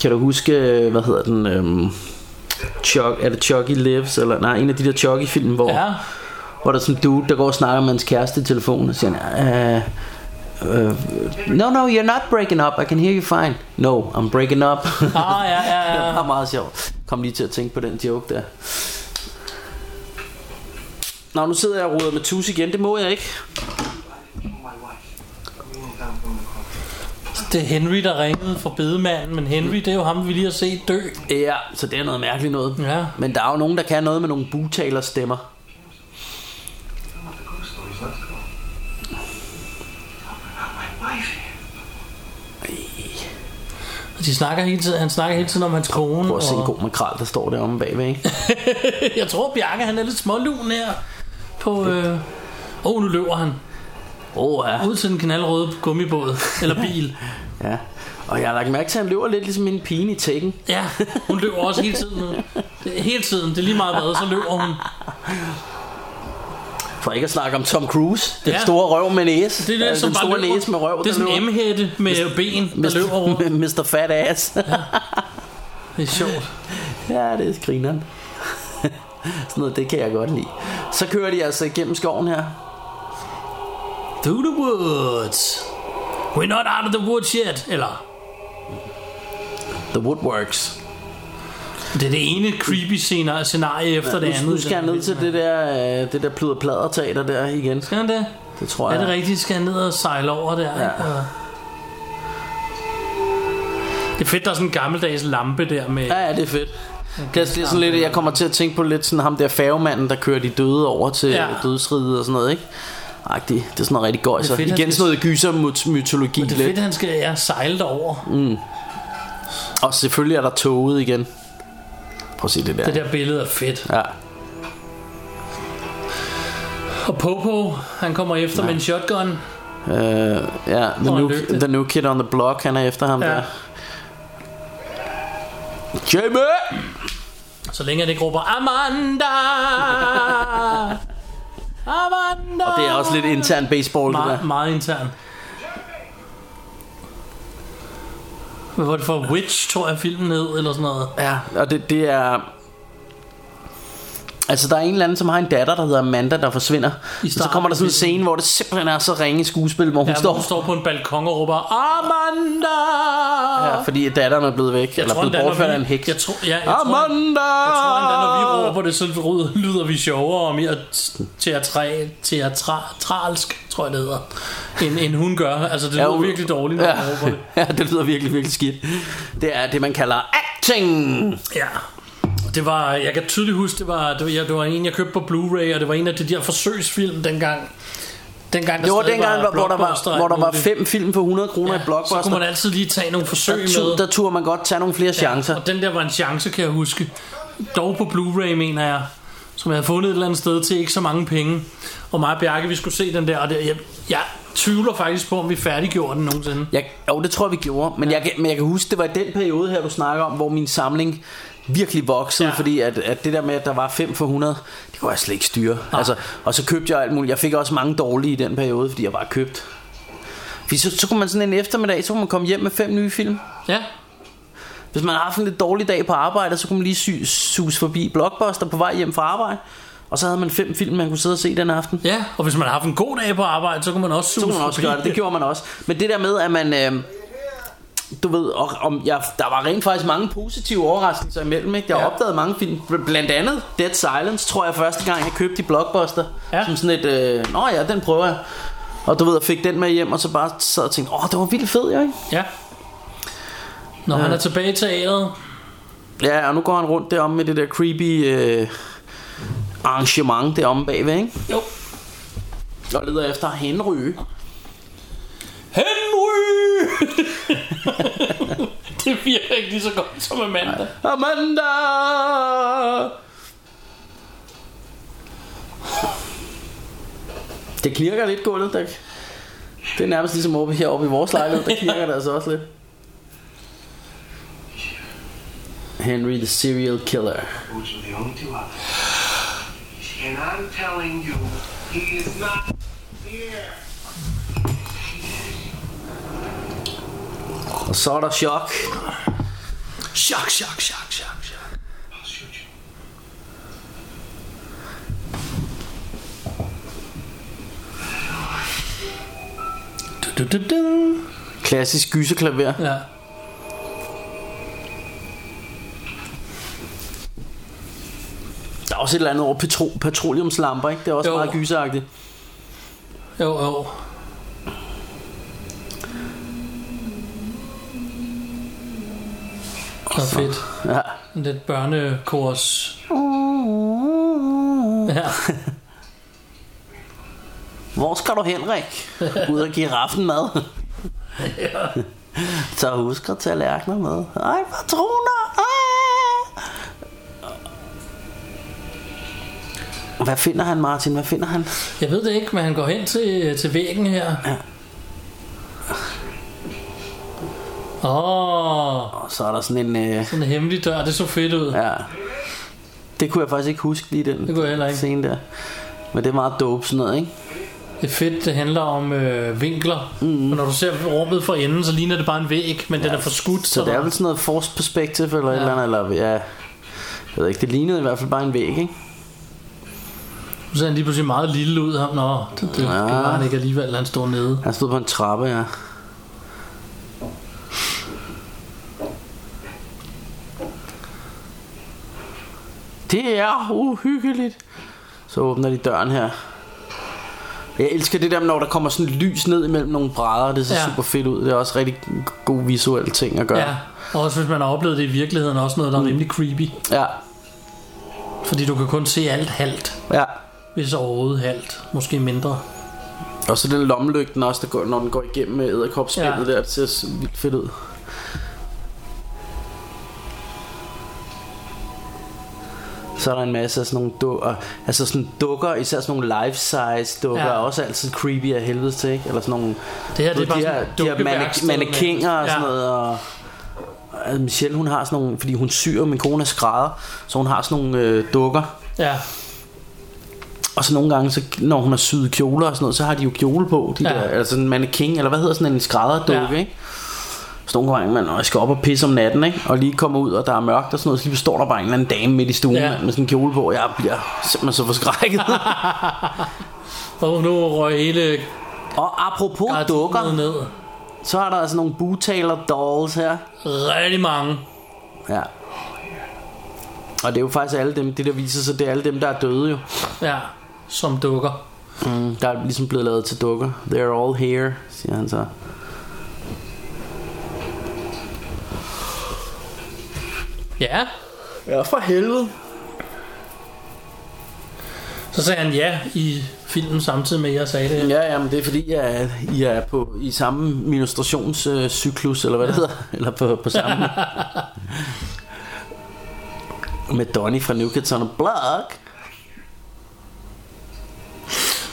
Speaker 4: kan du huske, øh, hvad hedder den? Øh, Chuck, er det Chucky Lives? Eller, nej, en af de der Chucky-film, hvor,
Speaker 3: Ja,
Speaker 4: hvor der er sådan en dude, der går og snakker med hans kæreste i telefonen, og siger, han, øh, øh, no, no, you're not breaking up. I can hear you fine. No, I'm breaking up.
Speaker 3: Ah, ja, ja, ja.
Speaker 4: det var meget sjovt. Kom lige til at tænke på den joke der. Nå, nu sidder jeg og roder med tus igen. Det må jeg ikke.
Speaker 6: Oh, My wife. I'm leaning down from the corner.
Speaker 3: det er Henry, der ringede fra bedemanden, men Henry, det er jo ham, vi lige har set dø.
Speaker 4: Ja, så det er noget mærkeligt noget.
Speaker 3: Ja.
Speaker 4: Men der er jo nogen, der kan noget med nogle bugtalerstemmer.
Speaker 6: I want the ghost stories. Let's go. Talk about my wife here.
Speaker 3: De snakker hele tiden, han snakker hele tiden om hans kone.
Speaker 4: Prøv at se en god makrel, der står deromme bagved, ikke?
Speaker 3: Jeg tror, Bjarke, han er lidt smålun her. På, øh... oh, nu løber han.
Speaker 4: Åh, oh, ja.
Speaker 3: Ud til den knaldrøde gummibåd. Eller bil.
Speaker 4: ja. Og jeg har lagt mærke til, at han løber lidt ligesom en pige i tækken.
Speaker 3: Ja, hun løber også hele tiden nu. Det- Hele tiden, det er lige meget hvad, så løber hun.
Speaker 4: For ikke at snakke om Tom Cruise. Den
Speaker 3: Ja.
Speaker 4: ja. store røv med næse.
Speaker 3: Det er det,
Speaker 4: Altså,
Speaker 3: som
Speaker 4: den
Speaker 3: bare
Speaker 4: store
Speaker 3: løber.
Speaker 4: næse med
Speaker 3: det
Speaker 4: røv.
Speaker 3: er
Speaker 4: der
Speaker 3: sådan en M-hætte med ben, der løber rundt.
Speaker 4: Mr. Mr. Fat Ass.
Speaker 3: Det er sjovt.
Speaker 4: ja, det er skrineren. Sådan noget, det kan jeg godt lide. Så kører de altså igennem skoven her.
Speaker 3: Through the woods. We're not out of the woods yet. Eller,
Speaker 4: The Woodworks.
Speaker 3: det er det ene creepy scenarie, scenarie efter det
Speaker 4: Nu,
Speaker 3: andet.
Speaker 4: nu skal jeg ned til det der, øh, det der pludder plader teater der igen.
Speaker 3: Skal han det?
Speaker 4: Det tror
Speaker 3: Er
Speaker 4: jeg.
Speaker 3: det rigtigt? Skal han ned og sejle over der?
Speaker 4: Ja.
Speaker 3: ikke? Og- Det er fedt, der er sådan en gammeldags lampe der med...
Speaker 4: Ja, ja, det er fedt. Det er, det er sådan lidt, jeg kommer til at tænke på lidt sådan ham der færgemanden, der kører de døde over til
Speaker 3: Ja.
Speaker 4: ja. dødsriget og sådan noget, ikke? Agtigt. Det er sådan noget rigtig gøjser.
Speaker 3: Det er fedt, han
Speaker 4: Igen sådan noget gysermytologi
Speaker 3: Det er fedt,
Speaker 4: lidt.
Speaker 3: at han skal ja, sejle derover. Mm.
Speaker 4: Og selvfølgelig er der toget igen. Prøv at se det der.
Speaker 3: Det der billede er fedt.
Speaker 4: Ja.
Speaker 3: Og Popo, han kommer efter med en shotgun.
Speaker 4: Øh, ja, the
Speaker 3: Og en
Speaker 4: new,
Speaker 3: lygte.
Speaker 4: the new Kid on the Block, han er efter ham
Speaker 3: Ja.
Speaker 4: ja. der. Jamie!
Speaker 3: Så længe han ikke råber, Amanda! Amanda!
Speaker 4: Og det er også lidt intern baseball, det
Speaker 3: meget,
Speaker 4: der.
Speaker 3: meget intern. Hvad var det for Witch, tror jeg filmen hed, eller sådan noget.
Speaker 4: Ja, og det, det er... Altså, der er en eller anden, som har en datter, der hedder Amanda, der forsvinder.
Speaker 3: I
Speaker 4: Og så
Speaker 3: starten
Speaker 4: kommer der sådan en
Speaker 3: af filmen.
Speaker 4: scene, hvor det simpelthen er så ringe skuespil, hvor hun
Speaker 3: Ja,
Speaker 4: ja, står...
Speaker 3: hun står på en balkon og råber, Amanda!
Speaker 4: Ja, fordi datteren er blevet væk, jeg eller
Speaker 3: tror,
Speaker 4: blevet
Speaker 3: endda, når
Speaker 4: bortført
Speaker 3: vi-
Speaker 4: af en heks. Ah,
Speaker 3: Jeg tror, ja, jeg tror,
Speaker 4: Amanda!
Speaker 3: jeg tror endda, når vi råber det, så ryd- lyder vi sjovere og mere t- teatra- teatralsk, tror jeg det hedder, end, end hun gør. Altså, det lyder
Speaker 4: hun-
Speaker 3: virkelig dårligt, når
Speaker 4: Ja.
Speaker 3: ja. man råber det.
Speaker 4: ja, det lyder virkelig, virkelig skidt. Det er det, man kalder acting.
Speaker 3: Ja. Det var, jeg kan tydeligt huske, det var, det var, ja, det var en, jeg købte på Blu-ray, og det var en af de der forsøgsfilm dengang. dengang der
Speaker 4: Det var
Speaker 3: stadig
Speaker 4: dengang, hvor, hvor, der
Speaker 3: blockbuster og
Speaker 4: var, hvor der
Speaker 3: alt
Speaker 4: var
Speaker 3: muligt.
Speaker 4: fem film for 100 kroner i
Speaker 3: Så kunne
Speaker 4: Blockbuster.
Speaker 3: man altid lige tage nogle forsøg
Speaker 4: Der, tu-
Speaker 3: med.
Speaker 4: der turde man godt tage nogle flere chancer.
Speaker 3: Og den der var en chance, kan jeg huske. Dog på Blu-ray, mener jeg. Som jeg havde fundet et eller andet sted til ikke så mange penge. Og mig og Bjarke, vi skulle se den der. Og det, jeg, jeg tvivler faktisk på, om vi færdiggjorde den nogensinde.
Speaker 4: Jeg, jo, det tror jeg, vi gjorde. Men, jeg, kan- men jeg kan huske, det var i den periode her, du snakker om, hvor min samling virkelig voksede,
Speaker 3: Ja.
Speaker 4: ja. fordi at, at det der med, at der var 5 for 100, det kunne jeg slet ikke styre. Altså, og så købte jeg alt muligt. Jeg fik også mange dårlige i den periode, fordi jeg bare købte. Fordi så, så kunne man sådan en eftermiddag, så kunne man komme hjem med fem nye film.
Speaker 3: Ja,
Speaker 4: Hvis man har haft en lidt dårlig dag på arbejde, så kunne man lige sy- sus forbi Blockbuster på vej hjem fra arbejde. Og så havde man fem film, man kunne sidde og se den aften.
Speaker 3: ja. Og hvis man har haft en god dag på arbejde, så kunne man også
Speaker 4: Så kunne
Speaker 3: suse
Speaker 4: man også
Speaker 3: forbi.
Speaker 4: gøre det. Det gjorde man også. Men det der med, at man... Øh, du ved, og, om jeg, der var rent faktisk mange positive overraskelser imellem. Ikke? Jeg
Speaker 3: Ja.
Speaker 4: ja. opdagede mange film. Bl- Blandt andet Dead Silence, tror jeg første gang, jeg købte i Blockbuster.
Speaker 3: Ja.
Speaker 4: Ja. Som sådan et... Øh, Nå ja, den prøver jeg. Og du ved, jeg fik den med hjem, og så bare sad og tænkte, åh, det var vildt fed, jo, ikke?
Speaker 3: Ja. Når han er tilbage i teateret.
Speaker 4: Ja, og nu går han rundt deromme med det der creepy øh, arrangement deromme bagved, ikke?
Speaker 3: Jo.
Speaker 4: og leder efter Henry.
Speaker 3: Henry! det virker ikke lige så godt som Amanda.
Speaker 4: Amanda! Det knirker lidt gulvet, der. Det er nærmest ligesom oppe heroppe i vores lejlighed, der knirker det altså også lidt. Henry the Serial Killer.
Speaker 6: Those are the only two others. And I'm telling you, he is not here.
Speaker 4: Og så er der chok.
Speaker 3: Chok, chok, chok, chok, chok.
Speaker 6: I'll shoot you.
Speaker 3: Du, du, du, du.
Speaker 4: Klassisk gyserklaver.
Speaker 3: Ja.
Speaker 4: Der er også et eller andet over petro- petroleumslamper, ikke? Det er også
Speaker 3: Jo.
Speaker 4: jo. meget gyseragtigt.
Speaker 3: Jo, jo. Det er fedt.
Speaker 4: Ja.
Speaker 3: Sådan Lidt børnekors. Ja.
Speaker 4: Hvor skal du Henrik? Ud og give raffen mad. Så husk at tage lærkner med. Ej, patroner! Ah! Hvad finder han, Martin? Hvad finder han?
Speaker 3: Jeg ved det ikke, men han går hen til, til væggen her. Åh, oh,
Speaker 4: Og så er der sådan en... Øh,
Speaker 3: den hemmelige dør, det så fedt ud.
Speaker 4: ja. Det kunne jeg faktisk ikke huske lige den
Speaker 3: Det kunne jeg heller ikke.
Speaker 4: scene der. Men det er meget dope sådan noget, ikke?
Speaker 3: Det er fedt, det handler om øh, vinkler. Mm. Og når du ser rummet fra enden, så ligner det bare en væg, men ja, den er forskudt.
Speaker 4: Så det er vel sådan noget force perspective eller ja. et eller andet, eller ja, jeg ved ikke, det lignede i hvert fald bare en væg, ikke?
Speaker 3: Så ser han lige pludselig meget lille ud ham. Nå, det, det, det
Speaker 4: Ja.
Speaker 3: var han ikke alligevel, han står nede.
Speaker 4: Han stod på en trappe, ja. Det er uhyggeligt. Så åbner de døren her. Jeg elsker det der, når der kommer sådan lys ned imellem nogle brædder. Det ser
Speaker 3: Ja.
Speaker 4: ja. super fedt ud. Det er også rigtig god visuel ting at gøre.
Speaker 3: Ja. Og også hvis man har oplevet det i virkeligheden, også noget, der er
Speaker 4: Mm.
Speaker 3: rimelig creepy.
Speaker 4: ja.
Speaker 3: Fordi du kan kun se alt halvt,
Speaker 4: ja.
Speaker 3: hvis overhovedet halvt. Måske mindre.
Speaker 4: Og så den lommelygten også, der går, når den går igennem med æderkopspillet
Speaker 3: Ja.
Speaker 4: ja. der. Det ser s- vildt fedt ud. Så er der en masse af sådan nogle dukker, altså sådan dukker, især sådan nogle life-size dukker,
Speaker 3: Ja.
Speaker 4: ja. er også altid creepy af helvede til, ikke? Eller sådan nogle,
Speaker 3: Det her, det
Speaker 4: du
Speaker 3: er
Speaker 4: ved,
Speaker 3: bare
Speaker 4: de
Speaker 3: sådan
Speaker 4: her,
Speaker 3: et
Speaker 4: de her
Speaker 3: dukkeværksted
Speaker 4: manne- mannekinger
Speaker 3: med-
Speaker 4: og sådan
Speaker 3: Ja.
Speaker 4: noget, og og Michelle, hun har sådan nogle, fordi hun syr, min kone er skrædder, så hun har sådan nogle øh, dukker.
Speaker 3: Ja,
Speaker 4: Og så nogle gange, så, når hun har syet kjoler og sådan noget, så har de jo kjole på. De
Speaker 3: Ja.
Speaker 4: ja. der, altså en mannequin, eller hvad hedder sådan en skrædderdukke,
Speaker 3: Ja.
Speaker 4: ja. ikke? Så nogle gange, man "Nå, jeg skal op og pisse om natten, ikke? Og lige kommer ud, og der er mørkt og sådan noget, så lige står der bare en eller anden dame midt i stuen
Speaker 3: Ja.
Speaker 4: ja. med sådan en kjole på, og jeg bliver simpelthen så forskrækket.
Speaker 3: og nu røg hele
Speaker 4: og apropos dukker,
Speaker 3: ned.
Speaker 4: så er der altså nogle butaler dolls her.
Speaker 3: Rigtig mange.
Speaker 4: Ja. Og det er jo faktisk alle dem, det der viser sig, det er alle dem, der er døde jo.
Speaker 3: Ja, som dukker.
Speaker 4: Mm, der er ligesom blevet lavet til dukker. They're all here, siger han så.
Speaker 3: Ja,
Speaker 4: Ja, for helvede.
Speaker 3: så sagde han ja i filmen samtidig med, at jeg sagde det.
Speaker 4: Ja, ja, men det er fordi, jeg, I er på i samme menstruationscyklus, eller hvad det hedder, eller på, på samme. Med Donny fra New Kids on the Block.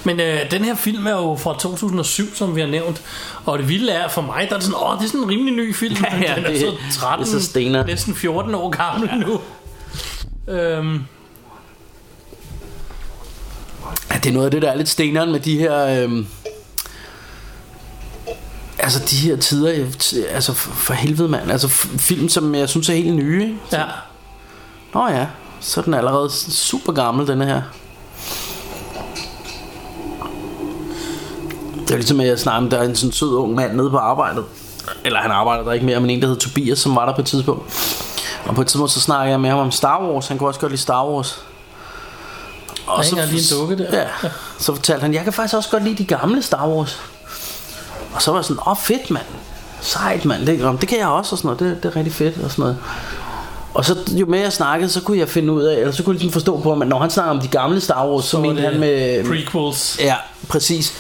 Speaker 3: Men øh, den her film er jo fra 2007, som vi har nævnt. Og det vilde er for mig, der er det sådan, åh, det er sådan en rimelig ny film.
Speaker 4: Ja, ja,
Speaker 3: den er
Speaker 4: det-
Speaker 3: så
Speaker 4: det er
Speaker 3: 13,
Speaker 4: så stener.
Speaker 3: næsten 14 år gammel nu. Øhm,
Speaker 4: Ja, det er noget af det, der er lidt steneren med de her... Øhm, altså de her tider, jeg- t- altså for, for helvede mand, altså f- film, som jeg synes er helt nye. ikke?
Speaker 3: ja.
Speaker 4: Nå ja, så er den allerede super gammel, denne her. Det er ligesom, at jeg snakker om, der er en sådan sød ung mand nede på arbejdet. Eller han arbejder der ikke mere, men en, der hed Tobias, som var der på et tidspunkt. Og på et tidspunkt, så snakker jeg med ham om Star Wars. Han kunne også godt lide Star Wars.
Speaker 3: Der hænger lige en dukke der.
Speaker 4: Ja, så fortalte han, jeg kan faktisk også godt lide de gamle Star Wars. Og så var jeg sådan, åh oh, fedt mand, sejt mand, det, om, det kan jeg også og sådan noget, det, det er rigtig fedt og sådan noget. Og så jo mere jeg snakkede, så kunne jeg finde ud af, eller så kunne jeg ligesom forstå på ham, at når han snakker om de gamle Star Wars, så, så mente
Speaker 3: det
Speaker 4: han med...
Speaker 3: Prequels.
Speaker 4: Ja, præcis.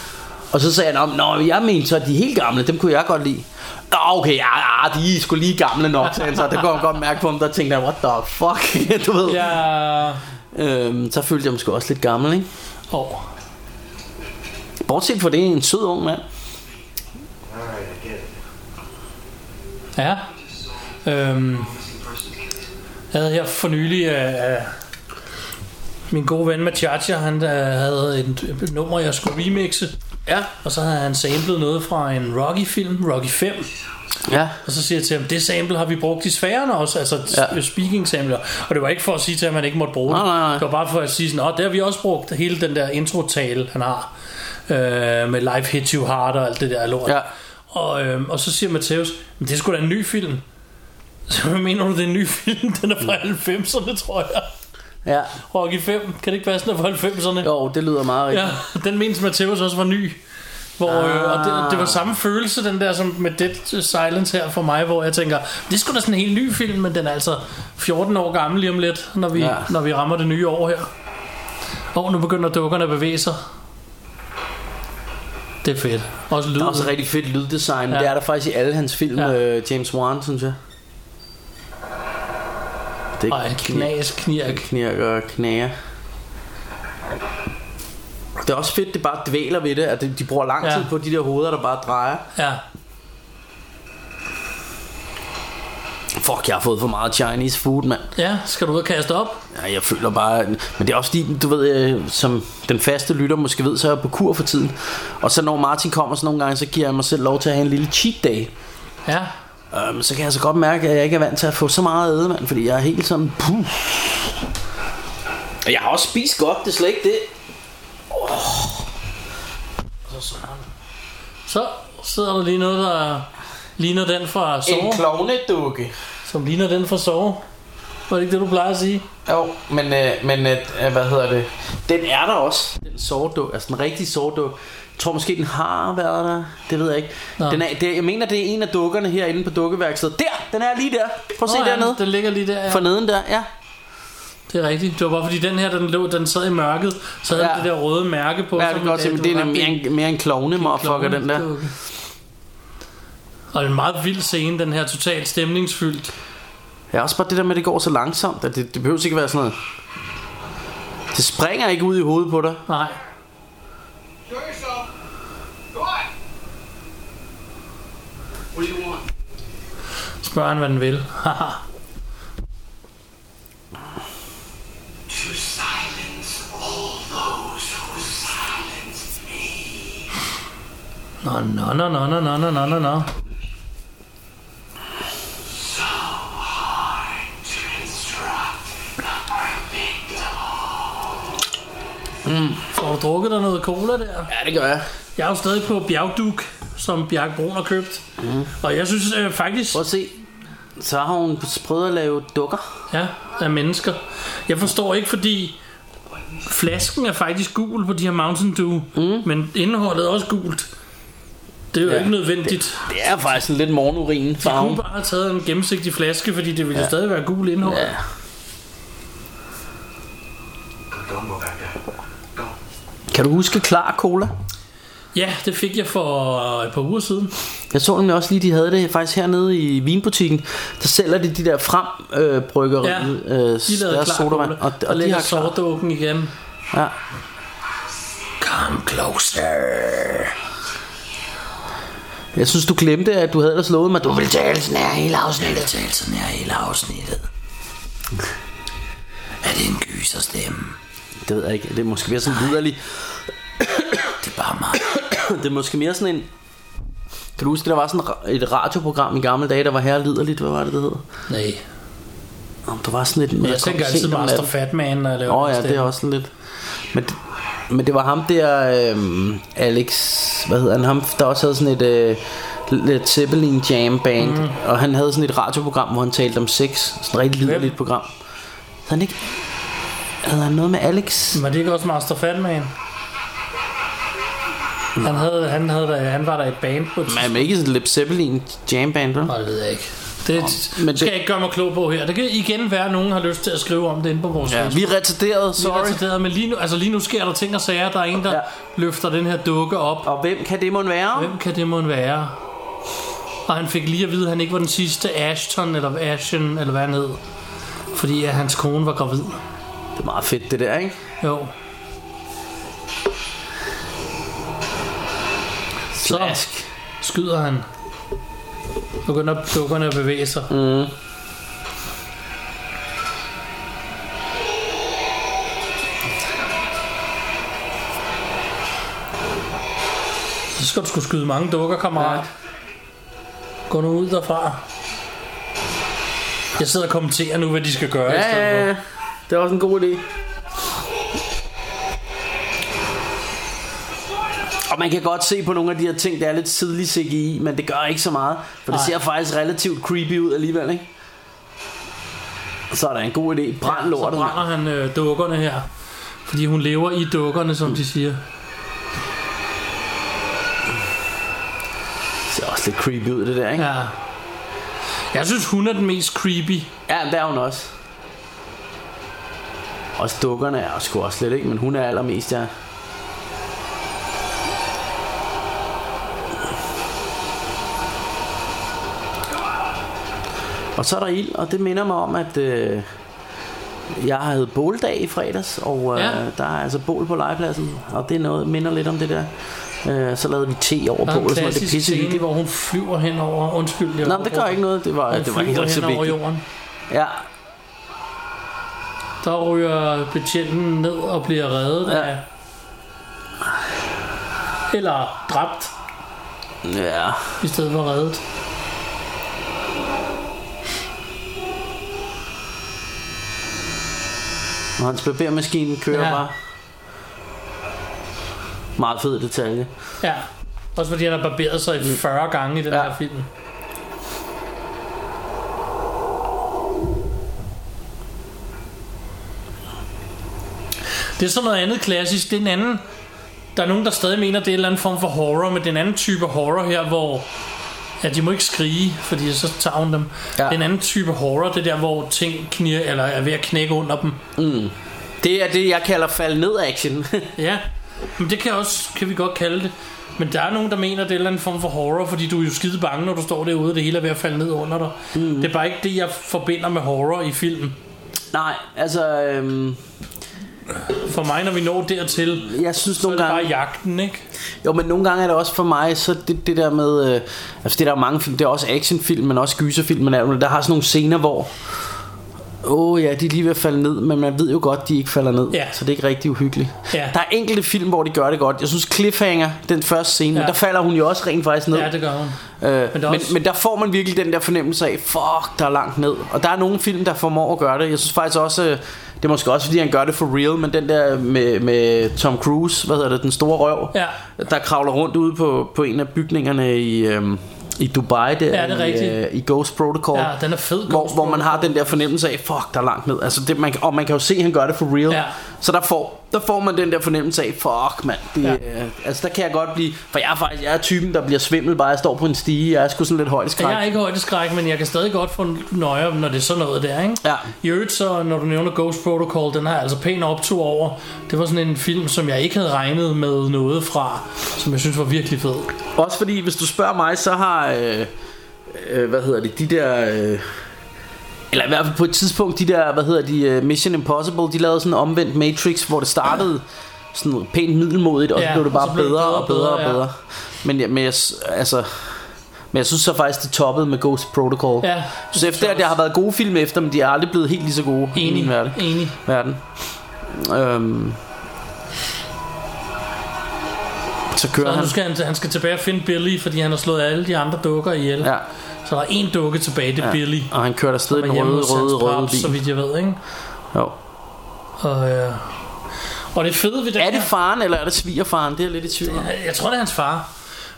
Speaker 4: Og så sagde han om, nå, jeg mente så, at de helt gamle, dem kunne jeg godt lide. Nå, okay, ja, ja, de er sgu lige gamle nok, sagde han så. Det kunne han godt mærke på ham, der tænkte han, what the fuck, du ved.
Speaker 3: Ja.
Speaker 4: Øhm, så følte jeg mig sgu også lidt gammel, ikke?
Speaker 3: Åh.
Speaker 4: Bortset fra det, en sød ung mand.
Speaker 6: All right, I get it.
Speaker 3: Ja. Øhm,
Speaker 6: Missing person case.
Speaker 3: jeg havde her for nylig... Øh, min gode ven Machacha, han øh, havde et, et nummer, jeg skulle remixe.
Speaker 4: Ja.
Speaker 3: Og så havde han samlet noget fra en Rocky-film, Rocky 5.
Speaker 4: Ja.
Speaker 3: Og så siger jeg til ham, det sample har vi brugt i sfærerne også, altså ja.
Speaker 4: Ja.
Speaker 3: speaking sampler. Og det var ikke for at sige til ham, at han ikke måtte bruge
Speaker 4: Nej,
Speaker 3: det.
Speaker 4: nej, nej.
Speaker 3: Det var bare for at sige sådan, "Åh, det har vi også brugt, hele den der intro-tale, han har. Øh, med Life Hits You Hard og alt det der lort.
Speaker 4: Ja.
Speaker 3: Og, øh, og så siger Matheus, men det er sgu da en ny film. Så hvad mener du, det er en ny film? Den er
Speaker 4: Mm.
Speaker 3: fra 90'erne, tror jeg.
Speaker 4: Ja.
Speaker 3: Rocky 5, kan det ikke passe, den er fra 90'erne?
Speaker 4: Jo, det lyder meget rigtigt.
Speaker 3: Ja, den mente Matheus også var ny. Hvor, øh, og det,
Speaker 4: Ah.
Speaker 3: det, var samme følelse, den der som med Dead Silence her for mig, hvor jeg tænker, det skulle da sådan en helt ny film, men den er altså 14 år gammel lige om lidt, når vi, ja.
Speaker 4: Ja.
Speaker 3: når vi rammer det nye år her. Og nu begynder dukkerne at bevæge sig. Det er fedt. Også
Speaker 4: Der
Speaker 3: lyden.
Speaker 4: er også rigtig fedt lyddesign.
Speaker 3: Ja.
Speaker 4: Ja. Det er der faktisk i alle hans film,
Speaker 3: Ja.
Speaker 4: ja. øh, James Wan, synes jeg. Det
Speaker 3: Og en knas, knirk.
Speaker 4: knirker og knager. Det er også fedt, det bare dvæler ved det, at det- de bruger lang
Speaker 3: Ja.
Speaker 4: tid på de der hoveder, der bare drejer.
Speaker 3: Ja.
Speaker 4: Fuck, jeg har fået for meget Chinese food, mand.
Speaker 3: ja, skal du ud og kaste op?
Speaker 4: Ja, jeg føler bare... Men det er også fordi, du ved, øh, som den faste lytter måske ved, så er jeg på kur for tiden. Og så når Martin kommer så nogle gange, så giver jeg mig selv lov til at have en lille cheat day.
Speaker 3: Ja.
Speaker 4: Øhm, så kan jeg så godt mærke, at jeg ikke er vant til at få så meget at æde, mand, fordi jeg er helt sådan... Puh. Og jeg har også spist godt, det er slet ikke det.
Speaker 3: Så sidder der lige noget, der ligner den fra Sove.
Speaker 4: klovnedukke.
Speaker 3: Som ligner den fra Sove. Var det ikke det, du plejer at sige?
Speaker 4: Jo, men, øh, men øh, hvad hedder det? Den er der også. Den sorduk, altså den rigtige sorduk. Jeg tror måske, den har været der. Det ved jeg ikke.
Speaker 3: Nå.
Speaker 4: Den er, det, jeg mener, det er en af dukkerne herinde på dukkeværkstedet. Der! Den er lige der. Prøv at se
Speaker 3: Nå, ja,
Speaker 4: dernede.
Speaker 3: Den ligger lige der. Ja.
Speaker 4: For neden der, ja.
Speaker 3: Det er rigtigt. Det var bare fordi den her, den lå, den sad i mørket, så havde ja.
Speaker 4: Ja.
Speaker 3: det der røde mærke på.
Speaker 4: Ja,
Speaker 3: så
Speaker 4: det kan
Speaker 3: man
Speaker 4: godt se,
Speaker 3: dato-
Speaker 4: men det er
Speaker 3: ret-
Speaker 4: mere en, mere en klovne, motherfucker, den der.
Speaker 3: Okay. Og det er en meget vild scene, den her totalt stemningsfyldt.
Speaker 4: Ja, også bare det der med, at det går så langsomt, at det, det behøver ikke være sådan noget. Det springer ikke ud i hovedet på dig.
Speaker 3: Nej.
Speaker 7: Show yourself. Go on.
Speaker 6: What do you want?
Speaker 3: Spørger han, hvad den vil. Haha.
Speaker 6: To silence all those who silence me.
Speaker 3: nå, nå, nå, nå, nå, nå, nå, nå, nå, nå.
Speaker 6: To instruct the perfect
Speaker 4: Mm.
Speaker 3: Får du drukket dig noget cola der?
Speaker 4: Ja, det gør jeg.
Speaker 3: Jeg er jo stadig på bjergduk, som Bjarke Brun har købt.
Speaker 4: Mhm.
Speaker 3: Mm. Og jeg synes øh, faktisk,
Speaker 4: Prøv at se. Så har hun prøvet at lave dukker.
Speaker 3: ja, af mennesker. Jeg forstår ikke, fordi flasken er faktisk gul på de her Mountain Dew, mm. men indholdet er også gult. Det er jo ja,
Speaker 4: Mhm. Ja,
Speaker 3: ikke nødvendigt.
Speaker 4: Det er faktisk en lidt morgenurin
Speaker 3: Det, de
Speaker 4: farve.
Speaker 3: kunne bare have taget en gennemsigtig flaske, fordi det ville ja. stadig være gul indhold. Ja.
Speaker 4: Ja.
Speaker 6: Don't go back there. Go.
Speaker 4: Kan du huske klar cola?
Speaker 3: ja, det fik jeg for øh, et par uger siden.
Speaker 4: Jeg så nemlig også lige, de havde det faktisk hernede i vinbutikken. Der sælger de de der frem øh, bryggeri,
Speaker 3: Ja,
Speaker 4: ja,
Speaker 3: de
Speaker 4: øh, deres
Speaker 3: De lavede klar
Speaker 4: sodavand.
Speaker 3: cola,
Speaker 4: Og, og, og de
Speaker 3: lægger
Speaker 4: har klar.
Speaker 3: sordåken igen.
Speaker 4: Ja.
Speaker 3: Come closer.
Speaker 4: Jeg synes, du glemte, at du havde ellers lovet mig, at du ville tale sådan her hele
Speaker 3: Jeg
Speaker 4: afsnittet.
Speaker 3: talte sådan her hele afsnittet. Er det en gyserstemme?
Speaker 4: Det ved jeg ikke. Det er måske mere sådan liderlig.
Speaker 3: Det er bare mig.
Speaker 4: Det er måske mere sådan en... Kan du huske, der var sådan ra- et radioprogram i gamle dage, der var her liderligt? Hvad var det, det hed?
Speaker 3: Nej.
Speaker 4: Om der var sådan et...
Speaker 3: Men jeg tænker altid Master Fatman, når jeg laver
Speaker 4: Åh oh,
Speaker 3: den
Speaker 4: ja,
Speaker 3: stemme.
Speaker 4: det er også sådan lidt... Men det, men det var ham der, øhm, Alex, hvad hedder han, ham, der også havde sådan et øh, lidt Zeppelin Jam Band, mm. og han havde sådan et radioprogram, hvor han talte om sex, sådan et rigtig liderligt program. Havde han ikke, havde han noget med Alex?
Speaker 3: Men det er ikke også Master Fatman? Han, havde, han, havde, da- han var der i et band på et
Speaker 4: Men ikke sådan et Led Zeppelin Jam Band, vel?
Speaker 3: Nej, det ved jeg ikke. Det
Speaker 4: men
Speaker 3: men skal
Speaker 4: det-
Speaker 3: jeg ikke gøre mig klog på her. Det kan igen være, at nogen har lyst til at skrive om det inde på vores
Speaker 4: Ja, vi er retarderet, sorry.
Speaker 3: sorry. Men lige nu, altså lige nu sker der ting og sager. Der er en, der
Speaker 4: Ja.
Speaker 3: ja. løfter den her dukke op.
Speaker 4: Og hvem kan det måtte være?
Speaker 3: Hvem kan det måtte være? Og han fik lige at vide, at han ikke var den sidste Ashton, eller Ashen, eller hvad han hed. Fordi at hans kone var gravid.
Speaker 4: Det er meget fedt, det der, ikke?
Speaker 3: Jo. Så
Speaker 4: Slask.
Speaker 3: skyder han. Begynder dukkerne at bevæge sig. Mm. Så skal du skulle skyde mange dukker, kammerat. Ja. Gå nu ud derfra. Jeg sidder og kommenterer nu, hvad de skal gøre i
Speaker 4: Ja,
Speaker 3: stedet
Speaker 4: ja,
Speaker 3: for.
Speaker 4: ja. Det er også en god idé. Og man kan godt se på nogle af de her ting, der er lidt tidlig CGI, men det gør ikke så meget. For det
Speaker 3: Nej.
Speaker 4: ser faktisk relativt creepy ud alligevel, ikke? Så er der en god idé. Brænd lortet.
Speaker 3: Så
Speaker 4: mand.
Speaker 3: brænder han øh, dukkerne her. Fordi hun lever i dukkerne, som de siger.
Speaker 4: Det ser også lidt creepy ud, det der, ikke?
Speaker 3: Ja. Jeg synes, hun er den mest creepy.
Speaker 4: Ja, det er hun også. Også dukkerne er sgu også slet ikke, men hun er allermest, ja. Og så er der ild, og det minder mig om, at øh, jeg havde båldag i fredags, og øh,
Speaker 3: Ja.
Speaker 4: der er altså bål på legepladsen, og det er noget, minder lidt om det der. Øh, så lavede vi te over
Speaker 3: Der er en
Speaker 4: bålet, så det er
Speaker 3: klassisk scene,
Speaker 4: pissehyggeligt.
Speaker 3: hvor hun flyver henover. Undskyld, jeg
Speaker 4: Nå, men det gør ikke noget, det var,
Speaker 3: Hun
Speaker 4: det var
Speaker 3: flyver
Speaker 4: ikke så
Speaker 3: hen over
Speaker 4: vigtigt.
Speaker 3: jorden.
Speaker 4: Ja,
Speaker 3: Der ryger betjenten ned og bliver reddet
Speaker 4: Ja.
Speaker 3: ja. af... Eller dræbt,
Speaker 4: ja.
Speaker 3: i stedet for reddet.
Speaker 4: Og hans barbermaskine kører ja.
Speaker 3: Ja.
Speaker 4: bare. Meget fed detalje.
Speaker 3: Ja. Også fordi han har barberet sig 40 gange i den
Speaker 4: Ja.
Speaker 3: ja. her film. Det er sådan noget andet klassisk. Det er en anden... Der er nogen, der stadig mener, det er en eller anden form for horror, men den anden type horror her, hvor... Ja, de må ikke skrige, fordi så tager hun dem.
Speaker 4: Ja.
Speaker 3: Ja. Den anden type horror, det er der, hvor ting knir, eller er ved at knække under dem.
Speaker 4: Det er det, jeg kalder fald ned action.
Speaker 3: Ja, men det kan, også, kan vi godt kalde det. Men der er nogen, der mener, det er en eller anden form for horror, fordi du er jo skide bange, når du står derude, og det hele er ved at falde ned under dig. Mm. Det er bare ikke det, jeg forbinder med horror i filmen.
Speaker 4: Nej, altså, øhm,
Speaker 3: For mig, når vi når dertil,
Speaker 4: jeg synes
Speaker 3: så er
Speaker 4: nogle
Speaker 3: det
Speaker 4: gange...
Speaker 3: bare jagten, ikke?
Speaker 4: Jo, men nogle gange er det også for mig, så det, det der med... Øh, altså, det der er mange film, det er også actionfilm, men også gyserfilm, men alt muligt. der har sådan nogle scener, hvor... Åh oh, ja, de er lige ved at falde ned, men man ved jo godt, de ikke falder ned,
Speaker 3: Ja.
Speaker 4: så det er ikke rigtig uhyggeligt.
Speaker 3: Ja.
Speaker 4: Der er enkelte film, hvor de gør det godt. Jeg synes Cliffhanger, den første scene, ja.
Speaker 3: Ja.
Speaker 4: der falder hun jo også rent faktisk ned.
Speaker 3: Ja, det gør hun.
Speaker 4: Øh, men,
Speaker 3: der er
Speaker 4: men,
Speaker 3: også-
Speaker 4: men der får man virkelig den der fornemmelse af Fuck, der er langt ned Og der er nogle film, der formår at gøre det Jeg synes faktisk også, øh, det er måske også fordi han gør det for real Men den der med, med Tom Cruise Hvad hedder det, den store røv
Speaker 3: Ja.
Speaker 4: Der kravler rundt ude på, på en af bygningerne i, øhm, i Dubai der,
Speaker 3: Ja, det er
Speaker 4: i,
Speaker 3: rigtigt.
Speaker 4: øh, i Ghost Protocol
Speaker 3: Ja, den er fed, Ghost
Speaker 4: hvor, hvor man har den der fornemmelse af Fuck, der er langt ned altså det, man, Og man kan jo se, at han gør det for real
Speaker 3: Ja.
Speaker 4: Så der får, der får man den der fornemmelse af Fuck, mand det,
Speaker 3: Ja.
Speaker 4: øh, Altså der kan jeg godt blive For jeg er faktisk jeg er typen, der bliver svimmel Bare jeg står på en stige Jeg er sgu sådan lidt højt
Speaker 3: Jeg er ikke højdeskræk, men jeg kan stadig godt få nøje, når det er sådan noget der, ikke?
Speaker 4: Ja.
Speaker 3: I øvrigt, så når du nævner Ghost Protocol, den har jeg altså pæn optur over. Det var sådan en film, som jeg ikke havde regnet med noget fra, som jeg synes var virkelig fed.
Speaker 4: Også fordi, hvis du spørger mig, så har, øh, øh, hvad hedder det, de der, øh, eller i hvert fald på et tidspunkt, de der, hvad hedder de, øh, Mission Impossible, de lavede sådan en omvendt Matrix, hvor det startede sådan pænt middelmodigt, og så
Speaker 3: Ja,
Speaker 4: blev
Speaker 3: og
Speaker 4: det bare
Speaker 3: så blev
Speaker 4: bedre,
Speaker 3: det
Speaker 4: og bedre og bedre.
Speaker 3: ja.
Speaker 4: Men, jeg, men, jeg, s- altså, men jeg synes så faktisk, det toppede med Ghost Protocol.
Speaker 3: Ja,
Speaker 4: så efter, at der har været gode film efter, men de er aldrig blevet helt lige så gode i min
Speaker 3: Enig,
Speaker 4: verden.
Speaker 3: enig.
Speaker 4: verden. Øhm. Så kører
Speaker 3: Så
Speaker 4: han.
Speaker 3: nu skal han, han skal tilbage og finde Billy, fordi han har slået alle de andre dukker ihjel.
Speaker 4: Ja.
Speaker 3: Så der er en dukke tilbage, det er ja. Billy.
Speaker 4: Og han kørte afsted i
Speaker 3: Som er
Speaker 4: den
Speaker 3: hjemme
Speaker 4: røde,
Speaker 3: hos hans
Speaker 4: røde, røde
Speaker 3: paps, så
Speaker 4: bil.
Speaker 3: vidt jeg ved, ikke?
Speaker 4: Jo.
Speaker 3: Og, øh, og det fede ved den
Speaker 4: Er det
Speaker 3: her-
Speaker 4: faren, eller er det svigerfaren? Det er jeg lidt i tvivl om.
Speaker 3: Jeg tror, det er hans far.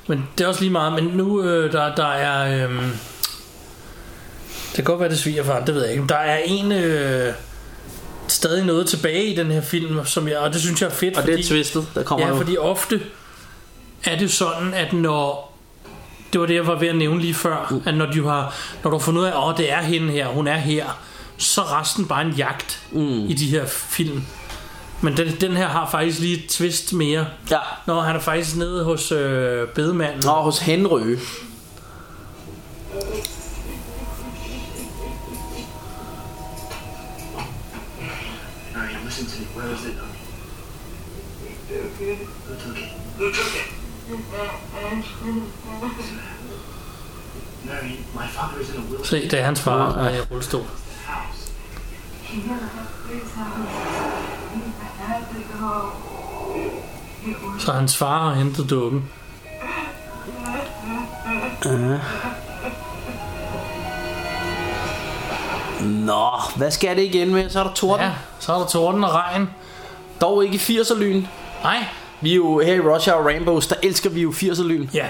Speaker 3: Men det er også lige meget. Men nu, øh, der, der er... Øh, det kan godt være, det er svigerfaren, det ved jeg ikke. Men Der er en... Øh, stadig noget tilbage i den her film, som jeg, og det synes jeg er fedt,
Speaker 4: Og det
Speaker 3: fordi,
Speaker 4: er twistet, der kommer
Speaker 3: Ja,
Speaker 4: nu.
Speaker 3: fordi ofte er det sådan, at når Det var det, jeg var ved at nævne lige før, mm. at når du har, når du har fundet ud af, at oh, det er hende her, hun er her, så er resten bare en jagt mm. i de her film. Men den, den her har faktisk lige et twist mere.
Speaker 4: Ja.
Speaker 3: Nå, han er faktisk nede hos øh, bedemanden.
Speaker 4: Nå, hos Henry.
Speaker 6: All right, listen to me. Where is it? Who took it? Who took it? Mary, my father is in a wheelchair
Speaker 3: Se, det er hans far, der er i rullestol.
Speaker 6: house.
Speaker 3: Så hans far har hentet dukken.
Speaker 4: Nå, hvad skal det igen med? Så er der torden.
Speaker 3: Ja,
Speaker 4: Ja.
Speaker 3: så er der torden og regn.
Speaker 4: Dog ikke 80'er lyn.
Speaker 3: Nej,
Speaker 4: Vi er jo her i Russia og Rainbows, der elsker vi jo 80'er lyn.
Speaker 3: ja.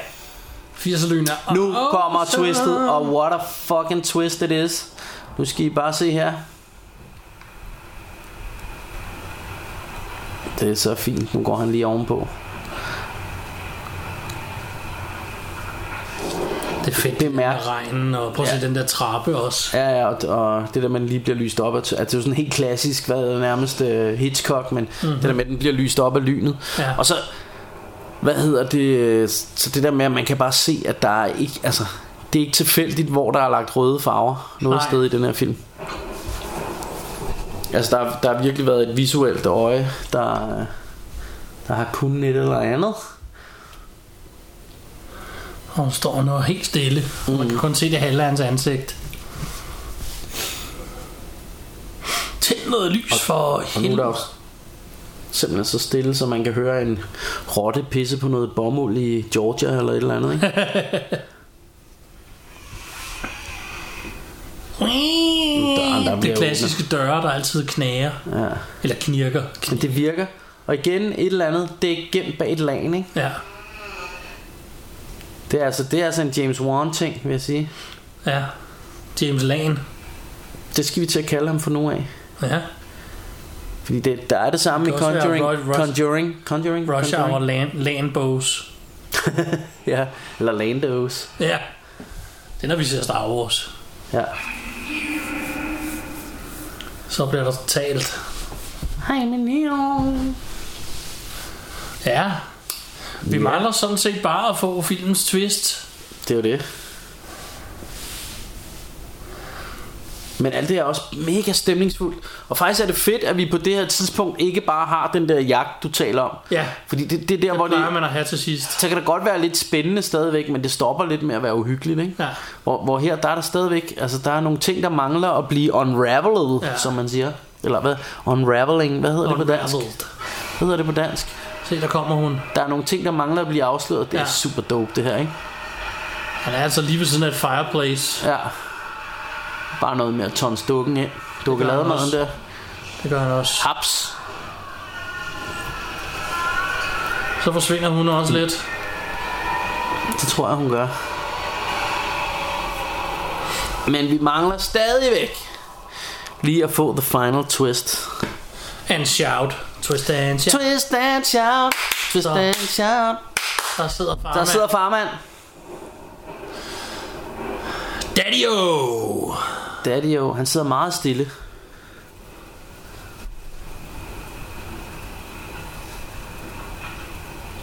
Speaker 3: 80'er lyn er...
Speaker 4: Nu
Speaker 3: Åh,
Speaker 4: kommer
Speaker 3: så-
Speaker 4: twistet, og what a fucking twist it is. Nu skal I bare se her. Det er så fint. Nu går han lige ovenpå.
Speaker 3: Det er fedt,
Speaker 4: det er
Speaker 3: det er
Speaker 4: mærkeligt.
Speaker 3: regnen, og prøv at se den der trappe også.
Speaker 4: Ja, ja, og, og det der, man lige bliver lyst op af, at det er jo sådan helt klassisk, hvad nærmest uh, Hitchcock, men mm-hmm. det der med, at den bliver lyst op af lynet.
Speaker 3: Mhm. Ja.
Speaker 4: Og så, hvad hedder det, øh, så det der med, at man kan bare se, at der er ikke, altså, det er ikke tilfældigt, hvor der er lagt røde farver noget
Speaker 3: Nej.
Speaker 4: sted i den her film. Altså, der, der har virkelig været et visuelt øje, der, øh, der har kunnet et eller andet.
Speaker 3: Og hun står nu helt stille. Mm. Man kan kun se det halve af hans ansigt. Tænd noget lys og, for
Speaker 4: Og nu er der
Speaker 3: helvede.
Speaker 4: jo simpelthen så stille, så man kan høre en rotte pisse på noget bomuld i Georgia eller et eller andet, ikke? der
Speaker 3: Det er
Speaker 4: bliver
Speaker 3: klassiske døre, der altid knager.
Speaker 4: Ja.
Speaker 3: Eller knirker.
Speaker 4: Men det virker. Og igen, et eller andet, det er gemt bag et lag, ikke?
Speaker 3: Ja,
Speaker 4: Det er altså, det er altså en James Wan ting, vil jeg sige.
Speaker 3: ja. James Lane.
Speaker 4: Det skal vi til at kalde ham for nu af.
Speaker 3: Ja.
Speaker 4: Fordi det, der er det samme i
Speaker 3: Det kan også være
Speaker 4: Conjuring.
Speaker 3: Ro- Ro-
Speaker 4: Conjuring. Conjuring.
Speaker 3: Russia og
Speaker 4: Conjuring.
Speaker 3: Lan, Lanbows.
Speaker 4: Ja, eller Landos.
Speaker 3: Ja. Det er, når vi ser Star Wars.
Speaker 4: Ja.
Speaker 3: Så bliver der talt.
Speaker 4: Hej, min
Speaker 3: Ja. Vi
Speaker 4: Ja.
Speaker 3: mangler sådan set bare at få filmens twist.
Speaker 4: Det er jo det. Men alt det er også mega stemningsfuldt. Og faktisk er det fedt, at vi på det her tidspunkt ikke bare har den der jagt, du taler om.
Speaker 3: Ja.
Speaker 4: Fordi det, det er der, hvor
Speaker 3: Hvor
Speaker 4: det...
Speaker 3: plejer man at have til sidst.
Speaker 4: Så kan det godt være lidt spændende stadigvæk, men det stopper lidt med at være uhyggeligt, ikke?
Speaker 3: Ja.
Speaker 4: Hvor, hvor her, der er der stadigvæk... Altså, der er nogle ting, der mangler at blive unraveled,
Speaker 3: Ja.
Speaker 4: ja. som man siger. Eller hvad? Unraveling. Hvad hedder det på dansk?
Speaker 3: Unraveled.
Speaker 4: Hvad hedder det på dansk?
Speaker 3: Se, der kommer hun.
Speaker 4: Der er nogle ting, der mangler at blive afsløret. Det er
Speaker 3: Ja.
Speaker 4: super dope, det her, ikke?
Speaker 3: Han er altså lige ved siden af et fireplace.
Speaker 4: Ja. Bare noget med at tons dukken ind. Dukkelademaden
Speaker 3: også.
Speaker 4: der.
Speaker 3: Det gør han også.
Speaker 4: Haps.
Speaker 3: Så forsvinder hun også lidt.
Speaker 4: Det tror jeg, hun gør. Men vi mangler stadigvæk lige at få the final twist.
Speaker 3: And shout. Twist and shout.
Speaker 4: Twist and shout. Twist
Speaker 3: Så.
Speaker 4: and shout.
Speaker 3: Der sidder far.
Speaker 4: Der sidder farmand.
Speaker 3: daddy -o!
Speaker 4: Daddy jo, han sidder meget stille.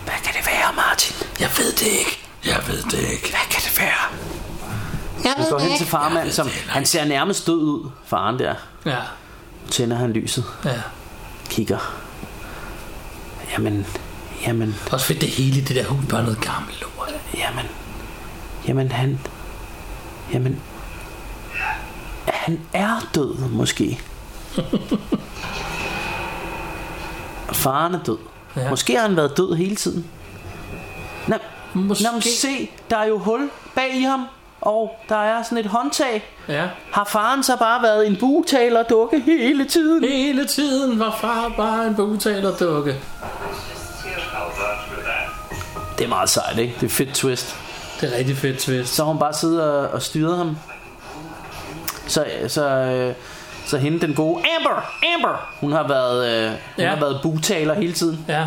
Speaker 4: Hvad kan det være, Martin?
Speaker 3: Jeg ved det ikke. Jeg ved det ikke. Hvad kan det være?
Speaker 4: Han går hen til farmand, som han ser nærmest død ud, faren der.
Speaker 3: Ja,
Speaker 4: Tænder han lyset.
Speaker 3: ja.
Speaker 4: kigger. Jamen, jamen,
Speaker 3: Det er også fedt, det hele i det der hus bare er noget gammelt lort.
Speaker 4: jamen, jamen han, jamen, han er død måske. Faren er død.
Speaker 3: Ja.
Speaker 4: Ja. Måske har han været død hele tiden. Nå,
Speaker 3: Måske.
Speaker 4: Nå, men se, der er jo hul bag i ham, og der er sådan et håndtag.
Speaker 3: Ja.
Speaker 4: Har faren så bare været en bugtaler dukke hele tiden?
Speaker 3: Hele tiden var far bare en bugtalerdukke.
Speaker 4: Det er meget sejt, ikke? Det er et fedt twist.
Speaker 3: Det er rigtig fedt twist.
Speaker 4: Så har hun bare siddet og, og styret ham. Så, så, øh, så hende, den gode Amber, Amber, hun har været, øh, hun
Speaker 3: Ja.
Speaker 4: ja. har været bugtaler hele tiden.
Speaker 3: Ja.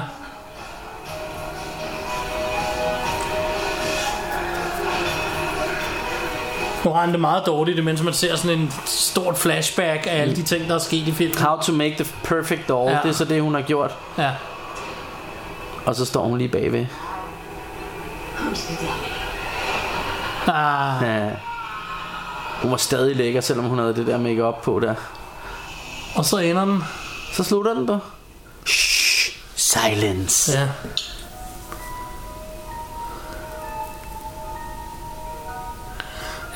Speaker 3: Nu har han det meget dårligt, mens man ser sådan en stort flashback af alle de ting, der er sket i filmen.
Speaker 4: How to make the perfect doll.
Speaker 3: Ja.
Speaker 4: Ja. Det er så det, hun har gjort.
Speaker 3: Ja.
Speaker 4: Og så står hun lige bagved.
Speaker 3: Ah,
Speaker 4: Ja. Hun var stadig lækker, selvom hun havde det der makeup på der.
Speaker 3: og så ender den.
Speaker 4: Så slutter den der. Shh, silence.
Speaker 3: Ja.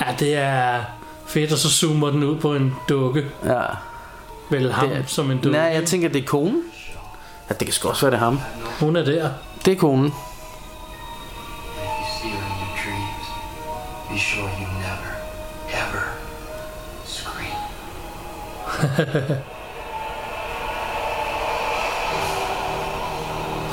Speaker 3: Ja, det er fedt, og så zoomer den ud på en dukke.
Speaker 4: Ja.
Speaker 3: Vel ham
Speaker 4: Det er-
Speaker 3: som en dukke.
Speaker 4: Nej, jeg tænker, det er konen. Ja, det kan sgu også være, det er ham.
Speaker 3: Hun er der.
Speaker 4: Det er konen.
Speaker 6: If you see her in your dreams, be sure you never, ever scream.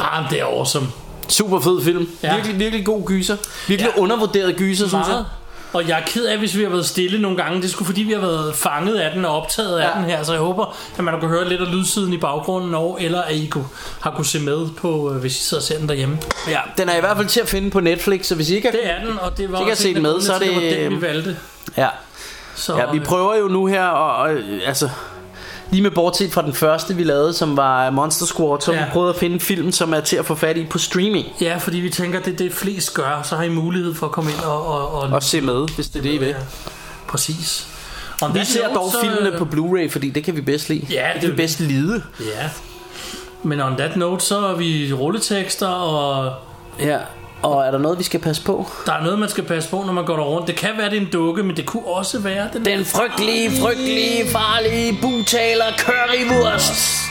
Speaker 3: Ah, men det er awesome.
Speaker 4: Super fed film.
Speaker 3: Ja.
Speaker 4: Ja. Virkelig, virkelig god gyser. Virkelig ja. undervurderet gyser, synes jeg.
Speaker 3: Meget. Og jeg er ked af, hvis vi har været stille nogle gange. Det skulle fordi, vi har været fanget af den og optaget af
Speaker 4: Ja.
Speaker 3: den her. Så jeg håber, at man har kunne høre lidt af lydsiden i baggrunden over, eller at I kunne, har kunne se med på, øh, hvis I sidder og ser den derhjemme.
Speaker 4: Ja, den er i hvert fald til at finde på Netflix, så hvis I ikke har...
Speaker 3: Det er den, og det var
Speaker 4: Det kan
Speaker 3: også
Speaker 4: jeg
Speaker 3: en
Speaker 4: se
Speaker 3: af
Speaker 4: med, så er
Speaker 3: grundene til,
Speaker 4: det-
Speaker 3: var den, vi valgte.
Speaker 4: Ja.
Speaker 3: Så,
Speaker 4: ja, vi prøver jo nu her, og, og øh, altså... Lige med bortset fra den første, vi lavede, som var Monster Squad, så
Speaker 3: Ja.
Speaker 4: ja. vi prøvede at finde en film, som er til at få fat i på streaming.
Speaker 3: øh, ja, fordi vi tænker, det er det flest gør, så har I mulighed for at komme ind og... og, og,
Speaker 4: Og se med, hvis det er det, I vil.
Speaker 3: Ja. Præcis. Og
Speaker 4: Vi
Speaker 3: der
Speaker 4: ser
Speaker 3: jo
Speaker 4: dog
Speaker 3: så-
Speaker 4: filmene på Blu-ray, fordi det kan vi bedst lide.
Speaker 3: Ja,
Speaker 4: det
Speaker 3: det-
Speaker 4: kan vi bedst lide.
Speaker 3: øh, Ja. Men on that note, så er vi rulletekster, og
Speaker 4: Ja. Og er der noget, vi skal passe på?
Speaker 3: der er noget, man skal passe på, når man går der rundt. Det kan være, det er en dukke, men det kunne også være den
Speaker 4: Den frygtelige, frygtelige, farlige butaler currywurst.